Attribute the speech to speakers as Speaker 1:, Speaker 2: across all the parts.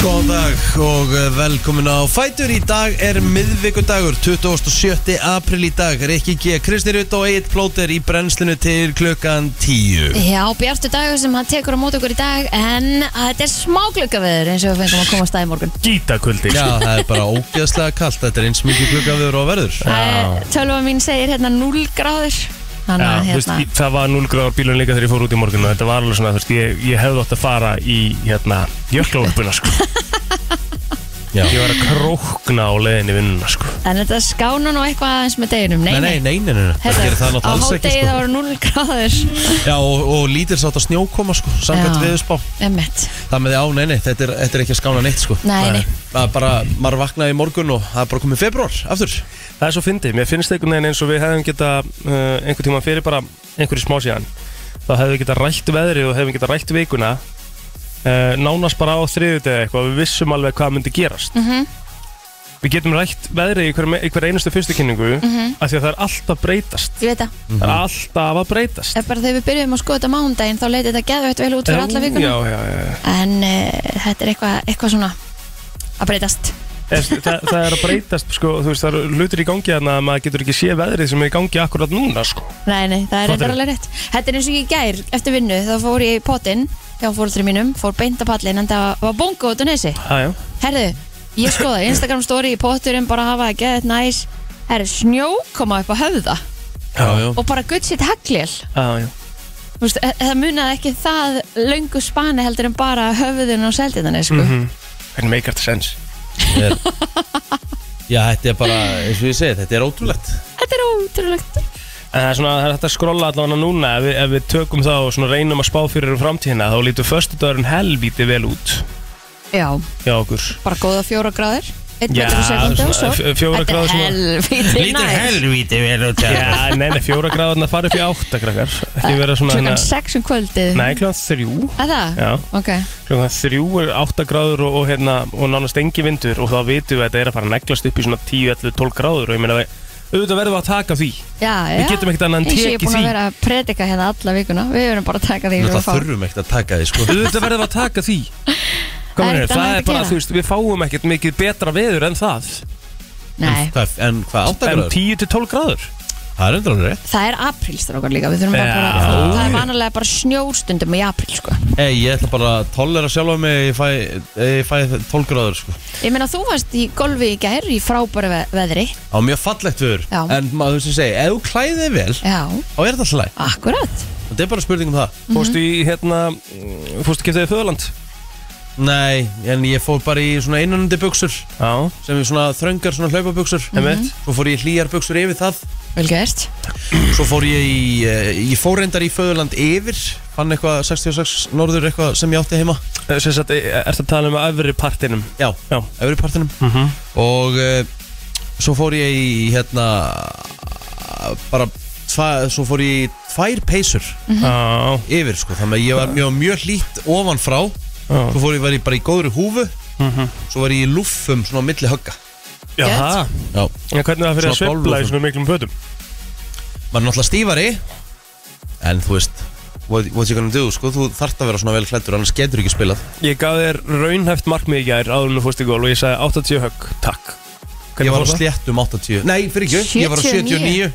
Speaker 1: Góðan dag og eh, velkomin á Fætur Í dag er miðvikudagur 27. april í dag Rikki G. Kristi Rutt og Egil Plóter í brennslinu til klukkan 10
Speaker 2: Já, bjartu dagur sem hann tekur á mót okkur í dag En að þetta er smágluggaveður eins og við fengum að koma á stað í morgun
Speaker 3: Gítakuldi
Speaker 1: Já, það er bara ógeðslega kallt Þetta er eins mikið klukkan við og verður
Speaker 2: Eh, Tölva mín segir hérna 0 gráður Þannig
Speaker 3: Já,
Speaker 2: að
Speaker 3: þú veist,
Speaker 2: hérna
Speaker 3: ég- það var 0 gráður bílun líka þegar ég fór út í morgun og þetta var alveg svona, þú veist, ég, ég hefði átt að fara í hérna, jöklaúlpuna sko.
Speaker 1: Já.
Speaker 3: ég var að krókna á leiðinni í vinnuna sko.
Speaker 2: En þetta skána nú eitthvað aðeins með deginum Nei, nei,
Speaker 1: nei, nei, nei, nei, nei. Það gerir það
Speaker 2: á
Speaker 1: náttúrulega alls ekki
Speaker 2: hádegi það
Speaker 1: sko.
Speaker 2: voru 0 gráður
Speaker 1: Já, og, og lítir sátt að snjókoma sko Samkvæmt
Speaker 2: Já.
Speaker 1: viðspá
Speaker 2: Emmett
Speaker 1: Það með því á, nei, nei, þetta er, þetta er ekki að skána neitt sko
Speaker 2: Nei, nei.
Speaker 1: Það er bara, maður vaknaði í morgun og það er bara komið februar aftur
Speaker 3: það er svo fyndið, mér finnst einhvern veginn eins og við hefðum geta uh, einhvern tíma fyrir bara einhverju smá síðan þá hefðum við geta rætt veðrið og hefðum geta rætt vikuna uh, nánast bara á þriðutegi eitthvað, við vissum alveg hvað myndi gerast
Speaker 2: Mhm.
Speaker 3: við getum rætt veðrið í hver, í hver einustu fyrstu kynningu
Speaker 2: Mhm.
Speaker 3: af því að það er alltaf breytast
Speaker 2: Ég veit það
Speaker 3: það
Speaker 1: Mhm.
Speaker 3: er alltaf að breytast
Speaker 2: Ef bara þegar við byrjum að skoða þetta mánudaginn þá leiti þetta geðvægt vel út fyrir alla vikuna
Speaker 3: já, já, já, já.
Speaker 2: En uh, þetta er eitthvað, eitthvað svona að breytast
Speaker 3: Eða, þú veist, það, það er að breytast sko, þú veist, það eru hlutir í gangi þannig að maður getur ekki séð veðrið sem er í gangi akkurat núna sko.
Speaker 2: Nei, nei, það er
Speaker 3: Fattar
Speaker 2: reyndar
Speaker 3: þú?
Speaker 2: alveg rétt Þetta er eins og ég í gær eftir vinnu þá fór ég í potinn hjá fóröldri mínum fór beint að pallin en það var bongo út á nesi
Speaker 3: ha,
Speaker 2: Herðu, ég skoða Instagram story í potturinn bara hafa að geða þetta næs Herðu, snjó koma upp á höfða
Speaker 3: já, já.
Speaker 2: og bara gutt sitt hagljel
Speaker 3: Já, já.
Speaker 2: e, Það munaði ekki það löngu spani heldur en bara höfðun og seldinni sko.
Speaker 3: Mhm. Hvernig make it sense
Speaker 1: er, Já, þetta er bara, eins og ég segi, þetta er ótrúlegt
Speaker 2: Þetta er ótrúlegt
Speaker 3: En það er svona, það er hægt að skrolla allavega núna ef við, ef við tökum það og svona reynum að spá fyrir um framtíðina þá lítur föstudagurinn helvíti vel út
Speaker 2: Já,
Speaker 3: hjá okkur
Speaker 2: bara góða fjóra gráður Einn
Speaker 3: Já,
Speaker 2: metur og sekundu og
Speaker 3: svona,
Speaker 2: svo
Speaker 3: f- fjóra
Speaker 2: Þetta
Speaker 3: gráður
Speaker 2: er helvítið næs
Speaker 1: helvíti vel út
Speaker 3: Já, nei, nei, fjóra gráðurna farið fyrir átta krakkar Ekki vera svona
Speaker 2: Klukkan
Speaker 3: hérna-
Speaker 2: sex um kvöldið
Speaker 3: Nei, klukkan þrjú
Speaker 2: Að það?
Speaker 3: Já,
Speaker 2: Ok
Speaker 3: klukkan þrjú er átta gráður og, og, hérna, og nánast engi vindur og þá vitum við að þetta er að fara að neglast upp í svona 10, 11, 12 gráður og ég meina við auðvitað verðum við að taka því
Speaker 2: Já, já.
Speaker 3: Við getum ekkert annað en
Speaker 2: Eins og ég er
Speaker 3: tekið
Speaker 2: búin
Speaker 3: því.
Speaker 2: að vera að predika hérna alla vikuna Við erum bara að taka því sem
Speaker 1: Það
Speaker 2: við fáum.
Speaker 1: þurfum ekkert að taka því, sko
Speaker 3: auðvitað verðum við að taka því Hvað
Speaker 2: Það er
Speaker 3: meinar,
Speaker 2: ekkert annað
Speaker 3: Það
Speaker 2: hægt
Speaker 3: er
Speaker 2: að
Speaker 3: bara,
Speaker 2: gera.
Speaker 3: þú veist, við fáum ekkert mikið betra veður en það
Speaker 2: Nei,
Speaker 1: Hvað, En hvað,
Speaker 3: En
Speaker 1: áttakraður?
Speaker 3: 10 til 12 gráður
Speaker 1: Það er endur alveg rétt
Speaker 2: það er aprílstrókar líka Við þurfum bara
Speaker 3: Já.
Speaker 2: að fara Það er vanalega bara snjóstundum í apríl sko.
Speaker 1: Ei, ég ætla bara að tollera sjálfa mig Ég fæ, ég fæ tólgraður, sko
Speaker 2: Ég meina þú varst í golfi í gær Í frábæru ve veðri
Speaker 1: Á mjög fallegt viður
Speaker 2: Já.
Speaker 1: En maður sem segi, ef þú klæðið þig vel
Speaker 2: Já,
Speaker 1: Þá er þetta alltaf læg
Speaker 2: akkurat Mhm.
Speaker 1: Þetta er bara spurning um það
Speaker 3: Fórstu í, hérna, mm, fórstu að kemta þig föðurland
Speaker 1: Nei, en ég fór bara í svona einanandi buksur
Speaker 3: Já,
Speaker 1: Sem er svona þröngar, svona hlaupabuksur
Speaker 3: einmitt
Speaker 1: Svo fór ég í hlýjar buksur yfir það
Speaker 2: Vel gert
Speaker 1: Svo fór ég í, eh, ég fór reyndar í föðurland yfir Fann eitthvað 66 norður eitthvað sem ég átti heima
Speaker 3: Eh, Sem sagt, eh, ertu að tala um öfri partinum
Speaker 1: Já,
Speaker 3: Já.
Speaker 1: öfri partinum
Speaker 3: Mhm.
Speaker 1: Og uh, svo fór ég í hérna Bara tva, Svo fór ég í tvær peysur
Speaker 3: Já,
Speaker 1: Yfir sko, þannig að ég var mjög, mjög hlýtt Ofan frá,
Speaker 3: já Mhm.
Speaker 1: svo fór ég, var ég bara í góðri húfu Svo var ég í lúffum Svona á milli högga
Speaker 3: Já,
Speaker 2: Gött.
Speaker 3: það
Speaker 1: Já.
Speaker 3: En hvernig er það fyrir að
Speaker 1: Svona
Speaker 3: sveifla í
Speaker 1: golfvöllum.
Speaker 3: svona miklum fötum?
Speaker 1: Maður er náttúrulega stífari En þú veist What, what you gonna do, sko, þú þarft að vera svona vel klættur Annars getur ekki spilað
Speaker 3: Ég gaf þér raunhæft markmið í gær áður en þú fórst í gól og ég sagði 80 högg, takk
Speaker 1: Ég
Speaker 3: Hvernig
Speaker 1: var á
Speaker 3: fór það?
Speaker 1: sléttum 80 Nei, fyrir ekki, ég var á 79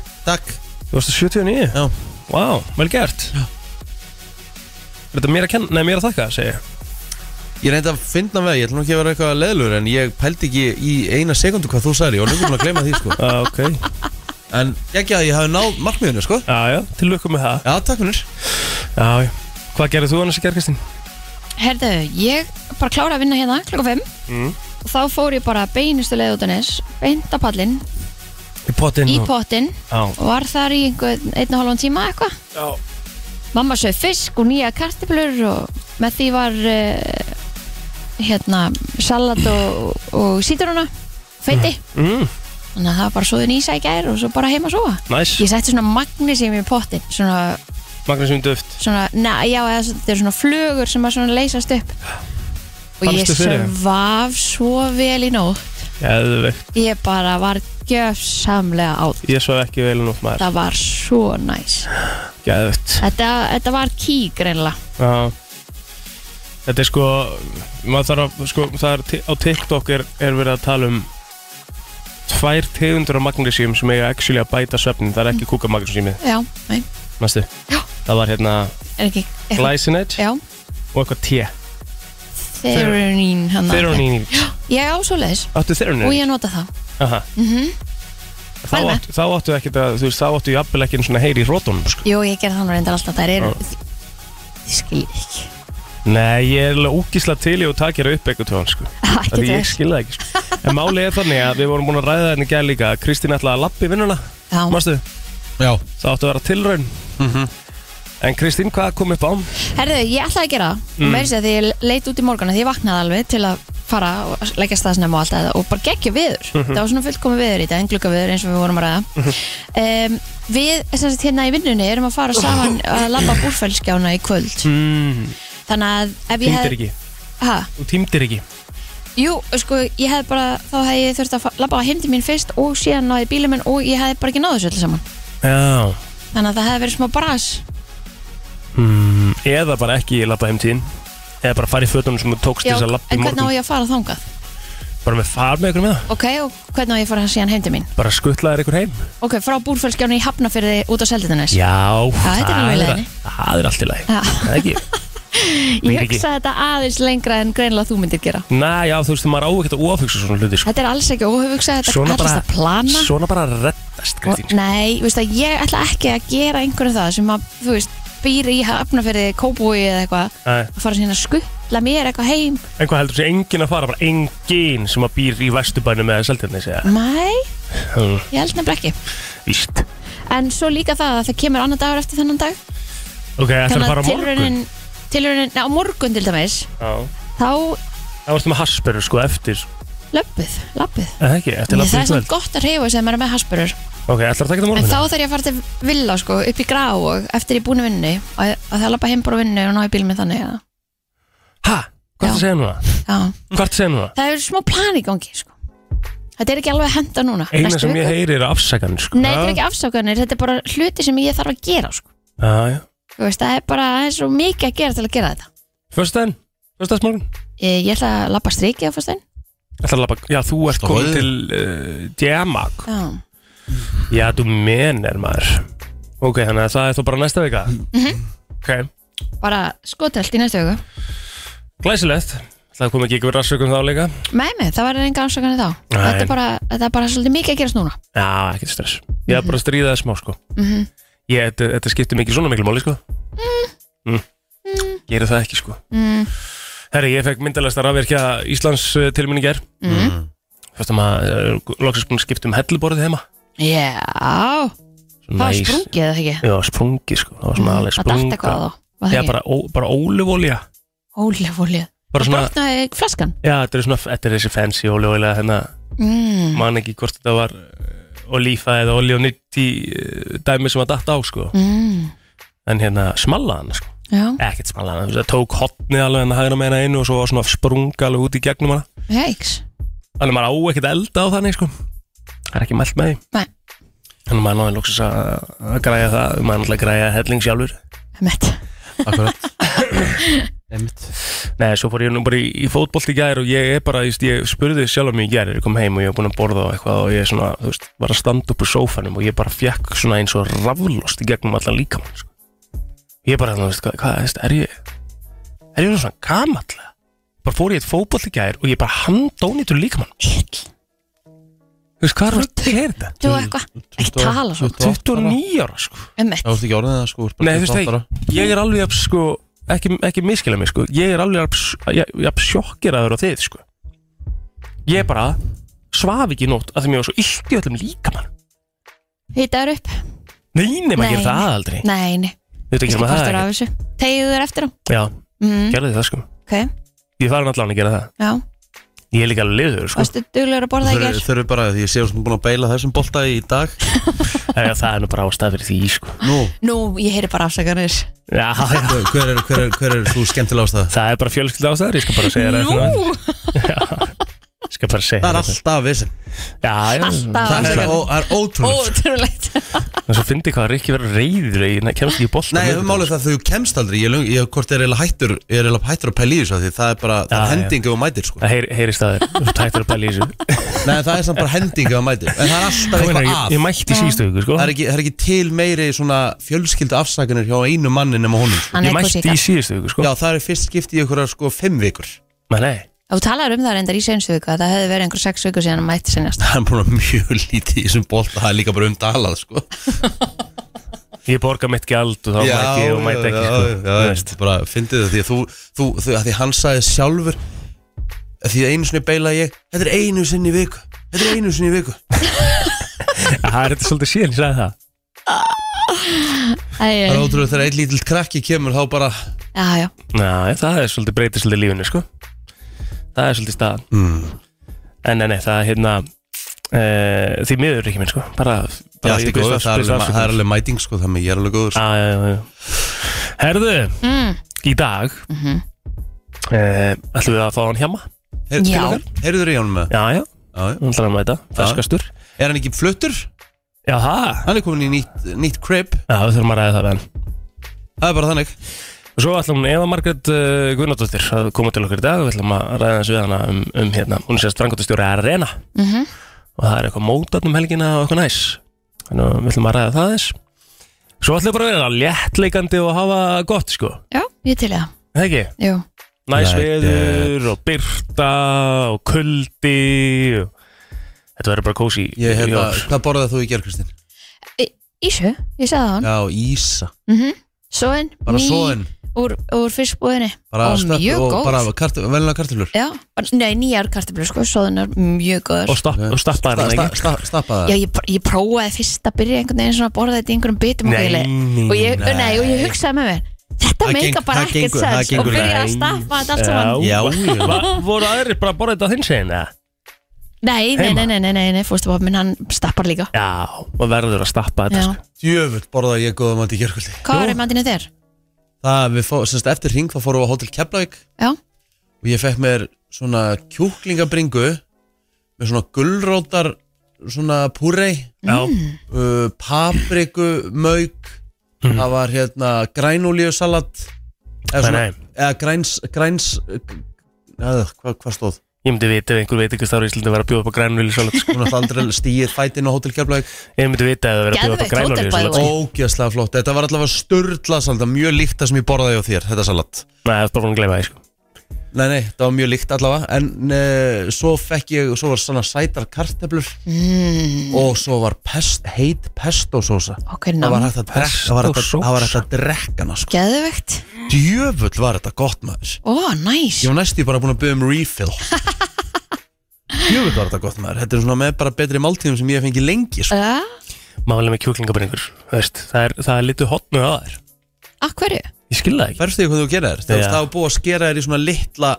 Speaker 2: 79.
Speaker 1: Takk,
Speaker 3: Þú varst á 79?
Speaker 1: já
Speaker 3: Vá, vel gert
Speaker 1: Já.
Speaker 3: Er þetta mér að kenna, nei mér að þakka, segi ég
Speaker 1: Ég reyndi að finna með, ég ætla nú ekki að vera eitthvað leðlur en ég pældi ekki í eina sekundu hvað þú sagði og lungum að gleyma því sko
Speaker 3: Já, Ah, ok
Speaker 1: En ekki að ég hafi náð markmiðinu sko
Speaker 3: Já, já, til lukku með það
Speaker 1: Já, takk minnur
Speaker 3: Já, já Hvað gerðið þú annars í gær, Kristín?
Speaker 2: Herðu, ég bara klára að vinna hérna klokka 5
Speaker 3: Mm.
Speaker 2: Og þá fór ég bara beinustu leið út á nes Beint að pallin,
Speaker 3: Í potinn
Speaker 2: í
Speaker 3: og-
Speaker 2: pottinn
Speaker 3: Já,
Speaker 2: Og var þar í einhvern einn og halvan tíma eitthvað
Speaker 3: já
Speaker 2: Mamma sögði fisk og nýja kartiblur og með því var uh, hérna salat og, og síturuna feiti,
Speaker 3: Mm,
Speaker 2: þannig að það var bara svoðin ísa í gær og svo bara heima að sofa
Speaker 3: næs
Speaker 2: Ég setti svona magnísím í pottin svona,
Speaker 3: Magnúsum duft
Speaker 2: svona na, já, eða svona- þetta er svona flugur sem að svona leysast upp og ég
Speaker 3: Fannstu fyrir þeim?
Speaker 2: svaf svo vel í nótt
Speaker 3: Geðvegt
Speaker 2: ég bara var gjöfsamlega átt
Speaker 3: Ég svo ekki vel nút maður
Speaker 2: það var svo næs
Speaker 3: Geðvegt
Speaker 2: þetta, þetta var kík reynilega
Speaker 3: Já Þetta er sko, maður þarf að, sko, það er, ti- á TikTok er, er verið að tala um tvær tegundur af magnesíum sem eiga actually að bæta svefnin, það er ekki kúka magnesímið,
Speaker 2: Já, nei,
Speaker 3: mannstu?
Speaker 2: Mm. Já.
Speaker 3: Það var hérna
Speaker 2: er ekki eitthvað-
Speaker 3: glycinate
Speaker 2: Já,
Speaker 3: og eitthvað T.
Speaker 2: Theronin hann
Speaker 3: Theronin.
Speaker 2: Ég á svoleiðis
Speaker 3: Áttu
Speaker 2: Hérna. og
Speaker 3: Theronin?
Speaker 2: ég nota það
Speaker 3: Aha.
Speaker 2: Mhm.
Speaker 3: Þá,
Speaker 2: Fæl með.
Speaker 3: átt, þá áttu ekkert að, þú veist, þá áttu jafnvel ekki einu svona heyri í rótunum, sko.
Speaker 2: Jú, ég gerði það nú reyndar alltaf Það eru,
Speaker 3: Já.
Speaker 2: ég skil ekki
Speaker 3: Nei, ég er alveg ógísla til í og takir upp eitthvað tóðan, sko.
Speaker 2: Ha,
Speaker 3: Af
Speaker 2: Ekki
Speaker 3: Því ég
Speaker 2: þess
Speaker 3: skil það ekki, sko. En málið er þannig að við vorum búin að ræða þenni gæl líka að Kristín ætlaði að lappi vinnuna,
Speaker 2: Já,
Speaker 3: mannstu?
Speaker 1: Já,
Speaker 3: Það áttu að vera tilraun En Kristín, hvað kom upp á?
Speaker 2: herðu, ég ætlaði að gera það
Speaker 3: Mm.
Speaker 2: og meiri sér að því ég leit út í morgun að því ég vaknaði alveg til að fara og leggja staðsnefn og allt það og bara geggja viður
Speaker 3: Mhm.
Speaker 2: það var svona fullkomi viður í dag, en glugga viður eins og við vorum að ræða um, Við, sem sagt, hérna í vinnunni erum að fara saman að labba búrfælskjána í kvöld
Speaker 3: Mm,
Speaker 2: þannig að ef ég hef
Speaker 3: týndir ekki
Speaker 2: ha,
Speaker 3: Þú týndir ekki
Speaker 2: Jú, sko, ég hef bara þá hef ég þurft að labba heim til mín fyrst og síðan náði bílum minn og ég hef bara ekki náðu þessu öllu saman
Speaker 3: Já
Speaker 2: þannig að það hef verið smá bras
Speaker 3: mm, Eða bara ekki lappa heim tíðin Eða bara fara í fötunum sem þú tókst
Speaker 2: Já,
Speaker 3: þess að lappa í
Speaker 2: en hvernig á
Speaker 3: morgun
Speaker 2: ég að fara þangað?
Speaker 3: Bara með far með ykkur með það
Speaker 2: Ok, og hvernig á ég að fara síðan heim til mín?
Speaker 3: Bara skuttlaðir ykkur heim
Speaker 2: Ok, frá búrfölskjánu í Hafnafyrði út á Seldinnes
Speaker 3: Já,
Speaker 2: þetta er alveg í
Speaker 3: það,
Speaker 2: leiðinni.
Speaker 3: það er allt í lagi
Speaker 2: Já.
Speaker 3: Það er ekki
Speaker 2: Ég hugsa þetta aðeins lengra en greinlega þú myndir gera
Speaker 3: Næ, já, þú veist, maður á ekkert að ofugsa svona hluti sko.
Speaker 2: Þetta er alls ekki óhugsa, þetta
Speaker 3: Svona
Speaker 2: er allast
Speaker 3: bara-
Speaker 2: að plana
Speaker 3: Svona bara reddast,
Speaker 2: og,
Speaker 3: Kristín sko.
Speaker 2: Nei, veist að ég ætla ekki að gera einhverju um það sem að, þú veist, býr í Hafnafyrði, Kóbúi eða eitthvað
Speaker 3: Nei.
Speaker 2: að fara síðan að skuttla mér eitthvað heim
Speaker 3: En hvað heldur þessi engin að fara, bara engin sem að býr í vesturbænum eða seltjarni segja
Speaker 2: Mæ,
Speaker 3: mm.
Speaker 2: ég held nefnilega ekki
Speaker 3: Víst
Speaker 2: En svo líka það að það kemur annar dagur eftir þennan dag
Speaker 3: Ok, ætlar að fara á morgun
Speaker 2: tilraunin, tilraunin, á morgun til dæmis
Speaker 3: Já
Speaker 2: þá
Speaker 3: Það varstu með hasperu sko eftir
Speaker 2: löppuð, lappuð
Speaker 3: Eða ekki, eftir
Speaker 2: Það
Speaker 3: labbið
Speaker 2: er svona gott að reyfa sem er með hasburur
Speaker 3: Ok, ætlar að taka þetta
Speaker 2: En
Speaker 3: morgun?
Speaker 2: þá þarf ég að fara til villa sko, upp í grá og eftir ég er búin að vinnu og að það lappa heim bara vinnu og ná í bíl með þannig að,
Speaker 3: Hæ? Hvað ertu
Speaker 2: Já.
Speaker 3: að segja núna?
Speaker 2: já.
Speaker 3: Hvað ertu að segja núna?
Speaker 2: Það eru smá plan í gangi sko. Þetta er ekki alveg að henda núna
Speaker 3: Eina
Speaker 2: næstu
Speaker 3: sem ég
Speaker 2: viku.
Speaker 3: heyri er afsakan sko
Speaker 2: Nei, þetta er ekki afsákanir, þetta er bara hluti sem ég þarf að gera sko.
Speaker 3: Já, já
Speaker 2: Þú veist, Það er bara aðeins svo mikið að gera til að gera þetta
Speaker 3: Föstudaginn? Föstudagsmorgun?
Speaker 2: Ég, ég ætla að lappa strikið á fyrstæn
Speaker 3: Ætlar að labba Já, þú ert
Speaker 1: Stóð.
Speaker 3: komin til uh, Djamag
Speaker 2: Já,
Speaker 3: Já, þú menir maður Ok, þannig að það er þá bara næsta vika
Speaker 2: Mhm.
Speaker 3: Ok,
Speaker 2: bara skotelt í næstu huga
Speaker 3: glæsilegt Það kom ekki ykkur rassökum þá líka
Speaker 2: Nei, nei, það var enga afsökanir þá
Speaker 3: Nei.
Speaker 2: þetta er, bara, þetta er bara svolítið mikið að gerast núna
Speaker 3: Já, ekkert stress Ég
Speaker 2: Mhm.
Speaker 3: er bara að stríða það smá sko
Speaker 2: mm
Speaker 3: Ég, þetta, þetta skiptir mikið svona miklu máli sko
Speaker 2: Mhm.
Speaker 3: mm. Gerir það ekki sko
Speaker 2: mm.
Speaker 3: Herri, ég fekk myndalæsta rafverkja Íslands uh, tilminni ger
Speaker 2: Mm.
Speaker 3: Fyrst að maður uh, loksins búin að skipta um helluborðið heima
Speaker 2: Já,
Speaker 3: Svo
Speaker 2: það var
Speaker 3: næs.
Speaker 2: sprungið eða ekki
Speaker 3: Já, sprungi sko, það var svona
Speaker 2: Að
Speaker 3: alveg
Speaker 2: darta
Speaker 3: sprunga
Speaker 2: hvað á þá
Speaker 3: Já, bara, ó, bara ólifólja
Speaker 2: Ólefólja
Speaker 3: Bara svona,
Speaker 2: Brotnaði flaskan
Speaker 3: já, þetta er svona Þetta er þessi fancy ólifólja hérna
Speaker 2: mm.
Speaker 3: Man ekki hvort þetta var eh, Olífa eða olí og nýtti eh, Dæmi sem að datta á sko
Speaker 2: Mm.
Speaker 3: En hérna, smallaðan sko
Speaker 2: Já,
Speaker 3: Ekkert smallaðan, það tók hotnið alveg En að hægra meina einu og svo var svona sprunga alveg út í gegnum hana
Speaker 2: heiks
Speaker 3: Þannig að maður á ekkert elda á þannig sko Það er ekki mælt með því
Speaker 2: Nei.
Speaker 3: Þannig að maður náði loksins að, að græja það Maður náttúrulega græja helling sjálfur
Speaker 2: Mett
Speaker 1: akkurat Einmitt.
Speaker 3: Nei, svo fór ég nú bara í, í fótbolt í gær Og ég er bara, just, ég spurði sjálf mig í gær þegar Ég kom heim og ég var búin að borða og eitthvað Og ég svona, þú veist, var að standa upp úr sófanum Og ég bara fekk svona eins og raflost í gegnum allan líkamann sko. Ég bara, þú veist, hvað, hvað þú veist, er ég Er ég nú svona gamallega Bara fór ég í eitt fótbolt í gær Og ég bara handónýtur líkamann Þú veist, hvað er að gera þetta?
Speaker 2: Þú eitthvað, ekki tala svona
Speaker 3: 29 ára sko
Speaker 1: Það
Speaker 2: Emmett
Speaker 1: vorst ekki orðin það sko
Speaker 3: Nei, þú veist það, ég er alveg jafn, sko, ekki, ekki miskila mig, sko, ég er alveg jafn- jafn jafn sjokkeraður á þið, sko. Ég bara svaf ekki í nótt að því mér var svo illt í öllum líkamann.
Speaker 2: Hitaður upp
Speaker 3: Nei, nei, maður
Speaker 2: Nei.
Speaker 3: gerir það aldrei.
Speaker 2: Nei, nei,
Speaker 3: Þú veit ekki
Speaker 2: ekki
Speaker 3: sem að það
Speaker 2: kvartur
Speaker 3: er.
Speaker 2: af þessu Tegðu þér eftir á
Speaker 3: Já,
Speaker 2: mm.
Speaker 3: gerði það, sko.
Speaker 2: Ok,
Speaker 3: Ég þarf allan að gera það.
Speaker 2: já
Speaker 3: Ég er líka alveg liður, sko.
Speaker 2: Varstu duglegur að borða í
Speaker 1: Þau
Speaker 2: gerð
Speaker 1: eru bara, ég sé svona búin að beila þessum bolta í dag
Speaker 3: Eða, það er nú bara ástæð fyrir því, sko.
Speaker 1: Nú,
Speaker 2: Nú, ég heyri bara afsakanir
Speaker 3: Já, já.
Speaker 1: hver er, hver er, hver er þú skemmtilega ástæða?
Speaker 3: Það er bara fjölskylda ástæður, ég skal bara segja það.
Speaker 2: Nú,
Speaker 3: Skal bara segja
Speaker 1: Það er
Speaker 3: þér
Speaker 1: alltaf vissin
Speaker 3: þetta. Já, já
Speaker 2: Alltaf.
Speaker 1: Það er,
Speaker 2: Alltaf.
Speaker 1: ó, það er ótrúlegt sko.
Speaker 2: Ótrúlegt
Speaker 3: En svo fyndi hvað Rikki verður reyður Ég kemst ekki í bolta
Speaker 1: Nei, um málið það að þú kemst aldrei Ég, löng, ég hvort er eiginlega hættur Ég er eiginlega hættur að pæla í þessu af Því það er bara, það
Speaker 3: Já,
Speaker 1: er
Speaker 3: já.
Speaker 1: hendingu og mætir sko
Speaker 3: Það heyri, heyrist að þér Þú tættur að pæla í þessu
Speaker 1: Nei, það er samt bara hendingu og mætir En það er alltaf
Speaker 3: Ég,
Speaker 1: eitthvað
Speaker 3: ég,
Speaker 1: að
Speaker 3: ég mætti í síðustu viku sko
Speaker 1: það er, ekki, það er ekki til meiri svona fjölskyldu afsakanir hjá einu manni nema honum sko.
Speaker 2: Hann
Speaker 3: Ég
Speaker 2: er
Speaker 3: mætti
Speaker 2: kosíka
Speaker 3: í síðustu viku sko
Speaker 1: Já, það er fyrst skipti í ykkur sko fimm vikur
Speaker 3: Nei, nei
Speaker 2: Þú talar um það reyndar í senstu viku að það hefði verið einhver sex viku síðan að mætti senjast
Speaker 1: Það er búin að mjög lítið í þessum bolta Það er líka bara um dalað sko
Speaker 3: Ég borga mitt gjald og þá mætti ég og mætti ekki sko
Speaker 1: já,
Speaker 3: Þú
Speaker 1: já,
Speaker 3: veist.
Speaker 1: bara fyndið það því að þú, þú, þú að því hann sagði sjálfur að því að einu sinni beilaði ég þetta er einu sinni í viku þetta er einu sinni í viku
Speaker 3: Það er þetta svolítið síðan, ég sagði það
Speaker 1: Ah.
Speaker 2: Æ,
Speaker 1: það er
Speaker 2: já,
Speaker 1: ótrúlega þegar einn lítill krakki kemur þá bara
Speaker 2: já,
Speaker 3: Næ, það er svolítið breytið svolítið lífinu sko Það er svolítið staðan
Speaker 1: mm,
Speaker 3: En nei, nei, það er hérna e, Því miður ekki minn sko Bara,
Speaker 1: já,
Speaker 3: bara
Speaker 1: allt í góðu, það, er alveg- það er alveg mæting sko þannig ég er alveg góður sko.
Speaker 3: alveg Herðu,
Speaker 2: mm,
Speaker 3: í dag mm
Speaker 2: Mhm.
Speaker 3: ætlum við að fá hann hjama
Speaker 1: Heyr-
Speaker 2: Já.
Speaker 1: til okkar? heyrður í honum með
Speaker 3: Já, já,
Speaker 1: það
Speaker 3: hún ætlar að mæta Ferskastur
Speaker 1: er hann ekki fluttur
Speaker 3: Já, það,
Speaker 1: hann er komin í nýtt, nýtt crib
Speaker 3: já, við þurfum að ræða það við hann
Speaker 1: það er bara þannig
Speaker 3: Og Svo ætlum hún Eva Margrét uh, Guðnardóttir að koma til okkur í dag Við ætlum að ræða hans við hana um, um hérna Hún er sérst frangotastjóri Arena
Speaker 2: mhm,
Speaker 3: Og það er eitthvað mótatn um helgina og eitthvað næs Þannig að við ætlum að ræða það þess Svo ætlum við bara að vera léttleikandi og hafa gott sko
Speaker 2: já, ég til í það
Speaker 3: Er Það ekki?
Speaker 2: Jú,
Speaker 3: Næs
Speaker 1: Nei, eh,
Speaker 3: veður og byrta og kuldi og... Þetta verður bara kósi
Speaker 1: ég, hérna, hvað borðað þú í gerð Kristinn?
Speaker 2: Ísu, ég sagði það hann
Speaker 1: já, Ísa
Speaker 2: mhm, Svoðin,
Speaker 1: bara svoðin
Speaker 2: úr, úr fiskbúðinni
Speaker 1: bara
Speaker 2: og
Speaker 1: stöpp-
Speaker 2: mjög
Speaker 1: og
Speaker 2: góð
Speaker 1: bara kart, velna kartöflur
Speaker 2: Já, bara- nei, nýjar kartöflur sko, svoðin er mjög góður
Speaker 3: og, stapp,
Speaker 1: Ok.
Speaker 3: og stappa
Speaker 1: Sta-
Speaker 3: hérna
Speaker 1: Eh, sta-
Speaker 3: ekki
Speaker 1: sta- stappa það
Speaker 2: Já, ég, pr- ég prófaði fyrst að byrja einhvern veginn svona að borða þetta í einhverjum bitum og
Speaker 3: Nei,
Speaker 2: ég-
Speaker 3: nei,
Speaker 2: og ég,
Speaker 1: nei.
Speaker 2: nei. og ég hugsaði með mér þetta
Speaker 1: Það
Speaker 2: meika
Speaker 1: geng-
Speaker 2: bara
Speaker 1: það
Speaker 2: ekkert
Speaker 1: gengur- það
Speaker 2: sens og
Speaker 1: gengur
Speaker 2: byrjaði að
Speaker 1: ekki.
Speaker 2: stappa þetta allt saman
Speaker 1: Já, já.
Speaker 3: Va- Voru aðrir bara að borða þetta á þinn segin eða?
Speaker 2: nei, nei,
Speaker 3: Heima?
Speaker 2: nei, nei, nei, nei, nei fóstupappi minn hann stappar líka
Speaker 3: Já, og verður að stappa þetta
Speaker 2: Já.
Speaker 3: sko.
Speaker 1: Djöfull borðaði ég góða mandi í gerkvöldi
Speaker 2: hvað var reymandinu þér?
Speaker 1: Það við fó, semst eftir hring þá fórum við á Hotel Keflavík
Speaker 2: Já,
Speaker 1: og ég fekk mér svona kjúklingabringu með svona gullrótar svona púrei
Speaker 3: Já,
Speaker 1: uh, papriku, mauk
Speaker 3: Mhm.
Speaker 1: það var hérna grænolíusalat eða,
Speaker 3: Nei,
Speaker 1: svona,
Speaker 3: nei.
Speaker 1: eða græns, græns eða, hvað, hvað stóð?
Speaker 3: ég myndi vita ef einhver veit ekki hvað í Íslandi var að bjóða upp á grænulíu svolít sko.
Speaker 1: Hún átti aldrei stíið fætinn á Hotel Keflavík
Speaker 3: Ég myndi vita ef það verið að bjóða
Speaker 2: Geðveikt
Speaker 3: upp á sko.
Speaker 2: hótel, by
Speaker 3: grænulíu
Speaker 2: the
Speaker 3: svolít
Speaker 2: way.
Speaker 1: Ógjörslega flott, þetta var allavega störla salat mjög líkt það sem ég borðaði á þér, þetta salat
Speaker 3: Nei, það er bara búin að gleyma það sko.
Speaker 1: Nei, nei, það var mjög líkt allavega En uh, svo fekk ég, svo var svona sætar karteblur
Speaker 3: Mm-hmm.
Speaker 2: mm,
Speaker 1: Og svo var pest, heit pestosósa
Speaker 2: ok,
Speaker 1: Það var
Speaker 2: ná,
Speaker 1: hægt að drekka Það var hægt að-
Speaker 3: Pestosósa.
Speaker 1: það var hægt að drekka hana sko.
Speaker 2: geðvegt
Speaker 1: Djöfull var þetta gott maður
Speaker 2: ó, næs,
Speaker 1: Ég var næstu bara búin að byggja um refill Djöfull var þetta gott maður Þetta er svona með bara betri máltíðum sem ég hef fengið lengi sko.
Speaker 2: já,
Speaker 3: Málega með kjúklingabringur veist, Það er, það er litu hotnu að þær
Speaker 2: að hverju?
Speaker 3: Ég skil það ekki
Speaker 1: Færstu því hvað þú gerir þér Þegar
Speaker 3: Já.
Speaker 1: það var búið að skera þér í svona litla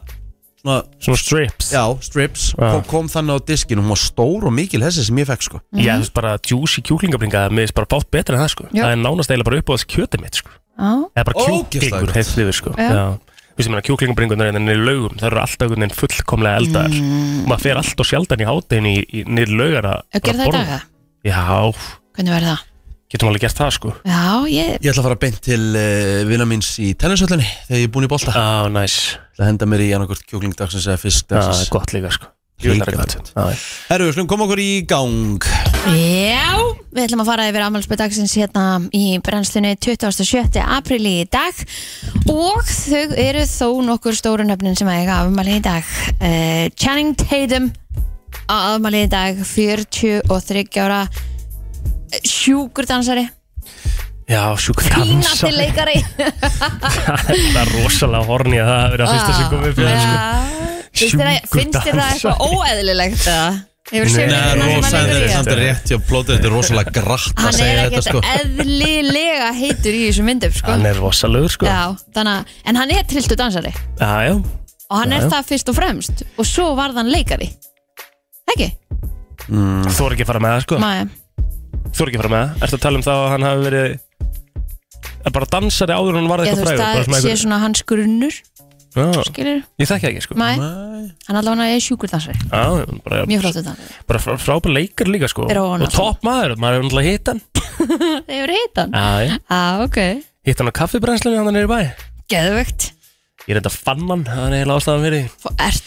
Speaker 1: svona,
Speaker 3: Svona strips
Speaker 1: Já, strips
Speaker 3: Já.
Speaker 1: Kom, kom þannig á diskinum Hún var stór og mikil hessi sem ég fekk sko.
Speaker 3: Ég hefðist bara juicy kjúklingabringa Mér hefðist bara bátt betra en það sko
Speaker 2: Já.
Speaker 3: Það er nánast eiginlega bara upp á þess kjöti mitt sko
Speaker 2: Já,
Speaker 3: Það er bara
Speaker 1: Ógeðslega
Speaker 3: kjúklingur
Speaker 1: gott.
Speaker 3: heilt yfir sko
Speaker 2: Já.
Speaker 3: Já Þú veist, ég meina, kjúklingabringunar en í laugum, það eru alltaf einhvern veginn fullkomlega eldaðar. Maður fer alltaf sjaldan í hátinn í, í niður laugar að
Speaker 2: að gera Mm. það
Speaker 3: bara
Speaker 2: í dag?
Speaker 3: borða.
Speaker 2: eða?
Speaker 3: Já,
Speaker 2: Hvernig verður það?
Speaker 3: getum alveg gert það sko
Speaker 2: Já, ég,
Speaker 1: Ég ætla að fara beint til uh, vina míns í tennishöllinni þegar ég er búin í bolta.
Speaker 3: Á, næs,
Speaker 1: Það henda mér í annarkort kjúklingdagsins eða
Speaker 3: það er
Speaker 1: fiskdagsins.
Speaker 3: gott líka sko
Speaker 1: Ég vil
Speaker 3: Líka
Speaker 1: gera
Speaker 3: gott. Já, já.
Speaker 1: Herru, við slum koma okkur í gang.
Speaker 2: Já, við ætlum að fara yfir afmælsbyrdagsins hérna í brennslunni 27. apríli í dag og þau eru þó nokkur stóru nöfnin sem eiga afmæli í dag uh, Channing Tatum á afmæli í dag 43 ára eh, sjúkur dansari
Speaker 3: Já, sjúk
Speaker 2: pínati leikari
Speaker 3: Það er rosalega horni að það hafi verið að fyrsta sem komið fyrir
Speaker 2: Ah,
Speaker 3: sko.
Speaker 2: Finnst þér það-
Speaker 3: Sjúkur
Speaker 2: finnst þér það eitthvað
Speaker 3: dansari.
Speaker 2: óeðlilegt eða? Hefur séð
Speaker 3: Nei,
Speaker 2: hvernig
Speaker 3: rosa
Speaker 2: hann er
Speaker 3: eðlilegt.
Speaker 2: mælingur í það?
Speaker 1: samt er rétt hjá plótið, þetta er rosalega grætt að
Speaker 2: Hann er
Speaker 1: segja þetta
Speaker 2: ekkert
Speaker 1: sko.
Speaker 2: eðlilega heitur í þessum myndum sko.
Speaker 3: Hann er rosalögur sko Já,
Speaker 2: Já, þannig að, en hann er trilltu dansari
Speaker 3: já,
Speaker 2: og hann
Speaker 3: Já,
Speaker 2: er
Speaker 3: já.
Speaker 2: það fyrst og fremst og svo varð hann leikari ekki?
Speaker 3: þú er ekki að fara með það sko
Speaker 2: Mæja,
Speaker 3: Þú er ekki að fara með það Ertu að tala um það að hann hafi verið að bara dansari áður en hann varði
Speaker 2: ég þú veist
Speaker 3: eitthvað frægur
Speaker 2: það
Speaker 3: bara svona
Speaker 2: sé
Speaker 3: einhver-
Speaker 2: svona hans grunnur
Speaker 3: Já,
Speaker 2: skilur,
Speaker 3: ég þekki það ekki sko
Speaker 2: mæ,
Speaker 1: Nei.
Speaker 2: hann allavega er sjúkur dansari
Speaker 3: Já, hann bara,
Speaker 2: mjög flott þetta,
Speaker 3: bara frá, frábær leikar líka sko
Speaker 2: Er hún
Speaker 3: Og
Speaker 2: alltaf?
Speaker 3: topp maður, maður hefur náttúrulega hitt hann
Speaker 2: þeir eru hitan
Speaker 3: Já, já.
Speaker 2: ah, ok,
Speaker 3: Hitt hann á kaffibrennslunni hann er í bæ
Speaker 2: geðvögt
Speaker 3: Ég reynda að fann hann, það er eiginlega ástæðan fyrir því.
Speaker 2: Ert,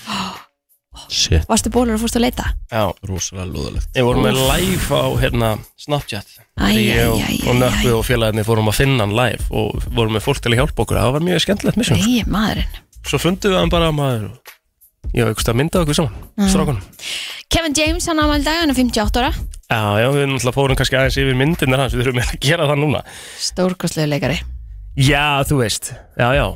Speaker 1: Shit,
Speaker 2: varstu bólur og fórstu að leita
Speaker 3: Já,
Speaker 1: rosalega lúðalegt
Speaker 3: ég vorum með live á hérna, Snapchat
Speaker 2: Æ, æ,
Speaker 3: Ég og,
Speaker 2: æ, æ,
Speaker 3: og nöppu
Speaker 2: æ.
Speaker 3: og félagarnir fórum að finna hann live og vorum með fólk til að hjálpa okkur það var mjög skemmtilegt misjum
Speaker 2: Nei, maðurinn
Speaker 3: svo fundum við hann bara maður og ég hafði eitthvað myndað okkur saman mm. strákunum
Speaker 2: Kevin James, hann ámæli dag, hann er 58 ára
Speaker 3: já, já, við náttúrulega fórum kannski aðeins yfir myndirnar hans við þurfum eiginlega að gera það núna
Speaker 2: Stórkostlegu leikari
Speaker 3: já, þú veist, já, já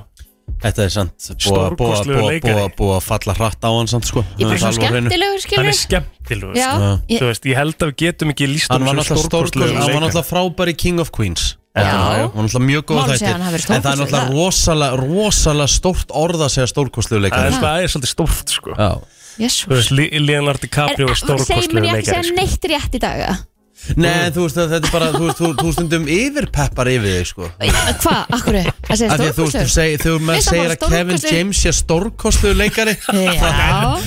Speaker 1: Þetta er sant Búa, búa,
Speaker 3: Stórkostlegur
Speaker 1: búa,
Speaker 3: leikari.
Speaker 1: búa, búa að falla hratt á hann samt sko
Speaker 2: Ég er bara
Speaker 1: Það
Speaker 2: svona
Speaker 1: alveg á hreinu.
Speaker 2: skemmtilegur,
Speaker 3: hann
Speaker 2: skilur
Speaker 3: er skemmtilegur sko.
Speaker 2: Já,
Speaker 1: Já.
Speaker 2: ég,
Speaker 3: þú veist, ég held að við getum ekki líst
Speaker 1: Hann var náttúrulega stórkostlegur Hann var
Speaker 3: leikar
Speaker 1: náttúrulega frábæri King of Queens
Speaker 2: Já.
Speaker 1: Hann var náttúrulega mjög góð
Speaker 2: Má alveg segja að
Speaker 1: þættir
Speaker 2: hann hafi verið
Speaker 1: En það er náttúrulega rosalega, rosalega stórt orð að segja stórkostlegur
Speaker 3: það
Speaker 1: leikari
Speaker 3: er- það er svolítið stórt sko
Speaker 1: Já.
Speaker 3: þú
Speaker 2: jésús
Speaker 3: veist, Li- Leonardo DiCaprio er
Speaker 2: segir mér
Speaker 3: stórkostlegur
Speaker 2: ég ekki
Speaker 3: leikari
Speaker 2: segja
Speaker 3: sko.
Speaker 2: neitt rétt í dag eða?
Speaker 1: Nei, þú veist að þetta er bara Þú, veist, þú, þú stundum yfirpeppar yfir þig sko
Speaker 2: Hvað, akkur er? Það segir
Speaker 1: Af því að Þú veist, þú
Speaker 2: stórkostlegu
Speaker 1: segir, þú menn
Speaker 2: Veist það
Speaker 1: segir
Speaker 2: bara
Speaker 1: að Kevin
Speaker 2: stórkostlegur-
Speaker 1: James sé stórkostlegur leikari
Speaker 2: Já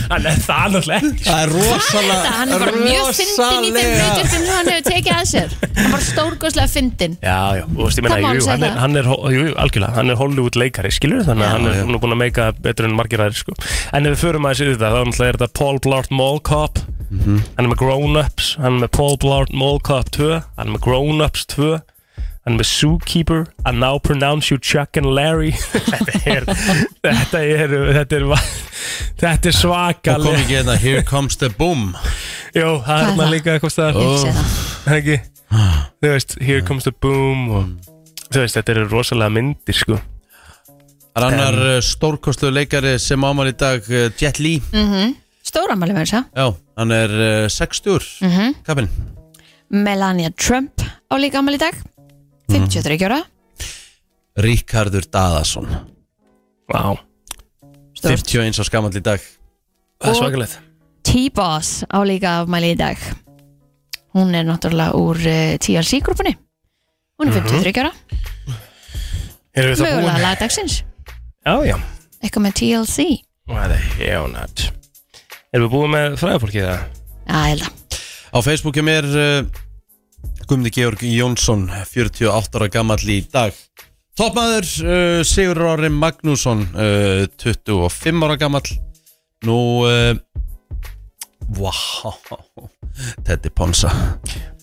Speaker 3: hann er það náttúrulega ekki
Speaker 1: Það er rosalega
Speaker 2: Hann er bara mjög fyndin í þeim
Speaker 1: rosalega-
Speaker 2: hlutur sem hann hefur tekið að sér Hann er bara stórkostlega fyndin
Speaker 3: Já, já, og þú veist, ég meina,
Speaker 2: Það má
Speaker 3: jú,
Speaker 2: alveg
Speaker 3: jú,
Speaker 2: segja
Speaker 3: hann er,
Speaker 2: það.
Speaker 3: hann er, ho- jú, jú, algjörlega, hann er Hollywood leikari, skilur þannig að hann er
Speaker 1: já.
Speaker 3: nú búin að meika betur en margir aðeins, sko. En ef við förum aðeins yfir þetta, þá náttúrulega er þetta Paul Blart Mall Cop,
Speaker 1: Mhm.
Speaker 3: hann er með Grown Ups, hann er með Paul Blart Mall Cop 2, hann er með Grown Ups 2, hann er með Zookeeper, I Now Pronounce You Chuck and Larry, þetta er, þetta er, þetta er, þetta
Speaker 1: Og kom
Speaker 3: er svakalega,
Speaker 1: ekki hérna, here comes the boom
Speaker 3: jú, það er
Speaker 2: Hvað er
Speaker 3: hérna
Speaker 2: það?
Speaker 3: líka eitthvað staðar
Speaker 2: Ég sé það
Speaker 3: ekki þú veist,
Speaker 1: Ah.
Speaker 3: here comes the boom og,
Speaker 1: Mm.
Speaker 3: þú veist, þetta eru rosalega myndir sko.
Speaker 1: Það er annar um, stórkostlu leikari sem ámæl í dag eh, Jet Li
Speaker 2: Mhm. Stóramæli verður það
Speaker 1: Já, hann er uh, 60
Speaker 2: Mhm.
Speaker 1: mm -hmm. Kapinn
Speaker 2: Melania Trump á líka ámæli dag
Speaker 1: Mhm.
Speaker 2: 53 ára
Speaker 1: Ríkardur Daðason
Speaker 3: Vá,
Speaker 2: Stór
Speaker 1: 51 á skamall í dag
Speaker 3: það er
Speaker 2: Og-
Speaker 3: svakalegt
Speaker 2: T-Boss á líka afmæli í dag Hún er náttúrulega úr uh, TLC-grúpunni Hún er
Speaker 1: Mhm.
Speaker 2: 53 ára
Speaker 3: Erum við það
Speaker 2: Mögulega
Speaker 3: búin?
Speaker 2: lagdagsins
Speaker 3: Já, já,
Speaker 2: Eitthvað með TLC
Speaker 3: það er hjónat Erum við búin með fræðafólkið það?
Speaker 2: Já, ég held að
Speaker 1: Á Facebooki mér uh, Guðmundi Georg Jónsson 48 ára gamall í dag Toppmaður uh, Sigur Rári Magnússon uh, 25 ára gamall Nú uh, Vá Teddy Ponsa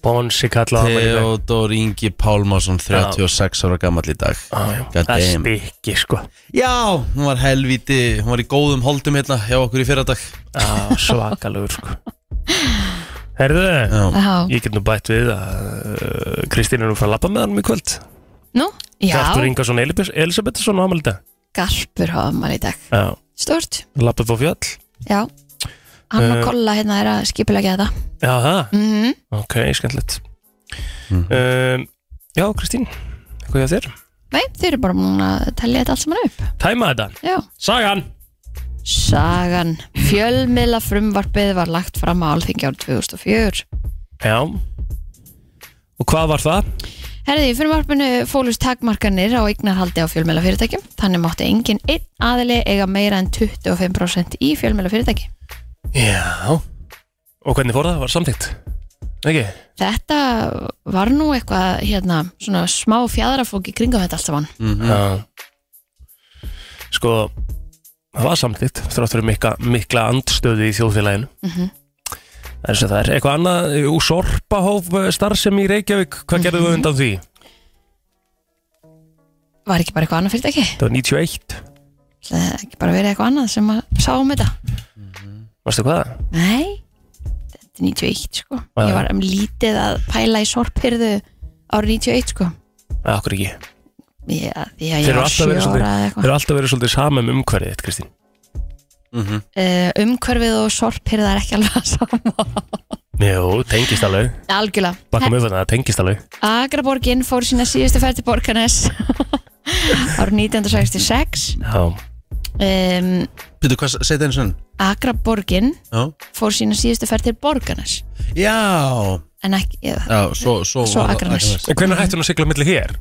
Speaker 3: Bonsi kallað á mér í dag
Speaker 1: Theodor Ingi Pálmarsson 36 ára gamall í dag
Speaker 3: Á, já.
Speaker 1: God
Speaker 3: Það er
Speaker 1: damn.
Speaker 3: spikki sko
Speaker 1: Já, hún var helviti, hún var í góðum holdum hérna hjá okkur í fyrradag
Speaker 3: Á, Svakalegur sko Herðu,
Speaker 1: Já,
Speaker 2: Já,
Speaker 3: ég get nú bætt við að uh, Kristín er nú frá að labba með hann í kvöld
Speaker 2: nú,
Speaker 3: Hjartur
Speaker 2: já,
Speaker 3: Ingarsson Elisabethsson á ámælita
Speaker 2: Garpur á afmæli í dag
Speaker 3: Já,
Speaker 2: Stort,
Speaker 3: labbað á fjöll
Speaker 2: já Hann og
Speaker 3: Eh.
Speaker 2: Kolla hérna er að skipulega þetta
Speaker 3: Já, það
Speaker 2: mm -hmm.
Speaker 3: Ok, skemmtilegt
Speaker 1: Mhm.
Speaker 3: um, Já, Kristín, hvað hjá þér?
Speaker 2: Nei, þið eru bara múin að tellja þetta allt saman upp
Speaker 3: Tæma þetta,
Speaker 2: Já
Speaker 3: sagan
Speaker 2: Sagan Fjölmiðla frumvarpið var lagt fram á Alþingi árið 2004
Speaker 3: Já Og hvað var það?
Speaker 2: Herði, í frumvarpinu fólust takmarkanir á eignarhaldi á fjölmjölafyrirtækjum þannig mátti engin einn aðili eiga meira en 25% í fjölmjölafyrirtæki
Speaker 3: Já Og hvernig fór það? Var samtíkt? Ekki?
Speaker 2: Þetta var nú eitthvað hérna, svona smá fjadrafók í kringum þetta allt saman
Speaker 3: Já Sko, það var samtíkt þrátt fyrir mikla, mikla andstöðu í þjóðfélaginu
Speaker 2: Mhm.
Speaker 3: Það er sem það er Eitthvað annað, úr sorpahóf eh, starfsemi í Reykjavík, hvað gerðu
Speaker 2: Mhm.
Speaker 3: við undan því?
Speaker 2: Var ekki bara eitthvað annað fyrirtæki?
Speaker 3: Það var 91
Speaker 2: Það er ekki bara verið eitthvað annað sem að sá um þetta?
Speaker 3: Varstu hvað?
Speaker 2: Nei, þetta er 91 sko
Speaker 3: Já.
Speaker 2: Ég var um lítið að pæla í sorphyrðu árið 91 sko
Speaker 3: Eða okkur ekki
Speaker 2: Ég, því að
Speaker 3: Þeir
Speaker 2: ég var
Speaker 3: eru alltaf
Speaker 2: sjö
Speaker 3: verið
Speaker 2: ára eða
Speaker 3: svolítið,
Speaker 2: eitthvað
Speaker 3: þeir eru alltaf verið svolítið sama um umhverfið þitt, Kristín
Speaker 2: Eh, Umhverfið og sorphyrða er ekki alveg að sama
Speaker 3: Jú, tengist alveg,
Speaker 2: Algjörlega
Speaker 3: baka mig þannig að það tengist alveg
Speaker 2: Agraborgin fór sína síðustu ferð til Borgarnes árið 1966
Speaker 3: Já,
Speaker 2: um,
Speaker 1: býttu hvað, segðu það einu sinni
Speaker 2: Agraborgin
Speaker 1: Já,
Speaker 2: fór sína síðustu ferð til Borgarnes
Speaker 1: já,
Speaker 2: en ekki, eða,
Speaker 1: já svo, svo,
Speaker 2: Svo
Speaker 1: var það-
Speaker 2: Akranes.
Speaker 3: en hvernig hættu hún að sigla millir hér?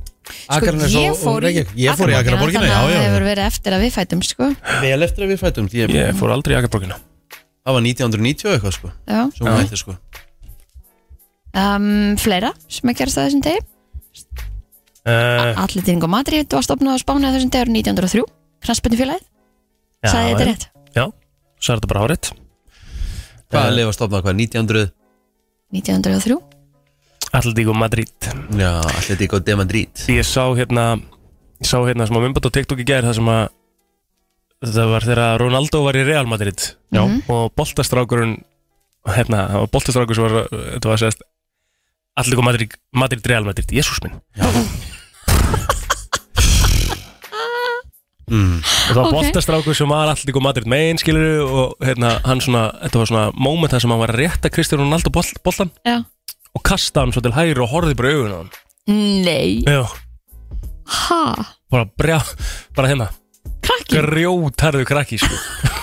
Speaker 1: Akranes og-
Speaker 2: sko, ég
Speaker 1: og
Speaker 2: fór í
Speaker 1: Reykjavík. Ég fór í Akraborgina,
Speaker 2: þannig að
Speaker 1: já, já,
Speaker 2: það
Speaker 1: já.
Speaker 2: hefur verið eftir að við fætum sko.
Speaker 1: Vel eftir að við fættum því að
Speaker 3: Ég fór aldrei í Akaborgina
Speaker 1: það var 1990 eitthvað sko
Speaker 2: já.
Speaker 1: Svo hún
Speaker 3: Já.
Speaker 1: hætti sko
Speaker 2: Um, fleira sem að gerast á þessum degi
Speaker 3: uh,
Speaker 2: Atliting og Madrid var stopnað á Spáni á þessum degi árið 1903 Kransbyndufélagið, sagði ég þetta rétt
Speaker 3: Já, svo er þetta bara Eh. hárétt
Speaker 1: Hvað að lifa stofna hvað, 1900
Speaker 2: 1903
Speaker 3: Alltíku Madrid
Speaker 1: Já, allir þetta eitthvað demandrít
Speaker 3: Því ég sá hérna Ég sá hérna sem að myndbætt á TikTok í gær Það sem að Það var þegar Ronaldo var í Real Madrid Já Og boltastrákurinn Hérna, það var boltastrákur sem var uh, Þetta var sérst Alltíku Madrid, Madrid, Real Madrid Jésús minn
Speaker 1: mm.
Speaker 3: Og það var
Speaker 2: Ok.
Speaker 3: boltastrákur sem var alltíku Madrid megin skilur Og hérna, hann svona Þetta var svona moment þar sem hann var að rétta Kristján Ronaldo bolt, boltan
Speaker 2: Já.
Speaker 3: Og kasta hann svo til hægri og horfði bara í augun á hann
Speaker 2: Nei,
Speaker 3: Já
Speaker 2: ha,
Speaker 3: Bara brjá, bara hérna
Speaker 2: krakki
Speaker 3: Grjótarðu krakki sko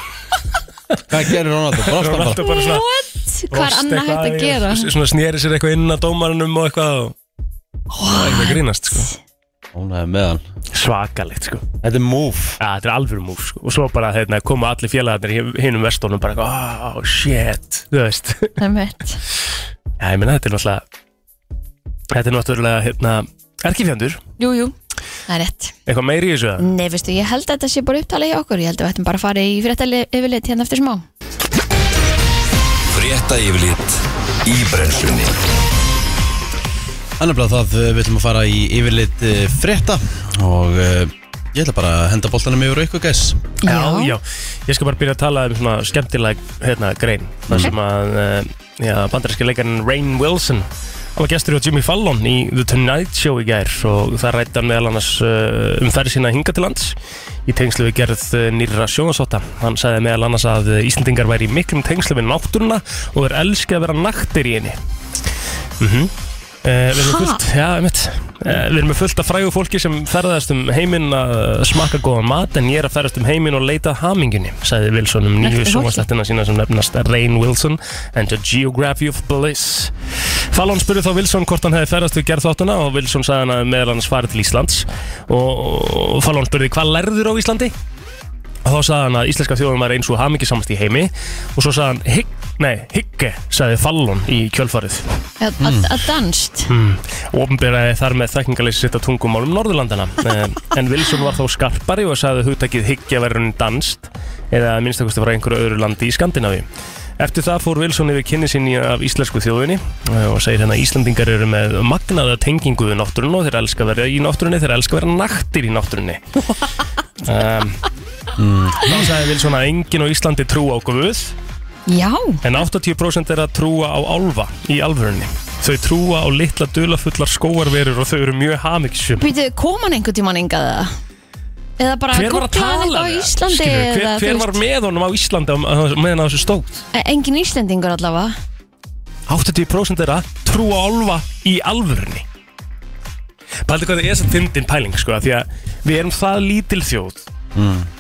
Speaker 1: Hvað gerir hún alltaf? Brosta bara
Speaker 3: Ronaldo bara svona
Speaker 2: Hvað er annað hægt að gera?
Speaker 3: Svona snýri sér eitthvað inn að dómarunum og eitthvað og Það er eitthvað að grínast sko
Speaker 1: Hún hefði með hann
Speaker 3: Svakalegt sko
Speaker 1: Þetta er move
Speaker 3: Já, þetta er alveg múf sko Og svo bara hérna, koma allir félagarnir hinnum vestónum bara eitthvað Oh shit, þú veist
Speaker 2: Einmitt.
Speaker 3: Já, ég meina þetta er náttúrulega Þetta er náttúrulega hérna Erkifjandur,
Speaker 2: Jú, jú, það er rétt
Speaker 3: eitthvað meiri í þessu eða?
Speaker 2: Nei, veistu, ég held að þetta sé bara upptalið hjá okkur Ég held að við ættum bara að fara í fréttali yfirleitt hérna eftir smá
Speaker 4: Frétta yfirlit í brennslunni
Speaker 1: Annafla það eh, við ætlum að fara í yfirleitt eh, frétta og eh, ég ætla bara að henda boltanum yfir á ykkur gæs
Speaker 3: já, Ég skal bara byrja að tala um svona skemmtileg hérna, grein þar sem að uh, já, bandaríski leikarinn Rain Wilson hann var gestur hjá Jimmy Fallon í The Tonight Show í gær og það rætti hann meðal annars uh, um ferði sína hinga til lands í tengslu við gerð eh, nýrra sjónasóta hann sagði meðal annars að eh, Íslendingar væri í miklum tengslu við náttúruna og er elski að vera naktir í henni mhm Uh, við, erum
Speaker 2: Ha?
Speaker 3: fullt, já, einmitt. Eh, við erum með fullt af frægu fólki sem ferðast um heiminn að smakka góðan mat en ég er að ferðast um heiminn og leita að hamingunni sagði Wilson um nýju
Speaker 2: Eftir fólki.
Speaker 3: sjónvastættina sína sem nefnast Rain Wilson and the Geography of Bliss Fallon spurði þá Wilson hvort hann hefði ferðast við gerð þáttuna og Wilson sagði hann að meðal hans farið til Íslands og og Fallon spurði hvað lærður á Íslandi og þá sagði hann að íslenska þjóðum var eins og hamingisamast í heimi og svo sagði hann hygg, nei, hygge sagði Fallon í kjölfarið
Speaker 2: Að-
Speaker 3: Hmm.
Speaker 2: Að að danst
Speaker 3: Mm. Ofnbyrjaði þar með þekkingaleysi sitt á tungumálum Norðurlandana Eh, En Wilson var þá skarpari og sagði hugtakið hyggja verðurinn danst eða að minnstakosti frá einhverju öðru landi í Skandinavíu Eftir það fór Wilson yfir kynni sinni af íslensku þjóðinni eh, og segir hérna að Íslandingar eru með magnaða tengingu við náttúrun og þeir elska að vera í náttúrunni þeir elska að vera naktir í náttúrunni um,
Speaker 1: Mm,
Speaker 3: Þá sagði Wilson að enginn á Íslandi trú á Guð
Speaker 2: Já,
Speaker 3: En 80% er að trúa á álfa í alvörunni. Þau trúa á litla dulafullar skóarverur og þau eru mjög hamiksjum.
Speaker 2: býtu, kom hann einhvern tímann engað það? Eða bara
Speaker 3: Hver var að
Speaker 2: googlaði hann
Speaker 3: tala
Speaker 2: eitthvað á
Speaker 3: við?
Speaker 2: Íslandi
Speaker 3: Skilur, hver,
Speaker 2: eða,
Speaker 3: hver
Speaker 2: þú
Speaker 3: var
Speaker 2: veist,
Speaker 3: með honum á Íslandi á- á- meðan á þessu stóð?
Speaker 2: Engin Íslendingur allavega
Speaker 3: 80% er að trúa á álfa í alvörunni. Pældu hvað það er þess að fyndin pæling sko, af því að við erum það lítil þjóð
Speaker 1: mm.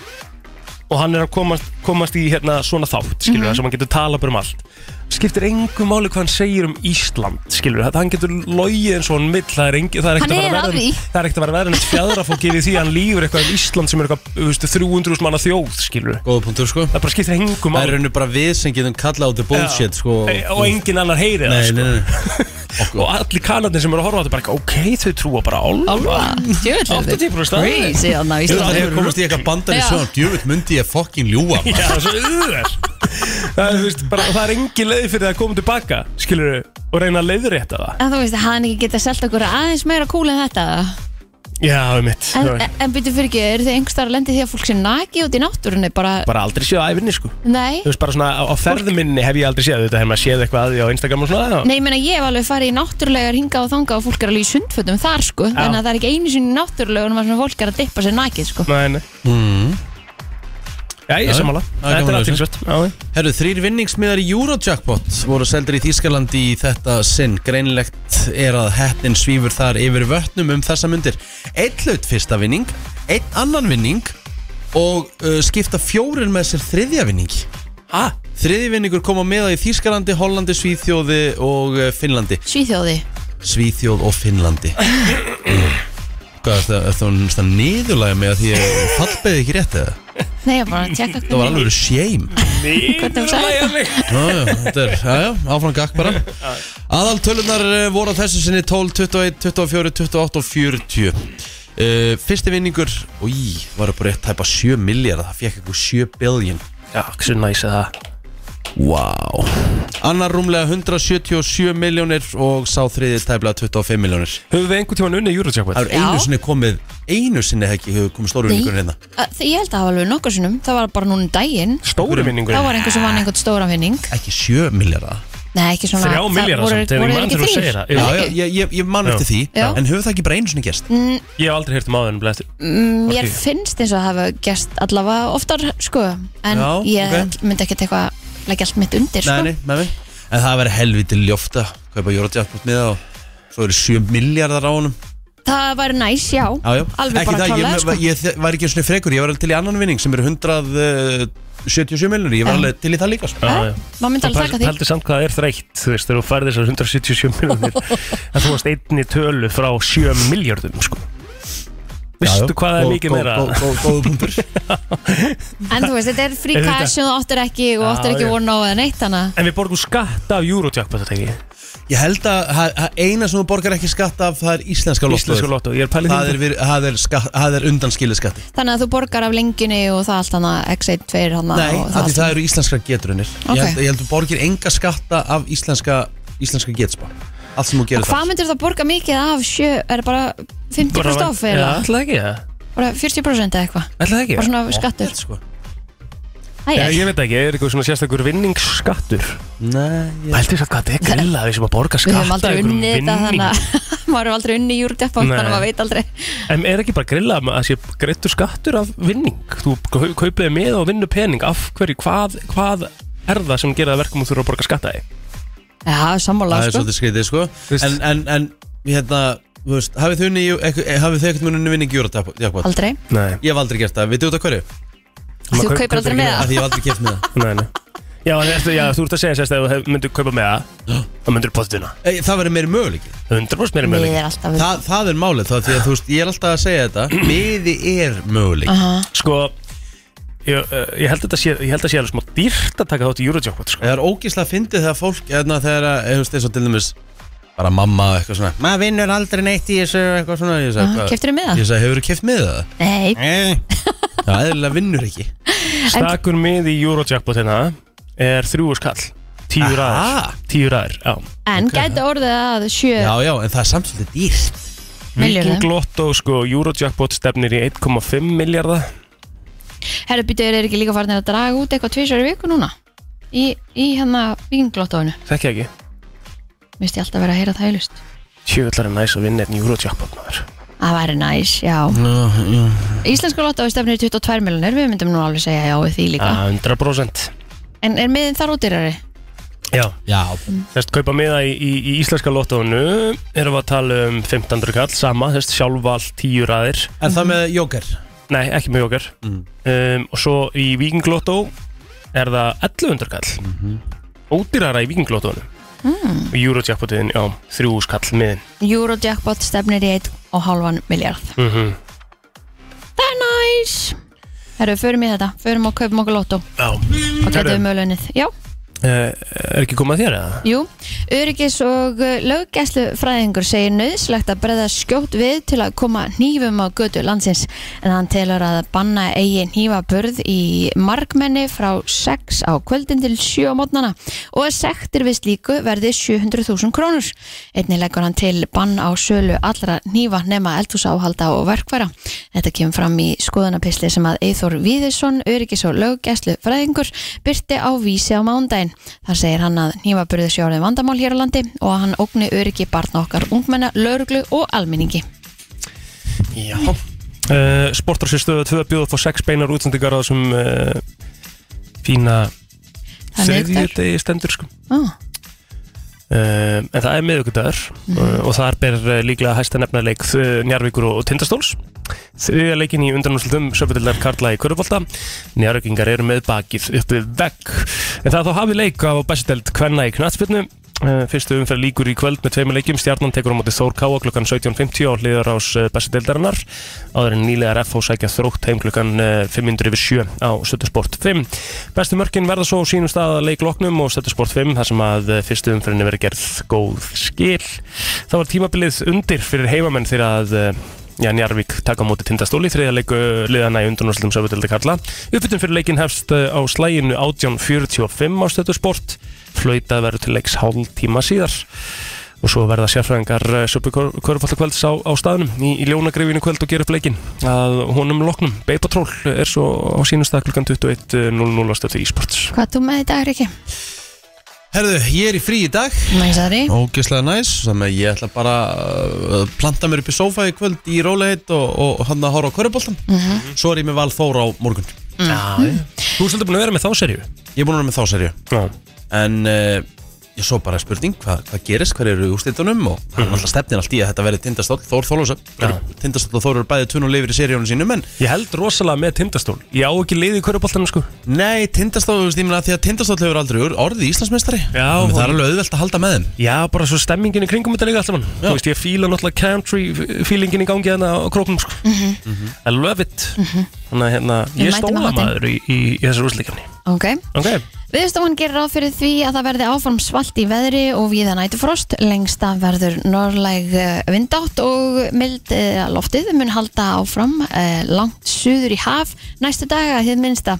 Speaker 3: og hann er að komast, komast í hérna svona þátt, skilur, mm
Speaker 2: Mhm.
Speaker 3: sem hann getur tala bara um allt. Skiptir engu máli hvað hann segir um Ísland, skilur, þetta hann getur logið eins og hann vill, það er engi, það er ekkert
Speaker 2: Hann
Speaker 3: að
Speaker 2: er að
Speaker 3: vera verðin,
Speaker 2: því.
Speaker 3: það er ekkert að vera verðin fjadrafólki við því að hann lífur eitthvað um Ísland sem er eitthvað, þú veist, 300 manna þjóð, skilur,
Speaker 1: Góða punktur sko
Speaker 3: það bara skiptir engu
Speaker 1: Það er
Speaker 3: máli.
Speaker 1: rauninu bara við sem getum kallað á þetta bullshit sko
Speaker 3: Ei, og engin annar heyri það,
Speaker 1: Nei,
Speaker 3: sko.
Speaker 1: nei, nei
Speaker 3: og allir kanarnir sem eru að horfa á þetta bara ekki, ok, þau trúa bara á álfa
Speaker 2: Djöfull, þetta
Speaker 3: 80%
Speaker 2: er crazy þarna á
Speaker 1: Það
Speaker 2: Íslandi
Speaker 1: hefur komast í eitthvað bandar í
Speaker 2: Já.
Speaker 1: svona Djöfitt myndi ég fucking ljúa
Speaker 3: Já, það er svo auðvitað Það er, þú veist, bara, það er engin leið fyrir það að koma tilbaka Skilur og reyna að leiðrétta það
Speaker 2: En þú veist, hann ekki geta selt okkur aðeins meira kúl en þetta
Speaker 3: Já, um mitt
Speaker 2: En, en, en býtu fyrir ekki, eru þið einhverstaðar að lendi því að fólk sé naki út í náttúrunni bara,
Speaker 3: Bara aldrei séð á æfinni, sko
Speaker 2: nei
Speaker 3: Þú veist, bara svona á, á ferðu minni hef ég aldrei séð þetta Hef maður séð eitthvað að því á Instagram og svona já.
Speaker 2: Nei, ég meina, ég hef alveg farið í náttúrulegar hinga og þanga og fólk er alveg í sundfötum þar, sko Þannig að það er ekki einu sinni í náttúrulegunum að fólk er að dippa sér nakið, sko
Speaker 3: Nei, nei
Speaker 1: Mm.
Speaker 3: Já, ég
Speaker 1: Já,
Speaker 3: er sammála
Speaker 1: já,
Speaker 3: Þetta
Speaker 1: gaman
Speaker 3: er
Speaker 1: að þessu.
Speaker 3: aðtilsvöld Já,
Speaker 1: Herru, þrýr vinningsmiðar í Eurojackpot voru seldir í Þýskalandi í þetta sinn. Greinlegt er að hettin svífur þar yfir vötnum um þessa myndir. Eitt hlut fyrsta vinning, einn annan vinning og uh, skipta fjórir með sér þriðja vinning.
Speaker 3: Hæ?
Speaker 1: Þriðji vinningur kom á meða í Þýskalandi, Hollandi, Svíþjóði og uh, Finnlandi.
Speaker 2: Svíþjóði
Speaker 1: Svíþjóð og Finnlandi. Hvað, ertu að- ertu að- ertu að niðurlægja mig að því ég fallbeði ekki rétt eða?
Speaker 2: Nei, ég var bara að tjekka
Speaker 1: Það var alveg hérna. verið shame
Speaker 2: Hvernig hugsaði
Speaker 3: Nýðurlægja mig
Speaker 1: Já, já, þetta er, já, já, áfram gakk bara Aðal tölunar voru á þessu sinni 12, 21, 24, 28 og 40 uh, Fyrsti vinningur, í, var upp á rétt tæpa 7 miljard Það fekk eitthvað 7 billion
Speaker 3: Já, hversu næs er það
Speaker 1: Wow Annar rúmlega 177 miljónir og sá þriði tæplega 25 miljónir
Speaker 3: Höfum við einhvern tíma unnið
Speaker 1: Það
Speaker 3: Eurojackpot?
Speaker 1: er einu
Speaker 2: Já.
Speaker 1: sinni komið, einu sinni ekki hefur komið stóru
Speaker 2: Nei.
Speaker 1: vinningur hérna
Speaker 2: Þe- Ég held að það var alveg nokkur sinnum Það var bara núna um daginn
Speaker 3: Stóri
Speaker 2: Þá
Speaker 3: vinningurinn
Speaker 2: var einhver sem vann einhvern stóran vinning
Speaker 1: Ekki 7 miljardar
Speaker 2: Nei, ekki svona
Speaker 3: Þrjá
Speaker 2: það
Speaker 3: milljarða
Speaker 2: voru-
Speaker 3: samt, þegar
Speaker 2: voru
Speaker 3: ég
Speaker 2: þeir
Speaker 3: man
Speaker 2: ekki
Speaker 3: þegar þú
Speaker 2: þrír?
Speaker 3: segir það. Já,
Speaker 1: Já,
Speaker 2: Ekki?
Speaker 1: já, ég, ég, ég man
Speaker 3: Já.
Speaker 1: eftir því
Speaker 2: Já.
Speaker 1: En hefur það ekki bara einu sinni gerst?
Speaker 3: Ég hef aldrei heyrt um áður en blesti
Speaker 2: Mm, Mér finnst eins og að hafa gæst allavega oftar sko En
Speaker 1: Já,
Speaker 2: ég
Speaker 1: ok.
Speaker 2: myndi ekkert eitthvað leggja allt mitt undir sko
Speaker 1: Nei, nei, með mig En það verður helviti ljófta Kaupa Eurojackpot með það og Svo eru 7 miljardar á honum
Speaker 2: Það væri næs, já,
Speaker 1: Já, já
Speaker 2: Alveg
Speaker 1: Ekki
Speaker 2: bara
Speaker 1: það,
Speaker 2: klálega
Speaker 1: ég,
Speaker 2: sko
Speaker 1: sko. ég, ég var ekki einu sinni frekur Ég var alveg til í annan vinning sem eru eh, 177 miljonir Ég var
Speaker 2: Já.
Speaker 1: alveg til í það líka sko.
Speaker 2: Já, Maður myndi alveg taka því
Speaker 3: Pældi samt hvað það er þreytt Þú veist, þegar þú færði þessar 177 miljónir En þú varst einni tölu frá 7 miljardum sko. Vistu hvað það er mikið meira
Speaker 1: Góðu punktur
Speaker 2: En þú veist, þetta er free
Speaker 3: Auðvitað.
Speaker 2: cash sem þú áttir ekki og
Speaker 3: Já,
Speaker 2: áttir ekki
Speaker 3: já.
Speaker 2: von á eða neitt þannig
Speaker 3: En við borgum skatt af Eurojackpot þetta ekki
Speaker 1: Ég held að ha- ha- eina sem þú borgar ekki skatt af Það er íslenska
Speaker 3: Íslensku
Speaker 1: lottóið
Speaker 3: lotto Ég er pælið
Speaker 1: Það er, vir- það er, skatt- það er undanskilið skatti
Speaker 2: að Þannig að þú borgar af lengjunni og það allt hana X1, 2 hana
Speaker 1: Nei,
Speaker 2: og
Speaker 1: af því
Speaker 2: allt
Speaker 1: það eru íslenska getrunir
Speaker 2: Ok.
Speaker 1: Ég held- ég held að þú borgir enga skatta af íslenska, íslenska getspá Allt sem þú gerir
Speaker 2: Hvað myndir það borga mikið af sjö, er bara 50% off
Speaker 3: Já,
Speaker 2: eða
Speaker 3: ætlaði ekki það
Speaker 2: bara 40% eða eitthvað
Speaker 3: Ætlaði ekki
Speaker 2: bara svona skattur
Speaker 1: Gett, sko.
Speaker 2: Æ,
Speaker 3: Já,
Speaker 2: ég-
Speaker 3: ég veit ekki, er eitthvað svona sérstakur vinningsskattur
Speaker 1: Nei, ég
Speaker 3: Pældi þess að hvað þetta er grilla við sem að borga
Speaker 2: Við
Speaker 3: skatt
Speaker 2: höfum aldrei
Speaker 3: af einhverjum
Speaker 2: unnið þetta
Speaker 3: vinning.
Speaker 2: þannig að maður hefur aldrei unnið júrdepp á
Speaker 3: Nei.
Speaker 2: þannig að maður veit aldrei
Speaker 3: En er ekki bara grilla að það sé greittur skattur af vinning Þú kau- kauplega með og vinnu pening Af hverju, hvað, hvað er það sem gera það verkum og þurfa að borga skatta þig?
Speaker 2: Já, ja, sammála
Speaker 1: Það
Speaker 2: sko
Speaker 1: er svolítið skrítið sko
Speaker 3: Veist.
Speaker 1: En, en, en hérna, þú veist, hafið þið unni eh, Hafið þið ekkert mun unni vinning Eurojackpot?
Speaker 2: Aldrei,
Speaker 3: Nei,
Speaker 1: Ég hef aldrei gert það, veitu út af hverju?
Speaker 2: þú
Speaker 3: kaup-
Speaker 2: kaupir aldrei
Speaker 3: kaupir
Speaker 2: með
Speaker 3: ekki
Speaker 2: það
Speaker 1: Af því ég hef aldrei gert með það
Speaker 3: nei, nei Já, en eftir, já, þú ert að segja sérst að ef þú hef- myndir kaupa með það þá myndir pottina
Speaker 1: Ei, Eh, Það verður meiri möguleiki
Speaker 3: 100% meira
Speaker 2: Við
Speaker 3: með
Speaker 2: er alltaf
Speaker 1: Þa, Það er málið þá því að þú veist, ég er alltaf að segja þetta Miði er möguleiki
Speaker 2: Aha.
Speaker 3: Sko, ég, eh, ég held að þetta sé, ég held að sé alveg smá dýrt að taka þátt í Eurojackpot sko.
Speaker 1: Það er ógíslega fyndið þegar fólk eðna, þegar, að, eða, þú veist, eins og til dæmis bara mamma og eitthvað svona maður vinnur aldrei neitt í þessu og eitthvað svona ég sagði,
Speaker 2: Aha,
Speaker 1: "Hvað?"
Speaker 2: Ah, keyptirðu miða?
Speaker 1: Ég sagði, hefur þú keft með það?
Speaker 2: Nei,
Speaker 1: Nei Það eðlilega vinnur ekki
Speaker 3: Stakur með í Eurojackpot hérna er þrjú skall Tíu ræðir
Speaker 1: Aha.
Speaker 3: Tíu ræðir, já
Speaker 2: en gæti orðið að sjö
Speaker 1: Já, já, en það er samt svolítið dýrt
Speaker 2: Milljörðum.
Speaker 3: Viking Lotto, sko, Eurojackpot stefnir í 1,5 miljardar
Speaker 2: Herra býtur er ekki líka farin að draga út eitthvað tvisar í viku núna Í, í hérna vinglóttóinu
Speaker 3: Þekki ekki
Speaker 2: Vist ég alltaf vera að heyra það í lust
Speaker 3: Tjöfullar er næs að vinna einn Eurojackpot maður
Speaker 2: Það væri næs, já
Speaker 1: Mm.
Speaker 2: Íslenska lottói stefnir í 22 miljonir Við myndum nú alveg segja já við því líka
Speaker 3: ah, 100%
Speaker 2: En er miðin þar útýrari?
Speaker 3: Já
Speaker 1: Já,
Speaker 3: Þess kaupa miða í, í, í íslenska lottónu erum við að tala um 1500 kall sama, þess sjálfval tíu ræðir
Speaker 1: en það með jóker
Speaker 3: Nei, ekki með okkar
Speaker 1: Mm.
Speaker 3: um, Og svo í Viking Lotto er það 1100 kall
Speaker 1: Mhm.
Speaker 3: Ódýrara í Viking Lottónu
Speaker 2: Hmm.
Speaker 3: mm. Eurojackpotin, já, þrjú skall miðin
Speaker 2: Eurojackpot stefnir í 1,5 miljard
Speaker 3: mm
Speaker 2: Það er næs Herru, förum í þetta, förum og kaupum okkur lotto
Speaker 3: Já
Speaker 2: og þetta er mölunnið, já,
Speaker 3: Eh, Er ekki komað þér eða?
Speaker 2: jú Öryggis og löggæslu fræðingur segir nöðslegt að breyða skjótt við til að koma hnífum á götu landsins en hann telur að banna eigi hnífaburð í markmenni frá 6 á kvöldin til 7 á mótnana og að sektir við slíku verði 700.000 krónur einnig leggur hann til bann á sölu allra hnífa nema eldhúsáhalda og verkværa Þetta kemur fram í skoðanapisli sem að Eithor Víðisson, öryggis og löggæslu fræðingur, byrti á vísi á mándaginn. Þar segir hann að nýmaburðu sjórið vandamál hér á landi og að hann ógni öryggi barna okkar ungmenna, lauruglu og almenningi.
Speaker 3: Já uh, Sportar sér stöðu 2 bjóða fór 6 beinar útsendingar á þessum uh, fína
Speaker 2: Það er miðvikudagur.
Speaker 3: þriðjudegi stendur sko
Speaker 2: Ah,
Speaker 3: Uh, en það er miðugudagur uh, og þar ber uh, líklega hæsta nefnarleik uh, Njarvíkur og Tindastóls þriðja leikin í undanúslutum söpudildar Karla í Körubolta Njarvíkingar eru með bakið upp við vegg en það þá hafið leik á bestideld Kvenna í Knatsbyrnu Uh, Fyrstu umferð líkur í kvöld með tveimur leikjum Stjarnan tekur á móti Þór Káa klukkan 17.50 á hliðar ás besta deildarinnar áður en nýlegar FH sækja þrótt heim klukkan eh, 507 á Stöttusport 5 Bestu mörkin verða svo á sínum stað að leik loknum og Stöttusport 5 þar sem að eh, fyrstu umferðinni verði gerð góð skil Það var tímabilið undir fyrir heimamenn þegar að eh, Já, Njarvík taka á móti tindastóli þriðja leiku liðana í undanúrslutum sögutildi Karla. Uppbytun fyrir leikin hefst eh, á slæginu 18.45 á stötu sport. Flautað verður til leiks hálf tíma síðar. Og svo verða sérfræðingar eh, Söpukörfaldakvölds á, á staðnum í, í ljónagrifinu kvöld og gera upp leikin að honum loknum. Beipatról er svo á sínustag klukkan 21.00 eh, á stötu e-sports.
Speaker 2: Hvað ert þú með í dag, Riki?
Speaker 1: Herðu, ég er í frí í dag
Speaker 2: Næsari
Speaker 1: Ógeðslega næs, þannig að ég ætla bara uh, að planta mér upp í sófa í kvöld í róleitt og, og hann að horfa á köruboltan Svo er ég með Val Þór á morgun
Speaker 3: Mm. Þú er svolítið búin að vera með þá serju.
Speaker 1: Ég er búin að vera með þá serju
Speaker 3: Já.
Speaker 1: En uh, ég svo bara spurning, hvað hva gerist, hver eru úrslitunum og
Speaker 3: Mhm.
Speaker 1: það er alltaf stefnin allt í að þetta verði tindastóll Þór Þólusöf, tindastóll og Þór eru bæði tunn og lifir í seríunum sínum en
Speaker 3: Ég held rosalega með tindastól. Ég á ekki leiði í köruboltanum sko.
Speaker 1: nei, tindastóll, þú veist, ég meina því að tindastóll hefur aldrei orðið Íslandsmeistari
Speaker 3: Já,
Speaker 1: Þannig að það er
Speaker 3: hún-
Speaker 1: alveg auðvelt að halda með þeim
Speaker 3: Já, bara svo stemmingin í kringum þetta líka alltaf mann
Speaker 1: Já.
Speaker 3: Þú veist, ég fíla náttúrulega country feelingin í gangi hérna á króknum sko.
Speaker 2: Mhm.
Speaker 3: I love it Þannig að hérna,
Speaker 2: Ég
Speaker 3: ég
Speaker 2: mæti með
Speaker 3: stóla
Speaker 2: hattinn.
Speaker 3: maður í, í, í þessar úrsleikjumni
Speaker 2: Ok
Speaker 3: Ok,
Speaker 2: Viðstofan gerir ráð fyrir því að það verði áfram svalt í veðri og viða nætufrost lengst að verður norrlæg eh, vindátt og mild eh, loftið mun halda áfram eh, langt suður í haf næstu daga þið minnsta.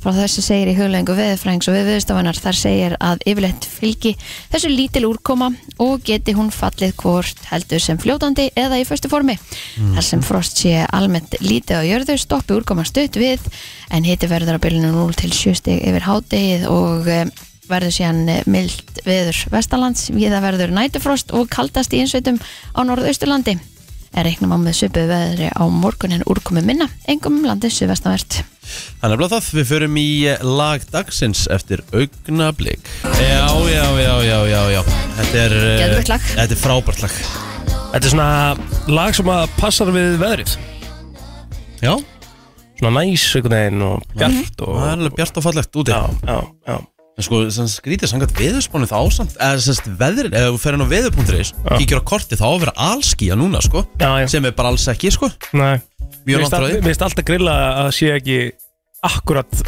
Speaker 2: Frá þessu segir í huglengu veðurfrængs og við viðstofanar þar segir að yfirleitt fylgi þessu lítil úrkoma og geti hún fallið hvort heldur sem fljótandi eða í föstu formi. Þar sem frost sé almennt lítið á jörðu stoppi úrkoma stutt við en hiti verður á bylunum 0 til 7 stig yfir hádegið og eh, verður síðan eh, mild veður vestalands viða verður nætufrost og kaldast í einsveitum á norðausturlandi. Er reiknum á með söpu veðri á morgun en úrkomi minna, engum um landið suðvestanvert.
Speaker 1: Þannig að blá það, við förum í eh, lag dagsins eftir augnablík Já, já, já, já, já, já Þetta er, eh,
Speaker 2: Geðveikt lag.
Speaker 1: þetta er frábært lag
Speaker 3: þetta er svona lag sem að passar við veðrið
Speaker 1: Já, Mhm.
Speaker 3: Svona næs einhvern veginn og bjart og
Speaker 1: það er alveg bjart og fallegt úti
Speaker 3: Já, já, já,
Speaker 1: En sko, sem skrítið samkvæmt veðurspánu þá samt, eða sem sagt veðrið, ef þú ferir á veður.is, kíkir á kortið þá á að vera allskýja núna, sko,
Speaker 3: já, já.
Speaker 1: sem er bara alls ekki, sko,
Speaker 3: Nei. Mér
Speaker 1: mjög langt
Speaker 3: finnst
Speaker 1: frá
Speaker 3: all- mér
Speaker 1: því.
Speaker 3: finnst alltaf grilla að sé ekki akkurat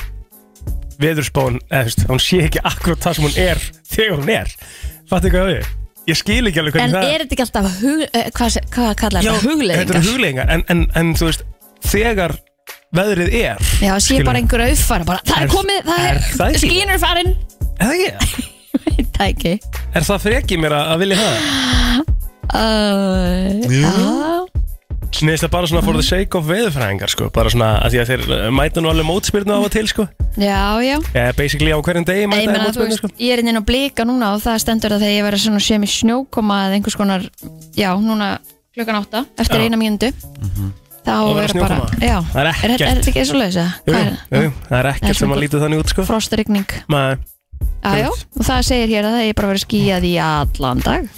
Speaker 3: veðurspón, eða þú veist, hún sé ekki akkurat það sem hún er þegar hún er Fattu hvað við? Ég skil ekki
Speaker 2: En
Speaker 3: alveg hvernig það
Speaker 2: er þetta ekki alltaf hug, eh, hvað, hvað kallar
Speaker 3: Já,
Speaker 2: þetta?
Speaker 3: Þetta
Speaker 2: Hugleðingar?
Speaker 3: eru hugleiðingar en, en, en þú veist, þegar veðrið er
Speaker 2: Já, það sé
Speaker 3: skilur.
Speaker 2: bara einhver auðfara bara, það
Speaker 3: Er-
Speaker 2: er komið, það
Speaker 3: er
Speaker 2: er,
Speaker 3: það ekki?
Speaker 2: skínur farin,
Speaker 3: Eða ekki?
Speaker 2: veit það ekki.
Speaker 3: Er það freki mér að, að vilja það?
Speaker 2: Uh,
Speaker 1: Jú.
Speaker 2: já.
Speaker 3: Mér finnst það bara svona for the sake of veðurfræðingar sko Bara svona að því að þeir eh, mæta nú alveg mótspyrnu á og til sko
Speaker 2: Já, já
Speaker 3: Eða basically á hverjum degi
Speaker 2: Ég,
Speaker 3: mæta þeir
Speaker 2: meina, þú
Speaker 3: mótspyrnu
Speaker 2: veist,
Speaker 3: sko
Speaker 2: ég er inn á blika núna og það stendur að þegar ég verið svona sem í snjókoma eða einhvers konar, já, núna klukkan átta, eftir
Speaker 3: Já.
Speaker 2: eina mínundu
Speaker 1: Mhm.
Speaker 2: þá
Speaker 3: Og verður
Speaker 2: er bara
Speaker 3: snjókoma.
Speaker 2: já,
Speaker 3: sko. Það er
Speaker 2: er, er,
Speaker 3: ekkert.
Speaker 2: er þetta ekki svo lausa?
Speaker 3: Jú, jú, jú, það er
Speaker 2: Það er
Speaker 3: ekkert sem
Speaker 2: svona-
Speaker 3: að lítið þannig út sko
Speaker 2: Frostrygning,
Speaker 3: Maður,
Speaker 2: já, já, og það segir hér að það er bara verið skýjað í allan dag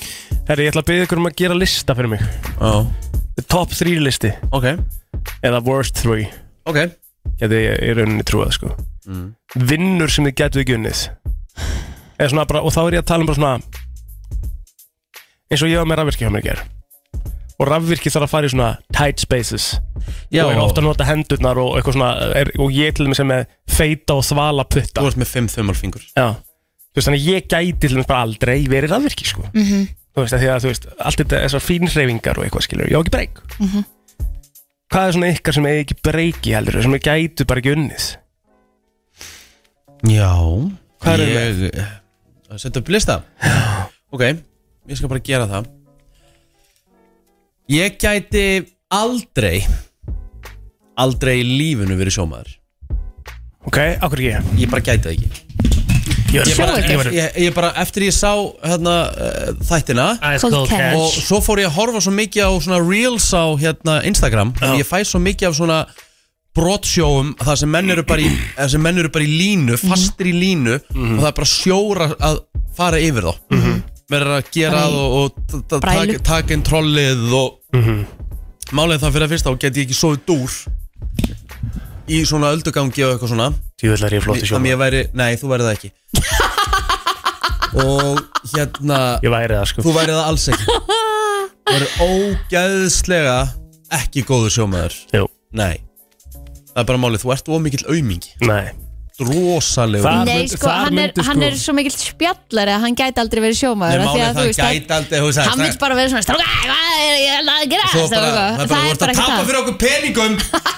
Speaker 3: herri, ég ætla að byggja ykkur um að gera lista fyrir mig
Speaker 1: Já,
Speaker 3: The Top 3 listi,
Speaker 1: ok,
Speaker 3: eða worst 3
Speaker 1: ok. Mm.
Speaker 3: Geti ég í rauninni trúað sko Vinnur sem þið getu ekki unnið Eða svona bara, og þá er ég að tala um bara svona eins og ég var með rafvirki hjá mér í ger og rafvirki þarf að fara í svona tight spaces
Speaker 1: Já,
Speaker 3: og er ofta að nota hendurnar og eitthvað svona er, og ég til þeim sem er feita og þvala putta
Speaker 1: þú ert með fimm þumalfingur.
Speaker 3: Já, þú veist þannig að ég gæti til þeim bara aldrei verið rafvirki sko
Speaker 2: Mhm.
Speaker 3: þú veist að því að þú veist allt þetta þessar fínreifingar og eitthvað skilur ég á ekki breyk
Speaker 2: Mhm.
Speaker 3: Hvað er svona ykkar sem eigi ekki breyki heldur sem gætu bara ekki unnið?
Speaker 1: Já.
Speaker 3: Hvað erum
Speaker 1: ég, við? Sett upp lista? Já. Ok, ég skal bara gera það. Ég gæti aldrei, aldrei í lífinu verið sjómaður.
Speaker 3: Ok, okkur ekki
Speaker 1: Ég bara gæti það ekki.
Speaker 3: Ég
Speaker 1: Ég bara,
Speaker 2: Sjómaður?
Speaker 1: ég, ég, ég bara eftir ég sá hérna, uh, þættina,
Speaker 2: Cold cash.
Speaker 1: og svo fór ég að horfa svo mikið á svona reels á hérna Instagram og ég fæ svo mikið af svona brotsjóum þar sem menn eru bara í, þar sem menn eru bara í línu, fastir í línu og það er bara sjóra að fara yfir þá mm -hmm. verður að gera
Speaker 2: Bara í
Speaker 1: það og, og t- t-
Speaker 2: brælu.
Speaker 1: taka taka inn trollið og málið það fyrir að fyrsta og get ég ekki sofið dúr í svona öldugangi og eitthvað svona
Speaker 3: Jú, ætlar ég flótti
Speaker 1: þannig að
Speaker 3: sjóma
Speaker 1: ég væri, nei þú væri það ekki og hérna
Speaker 3: Ég væri það sko
Speaker 1: þú værið það alls ekki þú verður ógeðslega ekki góður sjómaður
Speaker 3: Jú,
Speaker 1: nei, það er bara málið þú ert of mikill aumingi
Speaker 3: nei
Speaker 1: rosalegur
Speaker 3: Það-
Speaker 2: Nei,
Speaker 3: myndi-
Speaker 2: sko,
Speaker 3: þar
Speaker 2: hann er,
Speaker 3: myndi, sko-
Speaker 2: hann er svo mikill spjallari að hann gæti aldrei verið sjómaður
Speaker 1: Nei,
Speaker 2: af því
Speaker 1: málið
Speaker 2: að,
Speaker 1: það
Speaker 2: þú veist, hann-
Speaker 1: gæti aldrei, þú veist,
Speaker 2: Hann
Speaker 1: það-
Speaker 2: vill bara vera svona "Strákar, hvað er ég að laða að gera?"
Speaker 1: Svo
Speaker 2: Það er
Speaker 1: bara,
Speaker 2: bara-
Speaker 1: það er
Speaker 2: það
Speaker 1: bara, þú
Speaker 2: er
Speaker 1: ert
Speaker 2: bara
Speaker 1: að
Speaker 2: ekki
Speaker 1: tapa
Speaker 2: það
Speaker 1: fyrir okkur peningum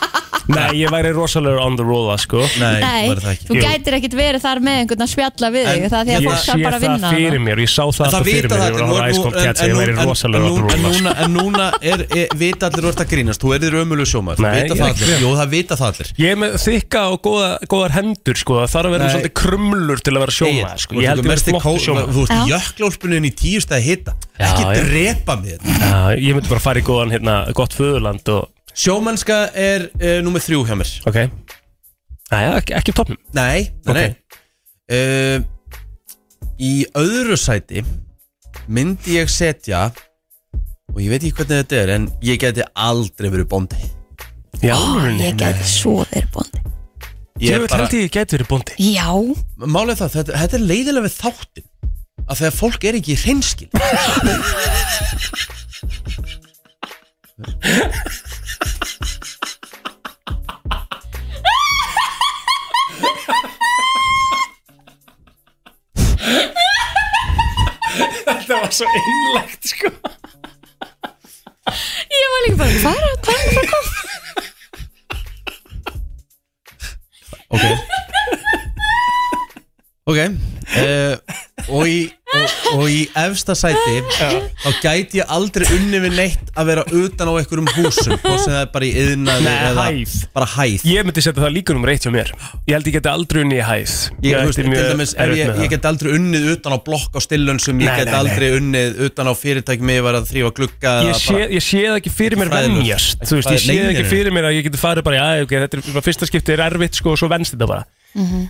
Speaker 3: Nei, ég væri rosalegur on the roll það sko
Speaker 1: Nei,
Speaker 2: Nei,
Speaker 1: verður það ekki
Speaker 2: þú
Speaker 3: Jú.
Speaker 2: gætir ekkit verið þar með einhvern að spjalla við
Speaker 1: En
Speaker 2: þig Það er því
Speaker 1: ég
Speaker 2: að
Speaker 3: Ég
Speaker 2: fólk
Speaker 3: sé
Speaker 2: þarf bara að
Speaker 3: það
Speaker 2: vinna
Speaker 3: fyrir
Speaker 2: hana.
Speaker 3: mér, ég sá það
Speaker 1: En
Speaker 3: alltaf fyrir mér Ég
Speaker 1: en
Speaker 3: var
Speaker 1: nú- nú-
Speaker 3: alveg æskóld kætt
Speaker 1: en-
Speaker 3: Ég
Speaker 1: en-
Speaker 3: væri
Speaker 1: en-
Speaker 3: rosalegur on
Speaker 1: en-
Speaker 3: the
Speaker 1: en
Speaker 3: roll sko.
Speaker 1: núna, en núna er, er, vita allir þú ert að grínast þú erðir ömulegu sjómaður,
Speaker 3: Nei,
Speaker 1: vita
Speaker 3: ég
Speaker 1: það
Speaker 3: er ekki
Speaker 1: allir
Speaker 3: grínast.
Speaker 1: jú það vita það allir
Speaker 3: Ég er með þykka og góða, góðar hendur sko Það þarf að vera
Speaker 1: Nei.
Speaker 3: svolítið krumlur til að vera sjóma
Speaker 1: Egill,
Speaker 3: sko.
Speaker 1: þú
Speaker 3: Ég
Speaker 1: ert
Speaker 3: held
Speaker 1: ekki
Speaker 3: ég með
Speaker 1: mesti
Speaker 3: flottu
Speaker 1: kó-
Speaker 3: sjóma
Speaker 1: Þú ert
Speaker 2: Já.
Speaker 1: jökklólspunin í tíu stæði hita
Speaker 3: Já,
Speaker 1: Ekki
Speaker 3: já.
Speaker 1: drepa mig þetta.
Speaker 3: Ég myndi bara fara í góðan hérna, gott föðurland og...
Speaker 1: Sjómannska er uh, nummer þrjú hjá mér
Speaker 3: Ok Næja, ekki, ekki toppum
Speaker 1: Nei, nei,
Speaker 3: Ok.
Speaker 1: nei. Uh, Í öðru sæti myndi ég setja og ég veit ekki hvernig þetta er en ég geti aldrei verið bóndi
Speaker 3: Já,
Speaker 2: Ég gæti svo verið bóndi
Speaker 1: Ég
Speaker 3: Ég
Speaker 1: er
Speaker 3: veit held ég geti verið bóndi
Speaker 2: Já,
Speaker 1: Málið er það, þetta, þetta er leiðilega við þáttin að þegar fólk er ekki hreinskil
Speaker 3: Þetta var svo innlegt sko
Speaker 2: ég var líka bara Hvað er að hvað er að koma?
Speaker 1: Ok Ok uh, og, í, og, og í efsta sæti þá gæti ég aldrei unni við neitt að vera utan á einhverjum húsum og sem það er bara í yðnaði
Speaker 3: Nei,
Speaker 1: eða
Speaker 3: hæð.
Speaker 1: bara hæð
Speaker 3: Ég myndi setja það líka nummer eitt hjá mér Ég held ég geti aldrei unni í hæð
Speaker 1: Ég,
Speaker 3: ætti
Speaker 1: þú veist, til
Speaker 3: mjög
Speaker 1: dæmis, ef
Speaker 3: erfitt
Speaker 1: ég,
Speaker 3: með það.
Speaker 1: ég get aldrei unnið utan á blokk á stillun sem ég
Speaker 3: Nei,
Speaker 1: get
Speaker 3: nei, nei.
Speaker 1: aldrei unnið utan á fyrirtækjum ég var að þrýfa glugga eða
Speaker 3: ég sé,
Speaker 1: bara-
Speaker 3: ég sé það ekki fyrir mér
Speaker 1: Fræðilegt.
Speaker 3: venjast þú veist,
Speaker 1: Fræði-
Speaker 3: ég sé það
Speaker 1: nei,
Speaker 3: ekki
Speaker 1: nei,
Speaker 3: fyrir mér að ég geti farið bara já, ok, þetta er bara fyrsta skipti er erfitt sko og svo venst þetta bara
Speaker 5: Mhm.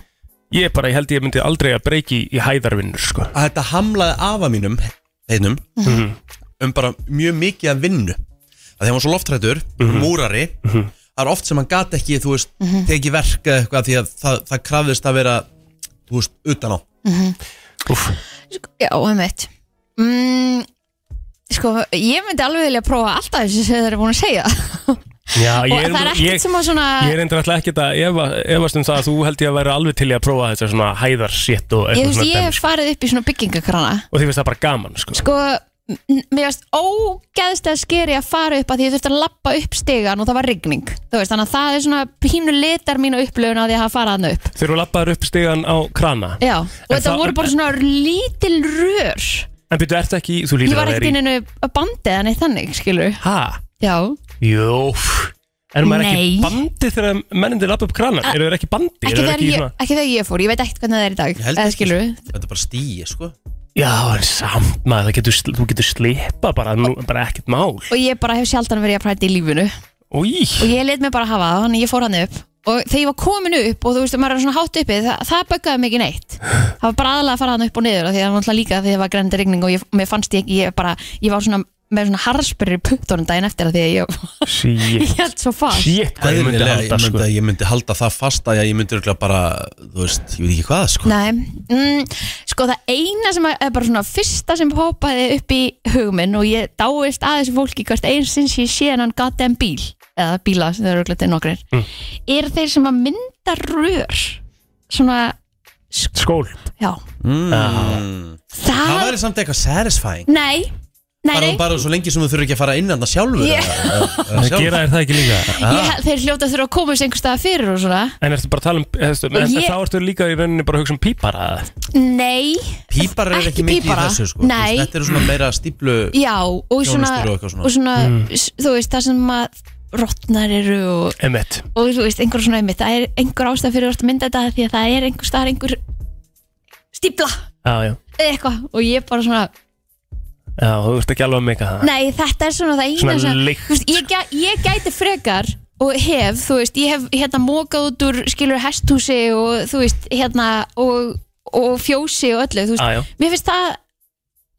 Speaker 3: ég bara, ég held ég myndi aldrei að breyki í hæðarvinnur sko
Speaker 1: að þetta hamlaði afa mínum heitnum,
Speaker 3: Mhm.
Speaker 1: um bara mjög mikið að vinnu að þegar hann var svo loftrættur,
Speaker 3: Mhm.
Speaker 1: múrari það er oft sem hann gat ekki, þú veist tekið verk eða eitthvað því að það, það krafðist að vera, þú veist, utan á
Speaker 3: Úf,
Speaker 2: Mhm. Já, einmitt mm, Sko, ég myndi alveg vilja prófa alltaf þessu sem þeir eru búin að segja
Speaker 3: já, ég
Speaker 2: Og það er
Speaker 3: er,
Speaker 2: ekkert
Speaker 3: ég,
Speaker 2: sem að svona
Speaker 3: ég er endur alltaf ekkert að efa, efast um það að þú held ég að vera alveg til í að prófa þetta svona hæðarsétt og
Speaker 2: Ég, þú
Speaker 3: eitthvað
Speaker 2: veist,
Speaker 3: svona
Speaker 2: ég
Speaker 3: dæmi,
Speaker 2: hef
Speaker 3: sko.
Speaker 2: farið upp í svona byggingakrana
Speaker 3: og því finnst það bara gaman sko
Speaker 2: Sko, m- mér varst ógeðslega skeri að fara upp að því ég þurfti að lappa upp stegan og það var rigning Þú veist, þannig að það er svona pínu litar mínu upplöfun að því að hafa farað hann upp
Speaker 3: þegar þú lappaður upp stegan á krana
Speaker 2: Já, og
Speaker 3: En
Speaker 2: þetta
Speaker 3: það-
Speaker 2: voru bara svona lítil rör
Speaker 3: en byrju, ertu ekki, í- þú
Speaker 2: Ég
Speaker 3: lítur
Speaker 2: var
Speaker 3: að
Speaker 2: ekkert
Speaker 3: vera í
Speaker 2: inn einu bandið en eitt þannig, skilur
Speaker 3: hæ,
Speaker 2: Já,
Speaker 3: jú En maður er ekki
Speaker 2: Nei.
Speaker 3: bandið þegar mennindir lappa upp kranar? Eru þeir ekki bandið?
Speaker 2: ekki
Speaker 3: Eru þeir
Speaker 2: þegar,
Speaker 3: ekki í
Speaker 2: ég,
Speaker 3: svona-
Speaker 2: ekki þegar ég fór, ég veit ekkert hvernig það er í dag
Speaker 1: Ég held
Speaker 2: eða
Speaker 1: ekki,
Speaker 2: skilur
Speaker 1: sko. þetta er bara stíi, sko
Speaker 3: Já, en samt maður, það getur, sl- þú getur slipa bara, nú, bara ekkert mál
Speaker 2: og ég bara hef sjaldan verið að præta í lífinu og
Speaker 3: Új,
Speaker 2: ég let mig bara hafa það, þannig ég fór hann upp og þegar ég var komin upp og þú veist, maður er svona hátt uppi það, það böggaði mig ekki neitt það var bara aðalega að fara hann upp og niður af því að það var náttúrulega líka því að það var grendi rigning og ég, mér fannst ég, ég bara, ég var svona með svona harspyrir í puttunum daginn eftir að því að ég,
Speaker 3: shit,
Speaker 2: ég held svo fast
Speaker 3: shit, hvað ég myndi
Speaker 1: Eðlilega,
Speaker 3: halda
Speaker 1: ég,
Speaker 3: sko
Speaker 1: myndi, ég myndi halda það fasta að ég myndi örugglega bara, þú veist, ég veit ekki hvað, sko
Speaker 2: Nei, mm, sko það eina sem er bara svona fyrsta sem poppaði upp í hugminn og ég dáist að þessu fólki hvert eins sinns ég sé hennan goddamn bíl eða bíla sem þau eru glötið nokkrir
Speaker 1: Hm.
Speaker 2: mm. er þeir sem að mynda rör svona,
Speaker 3: Skól
Speaker 2: já
Speaker 1: mm.
Speaker 2: það,
Speaker 1: Það væri samt eitthvað satisfying
Speaker 2: nei, nei,
Speaker 1: bara, um
Speaker 2: nei
Speaker 1: bara svo lengi sem þú þurfi ekki að fara inn annað sjálfur
Speaker 2: Ég-
Speaker 1: eða- eða- eða
Speaker 3: En
Speaker 1: sjálf.
Speaker 3: gera þér það ekki líka
Speaker 2: ég, held- þeir hljóta þurfa að koma þessu einhver staða fyrir og svona
Speaker 3: En ertu bara að tala um, hefstu, en
Speaker 2: ég-
Speaker 3: þá ertu líka í rauninni bara að hugsa um pípara eða?
Speaker 2: nei,
Speaker 1: Pípar er ekki,
Speaker 2: Ekki
Speaker 1: mikið
Speaker 2: pípara.
Speaker 1: í þessu sko. Þú
Speaker 2: Nei.
Speaker 1: veist, Þetta eru svona meira stíplu
Speaker 2: já og svona,
Speaker 1: Þjónustur og eitthvað svona. Mm.
Speaker 2: og svona s- þú veist það sem að rottnar eru og
Speaker 3: Emmett
Speaker 2: og þú veist, einhver svona einmitt, það er einhver ástæð fyrir að mynda þetta því að það er einhver staðar einhver stípla
Speaker 3: Já, já,
Speaker 2: eða eitthvað og ég bara svona,
Speaker 3: já, þú ert ekki alveg að meika það
Speaker 2: nei þetta er svona það eina
Speaker 3: Ah. Svona
Speaker 2: sem-
Speaker 3: lykt.
Speaker 2: þú veist, ég, gæ- ég gæti frekar og hef, þú veist, ég hef hérna mókað út úr skilur hesthúsi og þú veist, hérna og, og fjósi og öllu, þú veist
Speaker 3: Ah, Já, já,
Speaker 2: mér finnst það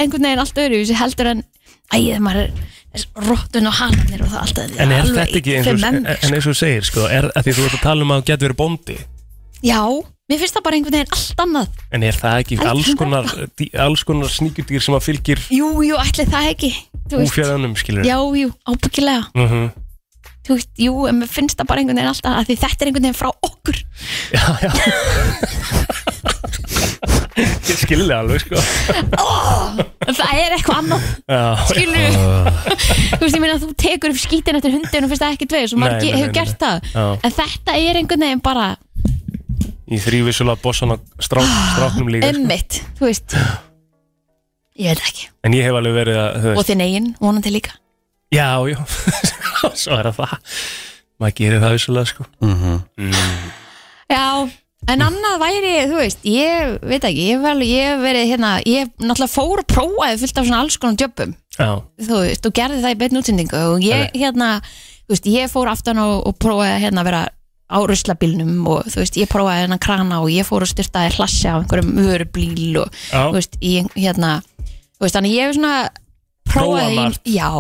Speaker 2: einhvern veginn allt öðru þessi heldur en, æðið maður er þessi rottun og hananir og það alltaf
Speaker 3: en er
Speaker 2: alveg
Speaker 3: þetta ekki
Speaker 2: fyrir
Speaker 3: eins og, sko,
Speaker 2: menn,
Speaker 3: en eins og þú segir sko, er að því þú ert að tala um að þú getur verið bóndi
Speaker 2: sko. já, Mér finnst það bara einhvern veginn allt annað
Speaker 3: En er það ekki
Speaker 2: Allt
Speaker 3: alls konar, dý- alls konar sníkjudýr sem að fylgir
Speaker 2: Jú, jú, ætli það ekki Þú veist.
Speaker 3: úfjörðanum, skilur?
Speaker 2: Já, jú, ábyggilega
Speaker 3: Mm
Speaker 2: Þú veist, jú, en mér finnst það bara einhvern veginn alltaf að því þetta er einhvern veginn frá okkur
Speaker 3: já, já. Ég skilur það alveg, sko.
Speaker 2: En það er eitthvað annað,
Speaker 3: Já, Ah.
Speaker 2: skilur Þú veist, ég meina að þú tekur upp skítin eftir hundin og finnst það ekki dveið, svo
Speaker 3: Nei,
Speaker 2: maður
Speaker 3: nei, nei,
Speaker 2: hefur
Speaker 3: nei,
Speaker 2: gert það
Speaker 3: já.
Speaker 2: En þetta er einhvern veginn bara
Speaker 3: Ég þrýfi svolítið að bossan á strá,
Speaker 2: Ah,
Speaker 3: stráknum líka. Sko.
Speaker 2: emmitt, þú veist Ég veit það ekki
Speaker 3: En ég hef alveg verið að, þú
Speaker 2: Og
Speaker 3: veist,
Speaker 2: þinn eigin, vonandi líka
Speaker 3: já, já, svo er það það. Maður gerir það vissulega, sko.
Speaker 2: Já, en annað væri, þú veist, ég veit ekki, ég hef vel, ég hef verið hérna, ég náttúrulega fór og prófaði fullt af svona alls konar djöpum,
Speaker 3: Já,
Speaker 2: þú veist, og gerði það í beinn útsendingu og ég, hérna, þú veist, ég fór aftan og, og prófaði hérna að vera á ruslabílnum og þú veist, ég prófaði hérna krana og ég fór og styrtaði hlassi á einhverjum vörubíl og,
Speaker 3: já,
Speaker 2: þú veist, ég, hérna, þú veist, þannig ég hef svona prófaði,
Speaker 3: Prófað margt.
Speaker 2: í- já,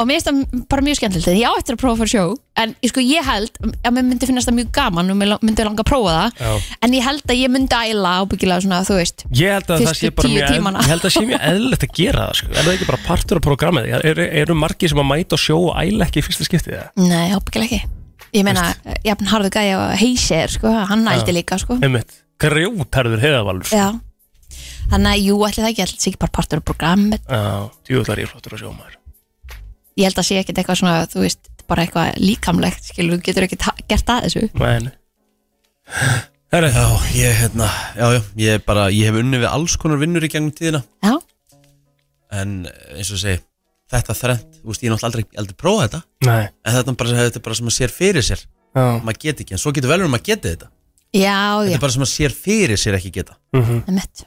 Speaker 2: og mér finnst það bara mjög skemmtilegt, því ég á eftir að prófa fyrir sjó, en ég sko, ég held að mér myndi finnast það mjög gaman og mér lang- myndi langa að prófa það,
Speaker 3: já.
Speaker 2: en ég held að ég myndi æla ábyggilega svona, þú veist
Speaker 3: Ég held að það
Speaker 2: Fyrstu
Speaker 3: sé bara
Speaker 2: tíu
Speaker 3: mjög, eðl-
Speaker 2: tímana.
Speaker 3: ég held að sé mjög eðlilegt að gera það, sko. Er það ekki bara partur af programmið? Eru, eru margir sem að mæta og sjó og æla ekki í fyrsta skiptið það?
Speaker 2: nei, ábyggilega ekki ég meina, eh, jafn harðu gæði á heysir sko, hann ældi líka, sko
Speaker 3: Einmitt. sko. Grjótarður heiðavalur.
Speaker 2: já. þannig að, jú, ætli það ekki, ætli það sé ekki bara partur af programmet,
Speaker 3: Já, djúðlar ég flottur að sjó maður.
Speaker 2: ég held að sé ekkit eitthvað svona, þú veist, bara eitthvað líkamlegt skilur, þú getur ekki gert að þessu
Speaker 3: Men. Herri,
Speaker 1: Já, ég, hérna, já, já, ég er bara, ég hef unnið við alls konar vinnur í gegnum tíðina
Speaker 2: já,
Speaker 1: En eh, eins og ég segi, þetta þrennt, þú veist, ég er náttúrulega aldrei, aldrei prófað þetta
Speaker 3: nei.
Speaker 1: En þetta er bara, þetta er bara sem að sér fyrir sér
Speaker 3: Já.
Speaker 1: Maður geti ekki, en svo getur vel um að geti þetta
Speaker 2: já,
Speaker 1: Þetta
Speaker 2: já,
Speaker 1: er bara sem að sér fyrir sér ekki geta
Speaker 3: Mhm.
Speaker 2: emmett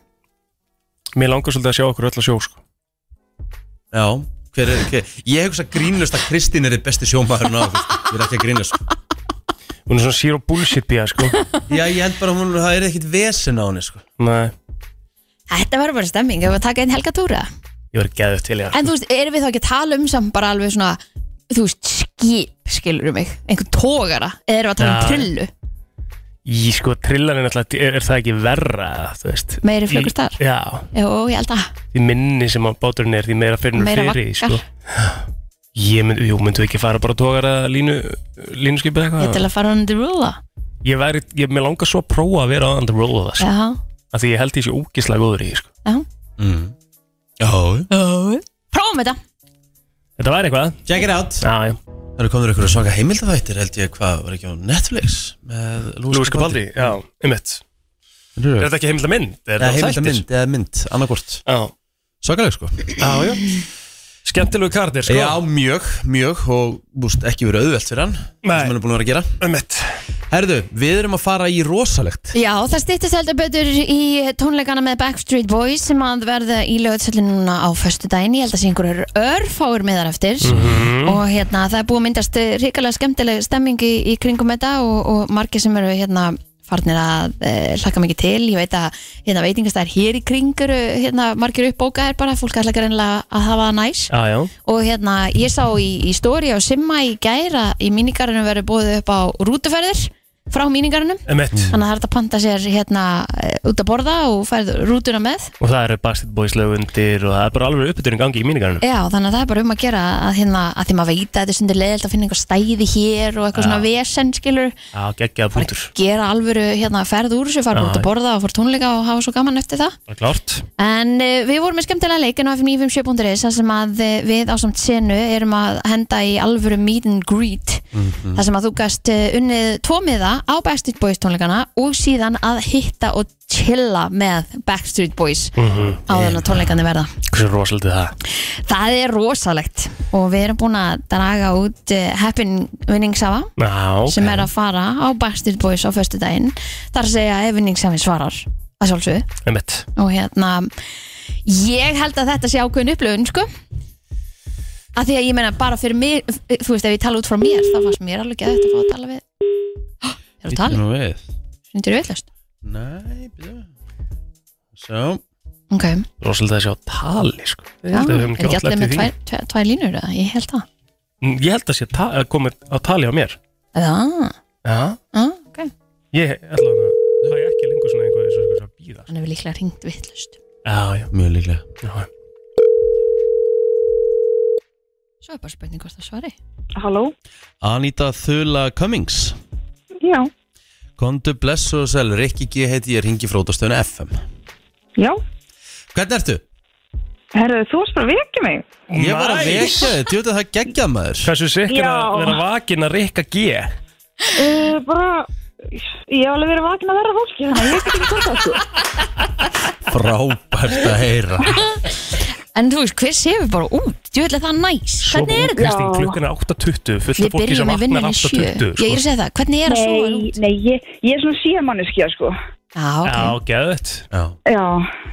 Speaker 3: Mér langar svolítið að sjá okkur öll að sjó, sko.
Speaker 1: Já, hver er, hver, ég hugsa grínlust að Kristín er þið besti sjómaðurinn á okkur sko. Ég er ekki að grínlust
Speaker 3: Hún er svona zero bullshit bíða, sko.
Speaker 1: Já, ég held bara að hún, það er ekkit vesen á henni, sko
Speaker 3: nei.
Speaker 2: Þetta verður bara stemming, ef við taka einn helga túra
Speaker 3: Ég verði geðið til, já.
Speaker 2: En þú veist, erum við þá ekki að tala um samt bara alveg svona, þú veist, skip skilur mig, einhver tógara eða erum við að tala
Speaker 3: Já.
Speaker 2: um trillu,
Speaker 3: Í, sko, trillarinn er, er, er það ekki verra, þú veist.
Speaker 2: meiri flögur þar
Speaker 3: Já,
Speaker 2: Jó, ég held að,
Speaker 3: því minni sem að báturinn er, því meira fyrir hún
Speaker 2: meira
Speaker 3: fyrir, því,
Speaker 2: vakkar
Speaker 3: sko. Ég mynd, jú, myndu ekki fara bara að tókara línu,
Speaker 2: Ég
Speaker 3: línuskipið
Speaker 2: er
Speaker 3: eitthvað?
Speaker 2: til að fara undir rúla
Speaker 3: Ég væri, ég, mér langar svo að prófa að vera on the roll of það, sko.
Speaker 2: Já,
Speaker 3: Af því ég held ég sé ógislega góður í, því, sko.
Speaker 2: já
Speaker 1: mm. Já,
Speaker 2: Prófum þetta
Speaker 3: Þetta væri eitthvað.
Speaker 1: check it out
Speaker 3: Já, já.
Speaker 1: Það eru komin ykkur svaka heimildavættir held ég hvað var ekki á Netflix með
Speaker 3: Lúis Capaldi, já, einmitt. Er
Speaker 1: Eða
Speaker 3: þetta ekki heimilda mynd? Er þetta
Speaker 1: heimilda
Speaker 3: þættir?
Speaker 1: mynd, eða mynd, annarkort
Speaker 3: Já,
Speaker 1: Svakaleg sko
Speaker 3: já, já. Skemmtilegu kardir, sko.
Speaker 1: Já, mjög, mjög og búst, ekki verið auðvelt fyrir hann
Speaker 3: Nei.
Speaker 1: sem hann er búin að vera að gera
Speaker 3: einmitt.
Speaker 1: Herðu, við erum að fara í rosalegt
Speaker 2: Já, það stýttist heldur betur í tónleikana með Backstreet Boys sem að verða í lögutsöldin núna á föstudaginn, ég held að sé einhverjur örfáur meðar eftir og hérna það er búið að myndast ríkalega skemmtileg stemming í, í kringum þetta og, og margir sem eru hérna farnir að e, hlaka mikið til, ég veit að hérna veitingastæðir hér í kring eru hérna margir uppbókaðir bara, fólk ætla greinlega að hafa það næs
Speaker 3: Já, já.
Speaker 2: og hérna ég sá í, í stóri á Simma í gæra í mínigarinu verið búið upp á rútuferðir frá mínigarinu
Speaker 3: Emmett
Speaker 2: Þannig að það er hægt að panta sér hérna eh, út að borða og færð rútuna með.
Speaker 3: Og það eru Bastard Boys lög undir og það er bara alveg uppbytun í gangi í mínigarnum
Speaker 2: Já, þannig að það er bara um að gera að, hérna, að því maður veit að þetta er stundir leiðilt að finna einhver stæði hér og eitthvað
Speaker 3: Já.
Speaker 2: svona vesen skilur.
Speaker 3: Já, geggjaða
Speaker 2: Bara
Speaker 3: punktur
Speaker 2: gera alvöru hérna ferð úr þessu, fara
Speaker 3: Já.
Speaker 2: út að borða og fara á tónleika og hafa svo gaman eftir það.
Speaker 3: Bara klárt
Speaker 2: En uh, við vorum með skemmtilega leikin á FM957.is þar sem að eh, við á samt senu erum að henda í alvöru meet and greet
Speaker 3: Mm.
Speaker 2: þar sem að þú gast uh, unnið tvo miða á Backstreet Boys tónleikana og síðan að hitta og chilla með Backstreet Boys
Speaker 3: Mhm.
Speaker 2: á þannig að tónleikana verða.
Speaker 3: Eh, Hversu rosaldi það
Speaker 2: Það er rosalegt og við erum búin að draga út uh, Happy Winning Sava
Speaker 3: Já, ok
Speaker 2: sem er að fara á Backstreet Boys á föstudaginn þar segja ef Winning Savi svarar að sjálfsögðu
Speaker 3: Emmett
Speaker 2: og hérna ég held að þetta sé ákveðin upplöfun sko að því að ég meina bara fyrir mér þú veist ef ég tala út frá mér þá fannst mér alveg geðvægt að fá að tala við Hó, er að tala,
Speaker 1: Nú við
Speaker 2: snýttur villast
Speaker 1: Nei, byrju Svo
Speaker 2: ok,
Speaker 3: Rosaldi það sé á tali, sko Ég
Speaker 2: já,
Speaker 3: held að
Speaker 2: er
Speaker 3: við höfum
Speaker 2: ekki
Speaker 3: oft
Speaker 2: allir
Speaker 3: lent í
Speaker 2: með
Speaker 3: því.
Speaker 2: tvær, tvær, tvær línur eða, ég held það
Speaker 3: Mm, Ég held að sé ta- að komið á tali á mér
Speaker 2: eða,
Speaker 3: Já
Speaker 2: að, ok
Speaker 3: Ég ætla að það er ekki
Speaker 2: hann hefur líklega ringt vittlust
Speaker 3: Já, já,
Speaker 1: Mjög líklega
Speaker 3: já, já.
Speaker 2: Svo er bara spurning hvort það svari
Speaker 5: Halló?
Speaker 1: Anita Þula Cummings
Speaker 5: Já,
Speaker 1: Kondu blessu og sæl, Rikki G heiti ég ringi frótastöðun FM
Speaker 5: já.
Speaker 1: Hvernig ertu?
Speaker 5: Herðu, þú varst bara að vekja mig.
Speaker 1: Ég var að
Speaker 3: Nice.
Speaker 1: vekja þig, djóta það geggjað maður
Speaker 3: Hversu sikkir að
Speaker 5: Já.
Speaker 3: vera vakin að rikka G
Speaker 5: Uh, bara, ég hef alveg verið vakin að vera fólki, þannig að ég get ekki tótt það, sko.
Speaker 1: Frábært að heyra
Speaker 2: En þú veist, hver séu bara út? Þú veitlega það næs Hvernig er þetta?
Speaker 3: Kristín,
Speaker 5: Já.
Speaker 3: klukkan er 8.20 fullt
Speaker 2: Við
Speaker 3: af fólki sem
Speaker 2: byrjum að vinna
Speaker 3: vaknar
Speaker 2: henni sjö Ég er
Speaker 3: 8.20
Speaker 2: að
Speaker 3: sko.
Speaker 2: segja það, hvernig er að svo
Speaker 5: Nei,
Speaker 2: út?
Speaker 5: nei, ég, ég er svona síðamanneskja, sko.
Speaker 2: Já, ok
Speaker 3: Já, geðvett
Speaker 1: Já,
Speaker 5: Já,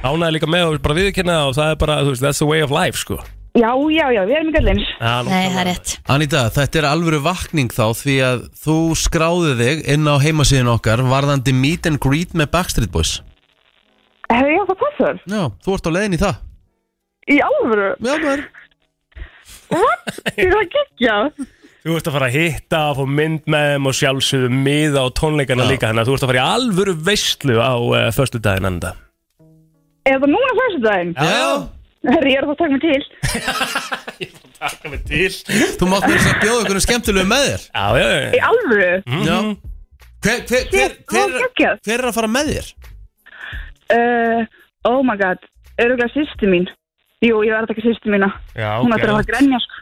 Speaker 3: Ánæði líka með og bara viðkynna og það er bara, þú veist, that's the way of life sko
Speaker 5: já, já, já, við erum ekki allins.
Speaker 3: Já,
Speaker 2: Nei, það er rétt
Speaker 1: Anita, þetta er alvöru vakning þá því að þú skráði þig inn á heimasíðin okkar varðandi meet and greet með Backstreet Boys
Speaker 5: Hefur ég átt að passa það?
Speaker 1: Já, þú ert á leiðin í það
Speaker 5: Í alvöru?
Speaker 1: Já, maður
Speaker 5: Ég er að gegja.
Speaker 3: Þú ert að fara að hitta og fá mynd með þeim og sjálfsögðu miða og tónleikana líka þannig að þú ert að fara í alvöru veistlu á uh, förstu daginn enda
Speaker 5: Er það núna fyrstu daginn?
Speaker 1: Já,
Speaker 5: Herri, ég er að fá að taka mig til.
Speaker 3: Takk með til
Speaker 1: þú mátt mér að bjóða okkur skemmtilegu með þér
Speaker 3: Já, já, já
Speaker 5: Í alvöru?
Speaker 1: Já Hver, hver, hver,
Speaker 5: Ég- Mhm. það var
Speaker 1: hver,
Speaker 5: geggjað.
Speaker 1: hver er að fara með þér?
Speaker 5: Uh, oh my god, öruglega sýsti mín. Jú, ég verði að taka sýsti mína.
Speaker 3: Já,
Speaker 5: Hún ætlar að fara að grenja, sko.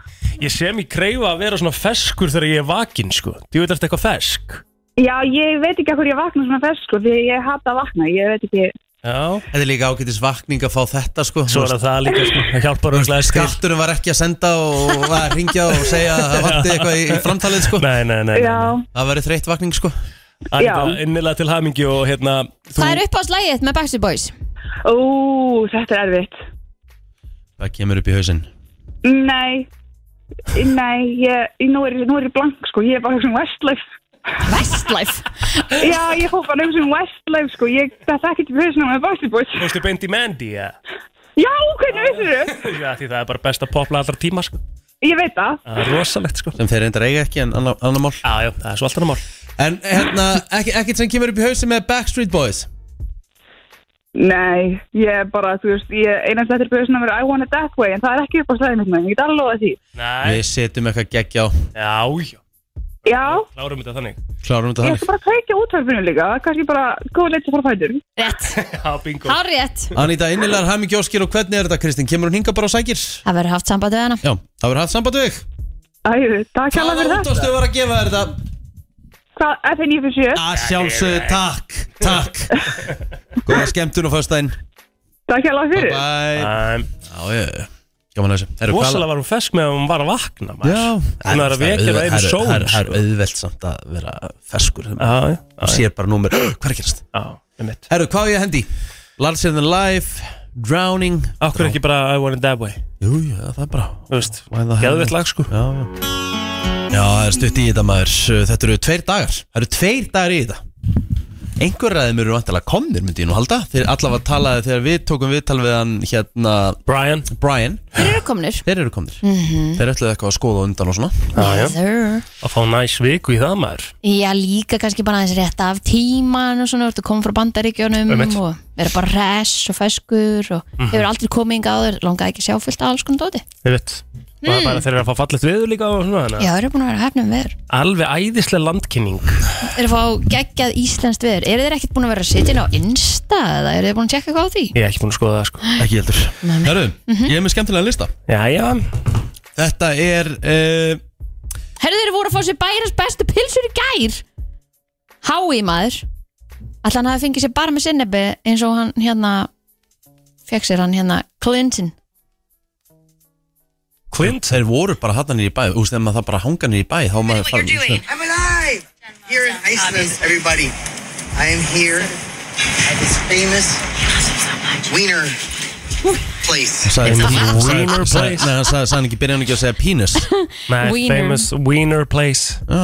Speaker 3: Ég sé mér kreifa að vera svona feskur þegar ég er vakin, sko. Þú veit eftir eitthvað fesk.
Speaker 5: Já, ég veit ekki að hverju ég vakna svona fest, sko, því ég hata að vakna. Ég veit ekki,
Speaker 3: Já.
Speaker 1: Þetta er líka ágætis vakning að fá þetta sko
Speaker 3: Svo er það líka, sko, það hjálpar auðvitað til.
Speaker 1: Skatturinn var ekki að senda og var að ringja og segja að það vanti eitthvað í, í framtalið sko
Speaker 3: Nei, nei, nei.
Speaker 5: já,
Speaker 1: Það væri þreytt vakning sko
Speaker 3: Anita, innilega til hamingi og hérna, þú...
Speaker 2: Það er uppáðslægið með Backstreet Boys
Speaker 5: ó, þetta er erfitt.
Speaker 1: Það kemur upp í hausinn
Speaker 5: Nei, nei, ég, ég- nú, er, nú er ég blank sko, ég er bara að hugsa um Westlife.
Speaker 2: Westlife
Speaker 5: Já, ég hóf bara að hugsa um Westlife sko, ég, það þekki ekki fyrir svona með Bosty Boys.
Speaker 3: Þú veistu beint í Mandy, ja?
Speaker 5: Já, hvernig vissir þau?
Speaker 3: Já, því það er bara best að popla allra tíma, sko.
Speaker 5: Ég veit það.
Speaker 3: Það er rosalegt, sko.
Speaker 1: sem þeir reyndar eiga ekki en annar, annar mál
Speaker 3: Já, já, það er svo alltaf mál.
Speaker 1: En hérna, ekki, ekkert sem kemur upp í hausinn með Backstreet Boys
Speaker 5: Nei, ég er bara, þú veist, ég einast eftir fyrir svona verið I want it that way, en það er ekki upp á slæðinu mitt með, ég get alveg lofað því.
Speaker 3: Nei.
Speaker 1: Við setjum eitthvað geggja á
Speaker 3: Já, já.
Speaker 5: Já,
Speaker 3: Klárum þetta þannig.
Speaker 1: Klárum
Speaker 5: ég
Speaker 1: þetta þannig
Speaker 5: ætla bara að kveikja útvarpinu líka, kannski bara góð leitt að fara fætur.
Speaker 2: Rétt,
Speaker 3: Já, bingo.
Speaker 2: hár rétt
Speaker 1: Anita, innilegar hamingjóskir og hvernig er þetta Kristín? Kemur hún hinga bara og sækir?
Speaker 2: Það verður haft samband við hana
Speaker 1: Já, það verður haft samband við þig
Speaker 5: Æðu, takk alveg fyrir
Speaker 1: Hvaða
Speaker 5: þetta.
Speaker 1: útastöð var að gefa þér þetta?
Speaker 5: Hvað, FN957,
Speaker 1: Að sjálfsögðu, takk, takk Góða skemmtun og föstæn
Speaker 5: takk alveg fyrir.
Speaker 1: Bye
Speaker 3: Um,
Speaker 1: Já, ég, gaman að þessu Herru, hvað-
Speaker 3: rosalega var hún fesk með að hún var að vakna, maður.
Speaker 1: Já
Speaker 3: Hún var að vekja það einu sól,
Speaker 1: Það er- það er
Speaker 3: sko.
Speaker 1: auðvelt samt að vera feskur
Speaker 3: Já, já,
Speaker 1: Það
Speaker 3: já,
Speaker 1: sér bara númer Hvað er að gerast?
Speaker 3: já, með mitt.
Speaker 1: Herru, hvað á ég að hendi? Larger than life Drowning
Speaker 3: Akkur ekki bara I want it that way,
Speaker 1: Jú, jú, það er bara
Speaker 3: þú veist.
Speaker 1: Why the hell?
Speaker 3: Geðvett lag, sko.
Speaker 1: Já, já Já, það er stutt í þetta maður Þetta eru tveir dagar Það eru tveir dagar í þetta Einhver ræðum eru vantilega komnir myndi ég nú halda Þeir allavega talaði þegar við tókum viðtal við hann hérna
Speaker 3: Brian.
Speaker 1: Brian
Speaker 2: Þeir eru komnir
Speaker 1: Þeir eru komnir -hmm.
Speaker 2: Mhm.
Speaker 1: Þeir ætluðu eitthvað að skoða á undan og svona
Speaker 3: já.
Speaker 2: Þeir-
Speaker 3: að fá næs viku í það maður
Speaker 2: Já, líka kannski bara aðeins rétt af tíman og svona, þú ert að koma frá bandaríkjónum
Speaker 3: Einmitt.
Speaker 2: og vera bara res og feskur og hefur aldrei komið inga áður, langaði ekki að sjá fullt af alls konar dóti.
Speaker 3: Ég veit Og það er bara þeir eru að fá fallegt viður líka og svona þannig að-
Speaker 2: Já, þeir eru búin að vera hefnum veður.
Speaker 3: Alveg æðislega landkynning
Speaker 2: Þeir eru að fá geggjað íslenskt veður. Eru þeir ekkert búin að vera að sitja inn á Insta eða eru þeir búin að tjekka eitthvað á því?
Speaker 3: Ég er ekki búin að skoða það sko
Speaker 1: Ekki heldur
Speaker 2: nei. Mhm.
Speaker 1: Herru, ég er með skemmtilega lista
Speaker 3: Já, já
Speaker 1: Þetta er uh,
Speaker 2: Herðu þeir voru að fá sér bæras bestu pilsur í gær? Hái maður. Alltaf hann hafi fengið sér bara með sinnebi eins og hann hérna, fekk sér hann hérna Clinton.
Speaker 1: Clint Þeir voru bara hattar nýri í bæ Þú veist, ef maður það bara hanga nýri í bæ Þá maður fara
Speaker 6: I'm alive! Here in Iceland, everybody. I am here at this famous wiener place.
Speaker 1: Sæði
Speaker 3: Wiener
Speaker 1: Nei,
Speaker 3: place.
Speaker 1: hann sagði sagði hann ekki Byrjaði hann ekki að segja penis
Speaker 3: Nei,
Speaker 2: Wiener.
Speaker 3: famous wiener place
Speaker 1: Já,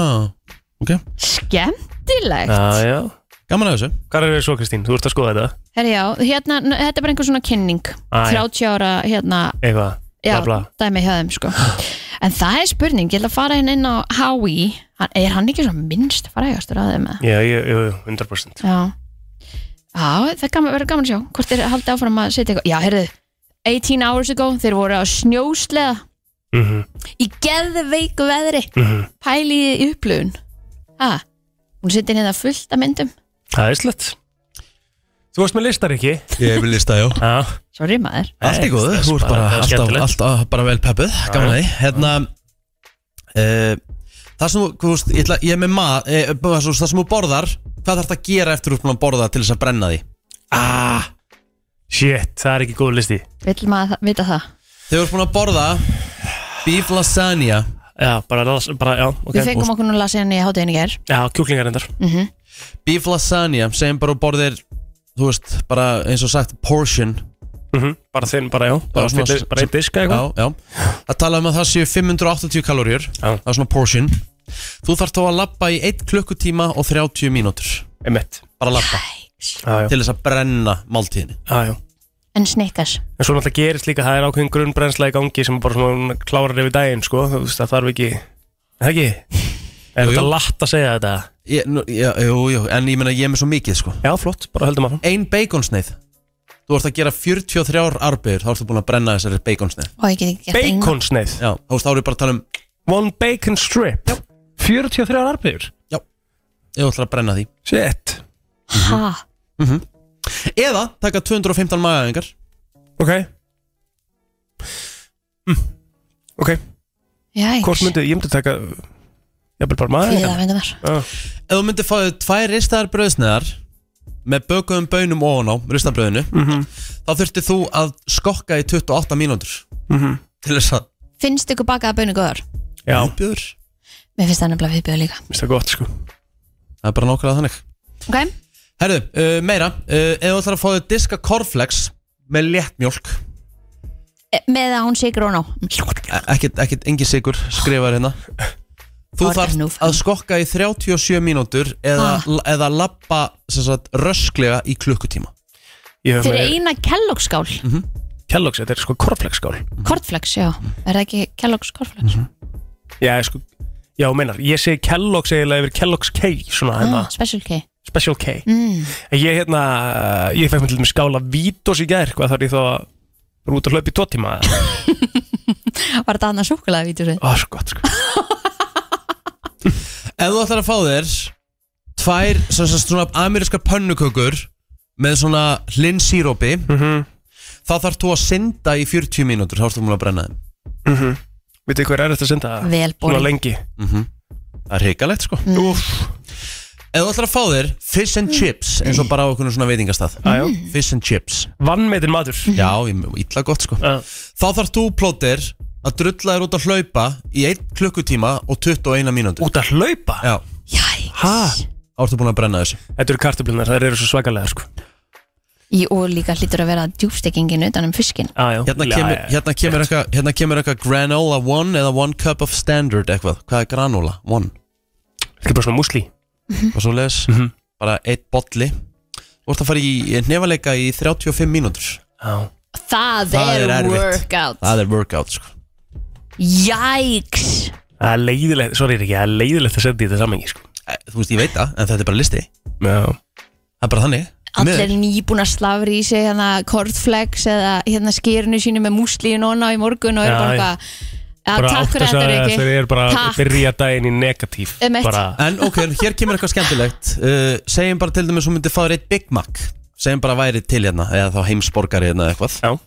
Speaker 1: ok
Speaker 2: Skemmtilegt.
Speaker 3: Já, já
Speaker 1: Gaman að þessu
Speaker 3: Hvað er þið svo Kristín? Þú ert að skoða þetta?
Speaker 2: Herri já, hérna, n- þetta er bara einhver svona kynning
Speaker 3: Á, já.
Speaker 2: 30 ára, hérna
Speaker 3: Eitthvað
Speaker 2: já,
Speaker 3: Bla, bla
Speaker 2: dæmi hjá þeim sko En það er spurning, ég ætla að fara inn inn á Howie, hann, er hann ekki svona minnst frægastur að þeim eða?
Speaker 3: Já, já, já, 100%
Speaker 2: Já Já, það er gaman, verður gaman að sjá hvort þeir haldi áfram að setja eitthvað Já, heyrðu, 18 hours ago þeir voru á snjósleða
Speaker 6: Mm-hmm.
Speaker 2: í geðveiku veðri
Speaker 3: Mm-hmm.
Speaker 2: pæli í upplöfun ha, hún setja hérna fullt af myndum
Speaker 3: Það er slett Þú varst með listar ekki
Speaker 1: Ég vil lista, já
Speaker 3: Já,
Speaker 2: sorry maður
Speaker 1: Allt í góðu, þú ert bara
Speaker 3: bara
Speaker 1: alltaf,
Speaker 3: skemmtilegt.
Speaker 1: alltaf bara vel peppuð, gaman að því Hérna eh, Það sem þú, þú veist, ég, ætla, ég er með mað e, Það sem þú borðar, hvað þarf það að gera eftir þú ert búin að borða til þess að brenna því
Speaker 3: ah, Shit, það er ekki góð listi
Speaker 2: vill maður það- vita það
Speaker 1: Þegar þú ert búin að borða beef lasagna
Speaker 3: Já, bara, las- bara já, ok
Speaker 2: við fengum Mhm. okkur nú lasagna í hátíðin í ger
Speaker 3: Já, kjúklingar endar
Speaker 1: beef lasagna, segjum bara þú borðir þú veist, bara eins og sagt portion
Speaker 3: Mhm, Bara þinn, bara já Bara,
Speaker 1: Já, svona-
Speaker 3: fyllir- bara eitt diska eitthvað
Speaker 1: Já, já Það tala um að það séu 580 kaloríur
Speaker 3: Já.
Speaker 1: Það er svona portion Þú þarf þá að labba í 1 klukkutíma og 30 mínútur
Speaker 3: Einmitt
Speaker 1: Bara labba
Speaker 3: Já, já,
Speaker 1: til þess að brenna máltíðinni
Speaker 3: já, Ah, já
Speaker 2: en snikkars
Speaker 3: En svo náttúrulega gerist líka, það er ákveðin grunnbrennsla í gangi sem bara svona hún klárar yfir daginn, sko, þú veist, það þarf ekki, Er það ekki? Er
Speaker 1: Jú, jú.
Speaker 3: þetta látt að segja þetta?
Speaker 1: Ég- nú- já, Jú, jú, en ég meina ég er með svo mikið sko
Speaker 3: Já, flott, bara höldum áfram.
Speaker 1: Ein baconsneið Þú ert að gera 43 arbeir Þá ertu búin að brenna þessari baconsneið
Speaker 2: og ég get ekki gert eina.
Speaker 3: Baconsneið,
Speaker 1: Já, þú veist, þá er ég bara að tala um
Speaker 3: one bacon strip, 43 arbegur,
Speaker 1: Ég ætla að brenna því Mhm.
Speaker 3: shit,
Speaker 2: ha,
Speaker 1: Eða taka 215 magaðingar
Speaker 3: ok, Mm. ok,
Speaker 2: jæks
Speaker 3: hvort myndið, ég myndið taka, ég vil bara maður,
Speaker 2: Fríða fengunar.
Speaker 1: Ef þú myndir fáið tvær ristaðar bröðsneðar Með bökuðum bönum ofan á ristabröðinu
Speaker 3: Mhm.
Speaker 1: Þá þurftir þú að skokka í 28 mínútur Til þess að
Speaker 2: finnst ykkur bakaða bönni góðar?
Speaker 3: Mhm. já,
Speaker 1: Viðbjóður.
Speaker 2: mér finnst það nefnilega viðbjöð líka
Speaker 3: minnst það gott, sko,
Speaker 1: Það er bara nákvæmlega þannig
Speaker 2: ok,
Speaker 1: Herðu, uh, meira uh, Ef þú ætlar að fá þér diska korflex Með léttmjólk
Speaker 2: E- með að hún sigur hún á
Speaker 1: ekkert, ekkert, e, engin sigur skrifar hérna þú
Speaker 2: Orðar nú
Speaker 1: þarf
Speaker 2: fram.
Speaker 1: að skokka í 37 mínútur eða, eða lappa sagt, rösklega í klukkutíma
Speaker 3: ég hef
Speaker 2: fyrir
Speaker 3: með
Speaker 2: eina kelloggskál
Speaker 1: Mhm.
Speaker 3: Kellogg's, þetta er sko korflexskál,
Speaker 2: kortflex, já, er það ekki kelloggs kortflex?
Speaker 3: já, ég sko, já, meinar, ég segi Kellogg's eiginlega yfir Kellogg's K, svona, hérna,
Speaker 2: ah, special K
Speaker 3: Special K
Speaker 2: mm.
Speaker 3: En Ég hérna, ég fekk mér til dæmis skála vítos í gær, hvað þarf ég þá að vera út að hlaupa í tvo tíma eða?
Speaker 2: var þetta annað súkulega vítjúsi?
Speaker 3: Ó, svo gott, sko
Speaker 1: ef þú ætlar að fá þér tvær sem sagt, svona amerískar pönnukökur með svona hlinn sírópi
Speaker 3: Mhm.
Speaker 1: þá þarf þú að synda í 40 mínútur þá ertu múin að brenna þeim
Speaker 3: Vitið þið hver er þetta að senda það?
Speaker 2: Vel borin.
Speaker 3: Svona lengi
Speaker 1: Mhm. það er hrikalegt sko mm. ef þú ætlar að fá þér fish and chips eins og bara á okkur svona veitingastað
Speaker 3: Mm.
Speaker 1: fish and chips
Speaker 3: Vannmeitin matur
Speaker 1: já, ég- illa gott sko
Speaker 3: uh,
Speaker 1: Þá þarf þú plóter að drulla þér út að hlaupa í 1 klukkutíma og 21 mínútur
Speaker 3: Út að hlaupa?
Speaker 1: Já,
Speaker 2: Jæks
Speaker 3: Ha?
Speaker 1: ártu búin að brenna þessu
Speaker 3: Þetta eru kartöflunar, það eru svo svakalega, sko
Speaker 2: Í og líka hlýtur að vera djúfstekingin utan um fiskin
Speaker 3: ah, já.
Speaker 1: Hérna kemur,
Speaker 3: Já, já, já.
Speaker 1: hérna kemur, eitthvað, hérna kemur eitthvað granola 1 eða 1 cup of standard eitthvað Hvað er granola? 1
Speaker 3: Þetta er bara svona musli Mhm.
Speaker 1: Og svo leðis bara 1 bolli Þú ert að fara í nefaleika í 35 mínútur
Speaker 3: Já
Speaker 6: Mm-hmm.
Speaker 2: Það,
Speaker 1: Það
Speaker 2: er,
Speaker 1: er erfitt.
Speaker 2: workout
Speaker 1: Það er workout sko
Speaker 2: Jæks
Speaker 3: Það er leiðilegt, sorry Riki, það er leiðilegt að senda í þetta samengi, sko
Speaker 1: Eh, Þú veist, ég veit það, en þetta er bara listi
Speaker 3: Já
Speaker 1: Það er bara þannig
Speaker 2: Allir
Speaker 1: Miður.
Speaker 2: nýbúin að slafri í sig hérna kortflex eða hérna skýrinu sínu með músli í nóna í morgun og eru
Speaker 3: Já,
Speaker 2: bara
Speaker 3: já.
Speaker 2: eitthvað Já, takk fyrir þetta Riki
Speaker 3: Þeir eru bara að
Speaker 2: Takk.
Speaker 3: byrja daginn í negatív
Speaker 2: Einmitt.
Speaker 3: Bara,
Speaker 1: En ok, hér kemur eitthvað skemmtilegt uh, Segjum bara til dæmis þú myndir fá þér eitt Big Mac Segjum bara væri til hérna Eða þá heimsborgari hérna eða eitthvað
Speaker 3: já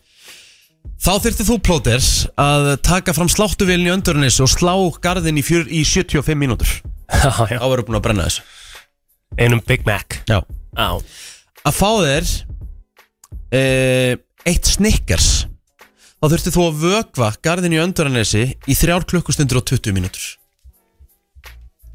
Speaker 1: Þá þyrftir þú plóters að taka fram sláttuvélin í öndurinnis og slá garðin í, fjör, í 75 mínútur Þá
Speaker 3: Já, já.
Speaker 1: eru búin að brenna þessu
Speaker 3: Einum Big Mac
Speaker 1: Já.
Speaker 3: Já
Speaker 1: Að fá þér uh, eitt snikkers Þá þurftir þú að vökva garðin í öndurinnissi í 3 klukkustundur og 20 mínútur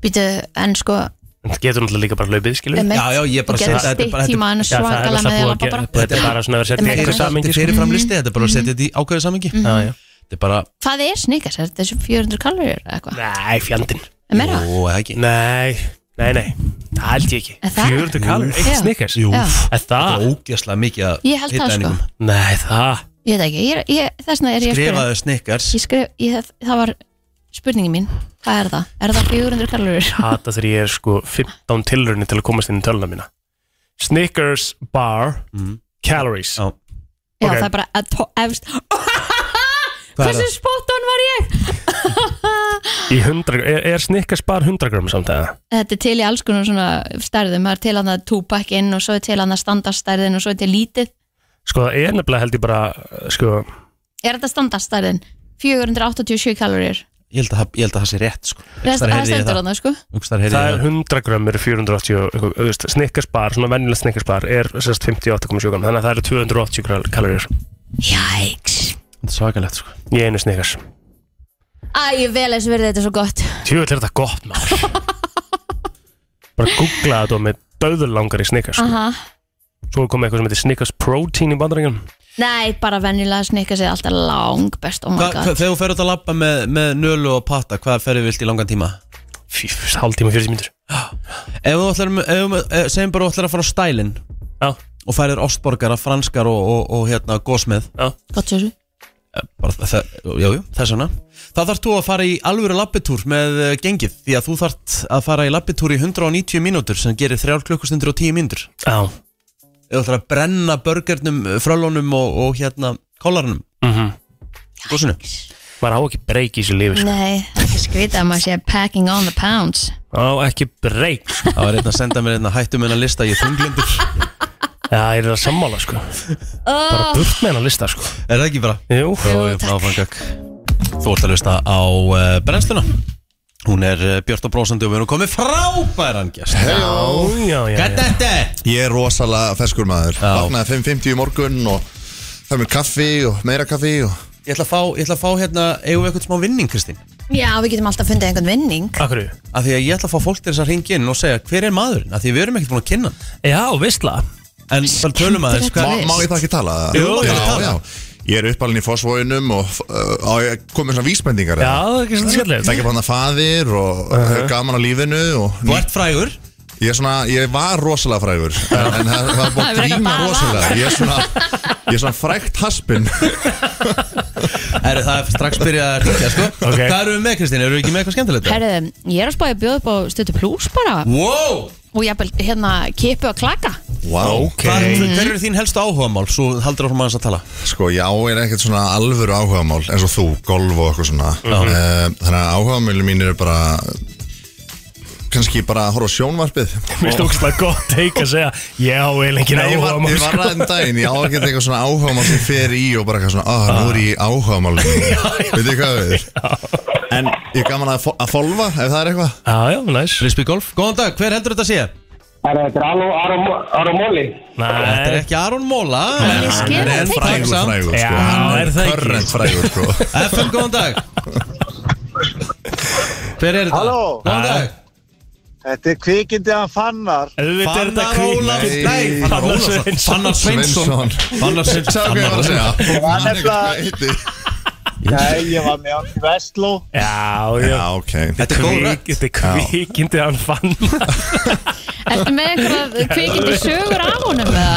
Speaker 2: Býtu, en sko
Speaker 3: En það getur náttúrulega líka bara hlaupið, skilur
Speaker 2: um
Speaker 1: Já, já, ég er bara að segja þetta er bara-
Speaker 2: Stitt tíma en
Speaker 3: Já, það er
Speaker 2: svakalega
Speaker 3: alltaf
Speaker 2: með
Speaker 3: búið
Speaker 2: þeirra
Speaker 3: að gera-
Speaker 2: bara
Speaker 3: Þetta er bara svona að vera sett í
Speaker 2: Einmitt. Mm.
Speaker 3: einhver samingi
Speaker 1: Þetta er fyrirframlisti, þetta er bara að setja þetta í ákveðu samingi
Speaker 3: já.
Speaker 1: Þetta er bara,
Speaker 2: Hvað er snikas? Er þetta þessu 400 kalorir eða eitthvað?
Speaker 3: Nei, fjandinn
Speaker 2: Er meira?
Speaker 1: jú, eða ekki
Speaker 3: Nei, nei, nei, það held ég
Speaker 2: Er
Speaker 3: ekki
Speaker 2: það?
Speaker 3: 400 kalur, eitt
Speaker 2: Já.
Speaker 3: snikkars
Speaker 1: Jú,
Speaker 2: Já.
Speaker 3: Er það?
Speaker 1: ógæslega mikið að
Speaker 2: Ég held það, sko.
Speaker 1: hittaeiningum.
Speaker 3: Nei, það
Speaker 2: Ég veit ekki, ég, er- ég, þess vegna er ég að spyrja
Speaker 1: Skrifaðu snikkars
Speaker 2: ég skrif, ég, það var spurningin mín hvað er það? Er það 400 kalorir?
Speaker 3: Hata þegar ég er sko 15 tilraunir til að komast inn í töluna mína Snickers bar Calories
Speaker 1: Mm. Já.
Speaker 2: Já,
Speaker 3: Ok.
Speaker 2: það er bara að tó- efst
Speaker 1: Hvað er
Speaker 2: Hversu
Speaker 1: það?
Speaker 2: spot on var ég?
Speaker 3: Í 100, er, er Snickers bar 100 gram samt eða?
Speaker 2: Þetta er til í alls konar svona stærðum Það er til hann að túpak inn og svo er til hann að standastærðin og svo er til lítið
Speaker 3: Sko það er nefnilega held ég bara sko,
Speaker 2: Er þetta standastærðin? 487 kalorir
Speaker 1: Ég held að það- ég held að það sé rétt sko. Einhvers
Speaker 2: Það
Speaker 1: staðar
Speaker 2: það
Speaker 1: heyrði ég
Speaker 2: stendur
Speaker 1: það.
Speaker 2: hann sko
Speaker 1: Einhvers staðar heyrði
Speaker 3: Það
Speaker 1: ég
Speaker 3: er
Speaker 1: það.
Speaker 3: 100 gram eru 480 og eitthvað, þú veist, Snickers bar, svona venjulegt Snickers bar er sérst 58,7 gram þannig að það eru 280 kal- kaloríur
Speaker 2: Jæks
Speaker 1: Þetta er svakalegt sko.
Speaker 3: í einu Snickers
Speaker 2: Æ, vel eins verði þetta svo gott
Speaker 3: Tjóðvill er þetta gott maður Bara googla þetta og með döðulangar í Snickers sko.
Speaker 2: Aha.
Speaker 3: Svo kom eitthvað sem heitir Snickers Protein í bandaríkjum
Speaker 2: Nei, bara venjulega snikka sig alltaf lang best Oh my
Speaker 1: Hva, hva,
Speaker 2: god
Speaker 1: þegar þú ferður út að lappa með, með nölu og patta, hvað ferður vilt í langan tíma?
Speaker 3: Fyrst hálftíma 40 mínútur
Speaker 1: Ef þú ætlar, ef, þú- eh, segjum bara þú ætlar að fara á stælinn
Speaker 3: Já,
Speaker 1: og færir ostborgara, franskar og, og, og hérna gósmið
Speaker 3: já
Speaker 2: Gott svo
Speaker 1: bara það, jájú, þess vegna það þarf þú að fara í alvöru lappitúr með eh, gengið því að þú þarf að fara í lappitúr í 190 mínútur sem gerir 3 klukkustundir og 10 mínútur
Speaker 3: Já,
Speaker 1: eða þú ætlar að brenna börgarnum, frölunum og, og hérna kollarnum gósinu
Speaker 3: Mhm. maður á ekki breyk í þessu lífi sko.
Speaker 2: Nei, það er ekki skrítið að maður sé packing on the pounds
Speaker 3: Á ekki breyk sko.
Speaker 1: það var einn að senda mér einn að hættu minna lista ég er þunglindur
Speaker 3: Já, ég er það sammála sko Bara
Speaker 1: Oh.
Speaker 3: burt með hennar lista sko
Speaker 1: er það ekki bara?
Speaker 3: Jú,
Speaker 1: Jó, jú, áfram gekk. þú ætlar að lusta á uh, brennsluna hún er uh, Björn og Brósandi og við erum komið frábæran gæst
Speaker 3: já, já, já,
Speaker 1: Get þetta!
Speaker 7: Ég er rosalega ferskur maður
Speaker 1: Já.
Speaker 7: Vaknaði 5.50 í morgun og það er mér kaffi og meira kaffi og
Speaker 1: Ég ætla að fá, ég ætla að fá hérna, eigum við eitthvað smá vinning, Kristín?
Speaker 2: Já, við getum alltaf fundið einhvern vinning
Speaker 3: Akkur ju
Speaker 1: Af því að ég ætla að fá fólk til þess að ringa inn og segja hver er maðurinn, af því að við erum ekkert búin að kynna hann.
Speaker 3: Já, veistla
Speaker 1: En bara tölum aðeins
Speaker 2: Skemmtilegt
Speaker 1: hvað
Speaker 7: Má,
Speaker 2: Veist.
Speaker 7: má ég það ekki tala?
Speaker 1: Jú, má
Speaker 7: já,
Speaker 1: ekki tala.
Speaker 7: já Ég er uppalinn í fósvóinum og uh, á ég að koma með svona vísbendingar
Speaker 3: Já, það er ekki svolítið skellilegt
Speaker 7: Þekkja bara faðir og uh gaman á lífinu og
Speaker 1: Uh-huh. Þú ert frægur
Speaker 7: ég, er svona, ég var rosalega frægur en, en það, það er búin
Speaker 2: Það
Speaker 7: að
Speaker 2: er ekki
Speaker 7: grína
Speaker 2: bara
Speaker 7: rosalega ég er, svona, ég er svona frægt haspin
Speaker 1: Herri, það er strax byrjað að ringja, sko
Speaker 3: Ok.
Speaker 1: Hvað erum við með, Kristín? Erum við ekki með eitthvað skemmtilegt?
Speaker 2: Herðu, ég er að spáði að bjóða upp á stötu plus bara
Speaker 1: Wow!
Speaker 2: og jafnvel hérna kipu og klaka
Speaker 7: wow.
Speaker 1: Hvar, Hver eru þín helstu áhugamál? Svo haldur áfram aðeins að tala
Speaker 7: Sko, já, er ekkert svona alvöru áhugamál eins og þú, golf og eitthvað svona uh, Þannig að áhugamáli mín eru bara kannski bara að horfa á sjónvarpið
Speaker 3: Mér stókst það gott teik að segja Já, eða engin
Speaker 7: Nei, ég var,
Speaker 3: áhuga
Speaker 7: ég var ræðin daginn, ég á ekki eitthvað svona áhugamál sem fer í og bara eitthvað svona, ah, nú er ég áhugamál Veit þið hvað við er? En ég er gaman að, fo- að folfa ef það er eitthvað
Speaker 3: Já, já, næs
Speaker 1: Frisbee Golf, góðan dag, hver heldur þetta að sé?
Speaker 8: Þetta er alveg Aron- Aron Móli.
Speaker 1: Þetta er
Speaker 3: Nei,
Speaker 1: ekki Aron Móla
Speaker 2: er
Speaker 1: en
Speaker 2: skilur,
Speaker 1: hann er
Speaker 2: tekur.
Speaker 7: Frægur, frægur, sko, hann er
Speaker 1: frægur samt.
Speaker 3: Já, er það ekki?
Speaker 7: körrent frægur, sko
Speaker 1: FM, góðan dag Hver er þetta?
Speaker 9: Halló.
Speaker 1: Góðan dag
Speaker 9: Þetta er kvikindi að fannar
Speaker 3: auðvitað er þetta
Speaker 1: Fannar Ólaf
Speaker 3: kvík
Speaker 1: Nei, Fannar
Speaker 3: Fannar
Speaker 1: Ólafsson
Speaker 3: Sveinsson.
Speaker 1: Fannar Sveinsson
Speaker 7: Sveinsson. Sá
Speaker 1: Fannar
Speaker 7: hvað ég var að segja
Speaker 1: Sveinsson
Speaker 9: Hann er
Speaker 7: Hvað heiti?
Speaker 9: Nei, ég var með hann í Vestló
Speaker 3: Já, já
Speaker 7: Já, ok
Speaker 1: Þetta er góð rödd.
Speaker 3: Kvík, Þetta er kvíkindi hann fann
Speaker 2: Ertu með einhverja kvikindi sögur af honum eða?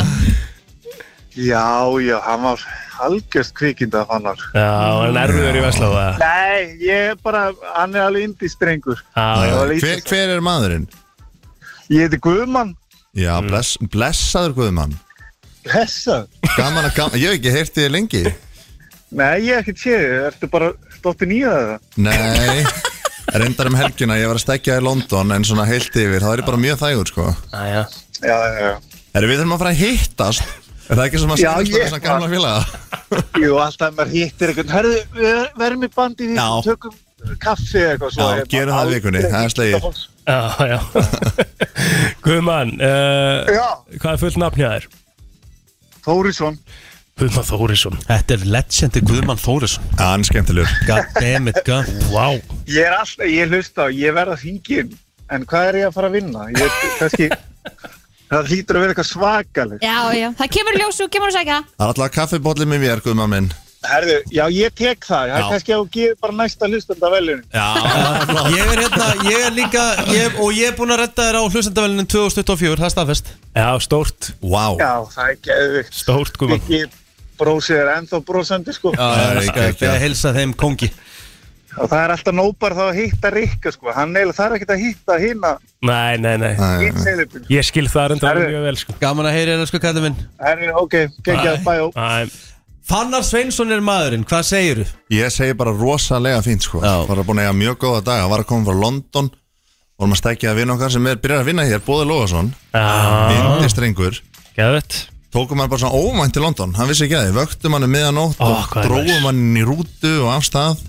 Speaker 9: Já, já, hann var algjörst kvikindi að fannar
Speaker 3: Já, hann er erfiður í Vestlóða
Speaker 9: Nei, ég er bara, hann er alveg indistrengur
Speaker 3: Já, já,
Speaker 9: var
Speaker 7: Ah,
Speaker 9: lítið.
Speaker 7: Hver, hver er maðurinn?
Speaker 9: Ég heiti Guðmann
Speaker 7: Já, bless, blessaður Guðmann
Speaker 9: Hessa
Speaker 7: Gaman að gaman, ég hef ekki heyrti þið lengi
Speaker 9: Nei, ég hef ekki séð, þig. ertu bara stóttin í það
Speaker 7: Nei Reyndar um helgina, ég var að stekja í London En svona heilt yfir, það er ég bara mjög þægur sko
Speaker 3: já, já
Speaker 9: Já, já, já
Speaker 7: Erum við þurfum að fara að hittast Er það ekki sem að
Speaker 9: Já,
Speaker 7: segja
Speaker 9: ég-
Speaker 7: þess að gamla félaga?
Speaker 9: Jú, alltaf maður hittir eitthvað Herðu, við verðum í bandi því
Speaker 7: Já.
Speaker 9: Tökum kaffi eða eitthvað svo hérna.
Speaker 7: Já,
Speaker 9: Ég
Speaker 7: gerum
Speaker 9: bara
Speaker 7: það í vikunni,
Speaker 9: aldrei
Speaker 7: það er slegið.
Speaker 9: hitta fólk.
Speaker 3: Já, já Guðmann, uh,
Speaker 9: Já,
Speaker 3: hvað er fullt nafn hjá þér?
Speaker 9: Þórisson
Speaker 3: Guðmann Þórisson
Speaker 1: Þetta er legendi Guðmann Þórisson
Speaker 7: Já, hann er skemmtilegur
Speaker 1: Goddammit, god
Speaker 3: Vá
Speaker 9: Ég er alltaf, ég hlusta á, ég verð að hringin en hvað er ég að fara að vinna? Ég er kannski, það hlýtur að vera eitthvað svakaleg.
Speaker 2: Já, já, það kemur í ljós og kemur að segja
Speaker 7: Það er alltaf kaffibólli með mér, Guðmann minn
Speaker 9: Herðu, já ég tek það, það
Speaker 7: Já.
Speaker 9: er kannski að þú gefur bara næsta hlustanda velunum.
Speaker 1: Ég er hérna, ég er líka ég, Og ég er búin að redda þér á hlustendavelinu 2024 Það er staðfest
Speaker 3: Já, stórt,
Speaker 7: Vá,
Speaker 9: Já, það er geðvikt.
Speaker 3: stórt Guðmann
Speaker 9: Ekki brósið er ennþá brósandi sko.
Speaker 7: það er
Speaker 1: Ég
Speaker 7: ekki
Speaker 1: skal
Speaker 7: ekki
Speaker 1: heilsa þeim kongi
Speaker 9: og það er alltaf nóbar þá að hitta Rikka sko, hann eiginlega þarf ekkert að hitta hina
Speaker 3: Nei, nei, nei
Speaker 9: Hitt seilipin
Speaker 3: Ég skil það reyndar
Speaker 9: Herðu.
Speaker 3: mjög vel sko
Speaker 1: Gaman að heyri hérna sko kallið minn
Speaker 9: Herri, ok, geggjað, bæjó
Speaker 3: Æ,
Speaker 1: Fannar Sveinsson er maðurinn, hvað segir þú?
Speaker 7: Ég segi bara rosalega fínt sko
Speaker 1: Já.
Speaker 7: Var að búin að eiga mjög góða daga Var að koma frá London Vorum að stækja að vinna okkar sem er byrjar að vinna hér Bóði Lóðarsson Indi strengur
Speaker 3: Geðvett
Speaker 7: Tókum hann bara svona óvænt til London Hann vissi ekki að þið Vöktum hann um miðanótt
Speaker 3: Ó,
Speaker 7: Og
Speaker 3: hvað er næs.
Speaker 7: dróum hann í rútu og af stað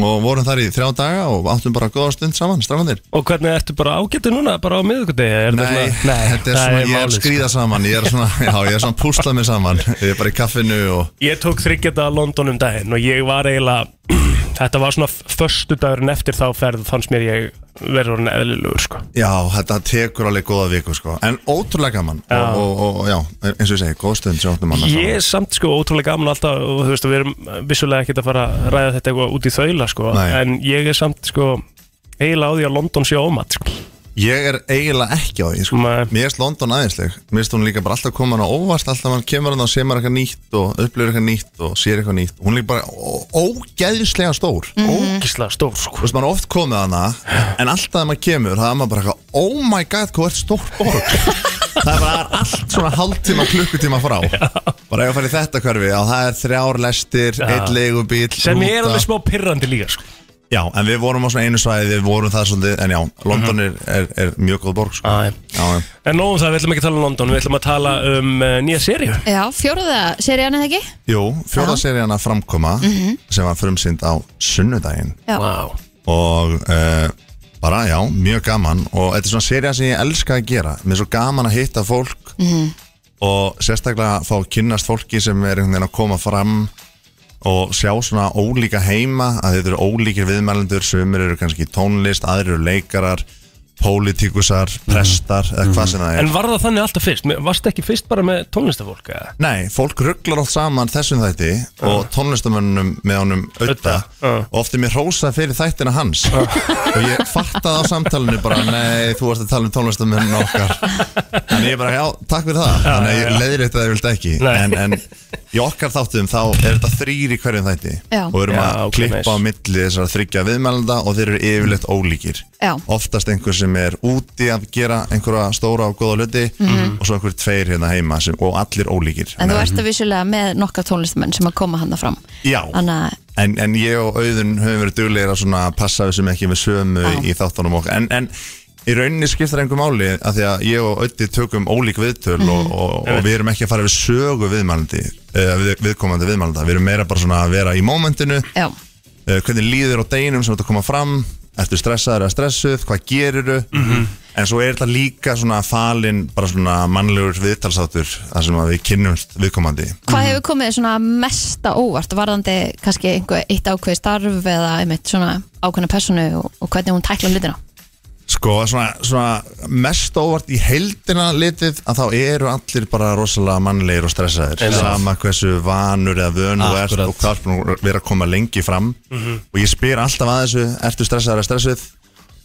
Speaker 7: Og vorum þar í þrjá daga Og áttum bara góða stund saman Strafandir
Speaker 3: Og hvernig ertu bara ágættu núna, bara á miðugudegi?
Speaker 7: Nei,
Speaker 3: nei,
Speaker 7: þetta er
Speaker 3: það
Speaker 7: svona, ég er
Speaker 3: málið,
Speaker 7: að
Speaker 3: sko.
Speaker 7: skrýða saman Ég er svona, já, ég er svona að púsla mig saman Ég er bara í kaffinu og
Speaker 3: Ég tók þryggjata að London um daginn og ég var eiginlega Þetta var svona förstu dagurinn eftir þá ferð og fannst mér ég verður orðin eðlilegur sko
Speaker 7: Já, þetta tekur alveg góða viku sko En ótrúlega gaman og,
Speaker 3: Já.
Speaker 7: og, og, já, eins og ég segi, góð stund sem áttum hann
Speaker 3: Ég er samt sko ótrúlega gaman alltaf og þú veist að við erum vissulega ekkert að fara að ræða þetta eitthvað út í þaula sko
Speaker 7: Nei.
Speaker 3: En ég er samt sko eiginlega á því að London sé ómat sko
Speaker 7: Ég er eiginlega ekki á því sko.
Speaker 3: Nei.
Speaker 7: Mér erst London aðeinsleg Mér erst hún líka bara alltaf koma hann á óvart Alltaf hann kemur hann og semar eitthvað nýtt Og upplifir eitthvað nýtt og sér eitthvað nýtt Hún er líka bara ó- ógeðslega stór mm.
Speaker 3: Ógislega Mhm. stór
Speaker 7: Þú
Speaker 3: sko
Speaker 7: veist, maður er oft komið hana En alltaf þegar maður kemur, það er maður bara eitthvað Oh my god, hvað er stór borg Það er bara það er allt svona hálftíma, klukkutíma frá Bara ef að fara í þetta hverfi Já, það er þrjár lestir, einn leigubíl
Speaker 3: Sem er
Speaker 7: rúta.
Speaker 3: alveg smá pirrandi líka sko
Speaker 7: Já, en við vorum á svona einu svæði, við vorum það svolítið, en já, London
Speaker 3: Mhm.
Speaker 7: er, er, er mjög góð borg, sko.
Speaker 3: Æ.
Speaker 7: Já, já.
Speaker 3: En nóg um það, við ætlum ekki að tala um London, við ætlum að tala um uh, nýja seríu
Speaker 2: Já, fjóruða serían eða ekki?
Speaker 7: Jú, fjóða serían að framkoma, sem var frumsýnd á sunnudaginn
Speaker 2: Já.
Speaker 3: Vá
Speaker 7: og uh, bara, já, mjög gaman og þetta er svona serían sem ég elska að gera, mér er svo gaman að hitta fólk
Speaker 2: Mhm.
Speaker 7: og sérstaklega fá að kynnast fólki sem er einhvern veginn að koma fram og sjá svona ólíka heima að þetta eru ólíkir viðmælendur sumir eru kannski í tónlist, aðrir eru leikarar pólitíkusar, prestar eða hvað sem það er
Speaker 3: En var það þannig alltaf fyrst? Varst ekki fyrst bara með tónlistafólk eða?
Speaker 7: Nei, fólk rugglar allt saman þessum þætti og tónlistamönnum með honum auðta
Speaker 3: uh.
Speaker 7: og oft er mér rósað fyrir þættina hans og ég fattaði á samtalinu bara nei, þú varst að tala um tónlistamönnum okkar en ég bara, já, takk fyrir það þannig að ég leiðir þetta að ég vildi ekki
Speaker 3: Nei.
Speaker 7: en, en í okkar þáttum þá er þetta þrýr í hverjum þætti
Speaker 2: Já.
Speaker 7: og við erum
Speaker 3: Já,
Speaker 7: að
Speaker 3: ok,
Speaker 7: klippa
Speaker 3: nice.
Speaker 7: á milli þessar þryggja viðmælanda og þeir eru yfirleitt ólíkir
Speaker 2: Já.
Speaker 7: oftast einhver sem er úti að gera einhverja stóra og góða hluti og svo einhver tveir hérna heima sem, og allir ólíkir
Speaker 2: Mhm. En þú ert að vissulega með nokkar tónlistamenn sem að koma hann fram
Speaker 7: Já,
Speaker 2: Þannig að
Speaker 7: en, en ég og Auðun höfum verið duglegir að svona passa við sem ekki við sömu
Speaker 2: Já.
Speaker 7: í þáttunum okkar en, en í rauninni skiptir einhver máli að því að ég og Auði tökum ólík viðtöl
Speaker 2: Mhm.
Speaker 7: og, og, og við erum ekki að fara við sögu viðmælandi uh, við, viðkomandi viðmælanda, við erum meira bara svona að vera í mómentinu
Speaker 2: já,
Speaker 7: uh, hvernig líður á deginum sem þetta koma fram ertu stressaður eða stressuð, hvað gerirðu en svo er þetta líka svona falin bara svona mannlegur viðtalsáttur þar sem að við kynnumst viðkomandi
Speaker 2: hvað hefur komið svona mesta óvart varðandi kannski einhver eitt ákveð starf eða einmitt svona ákveðna personu og, og hvernig hún tækla hlutina
Speaker 7: sko svona, svona mest óvart í heildina litið að þá eru allir bara rosalega mannlegir og stressaðir sama hversu vanur eða vönu þú ert
Speaker 1: Akkurat.
Speaker 7: og hvað er búin að vera að koma lengi fram og ég spyr alltaf að þessu ertu stressaður eða stressuð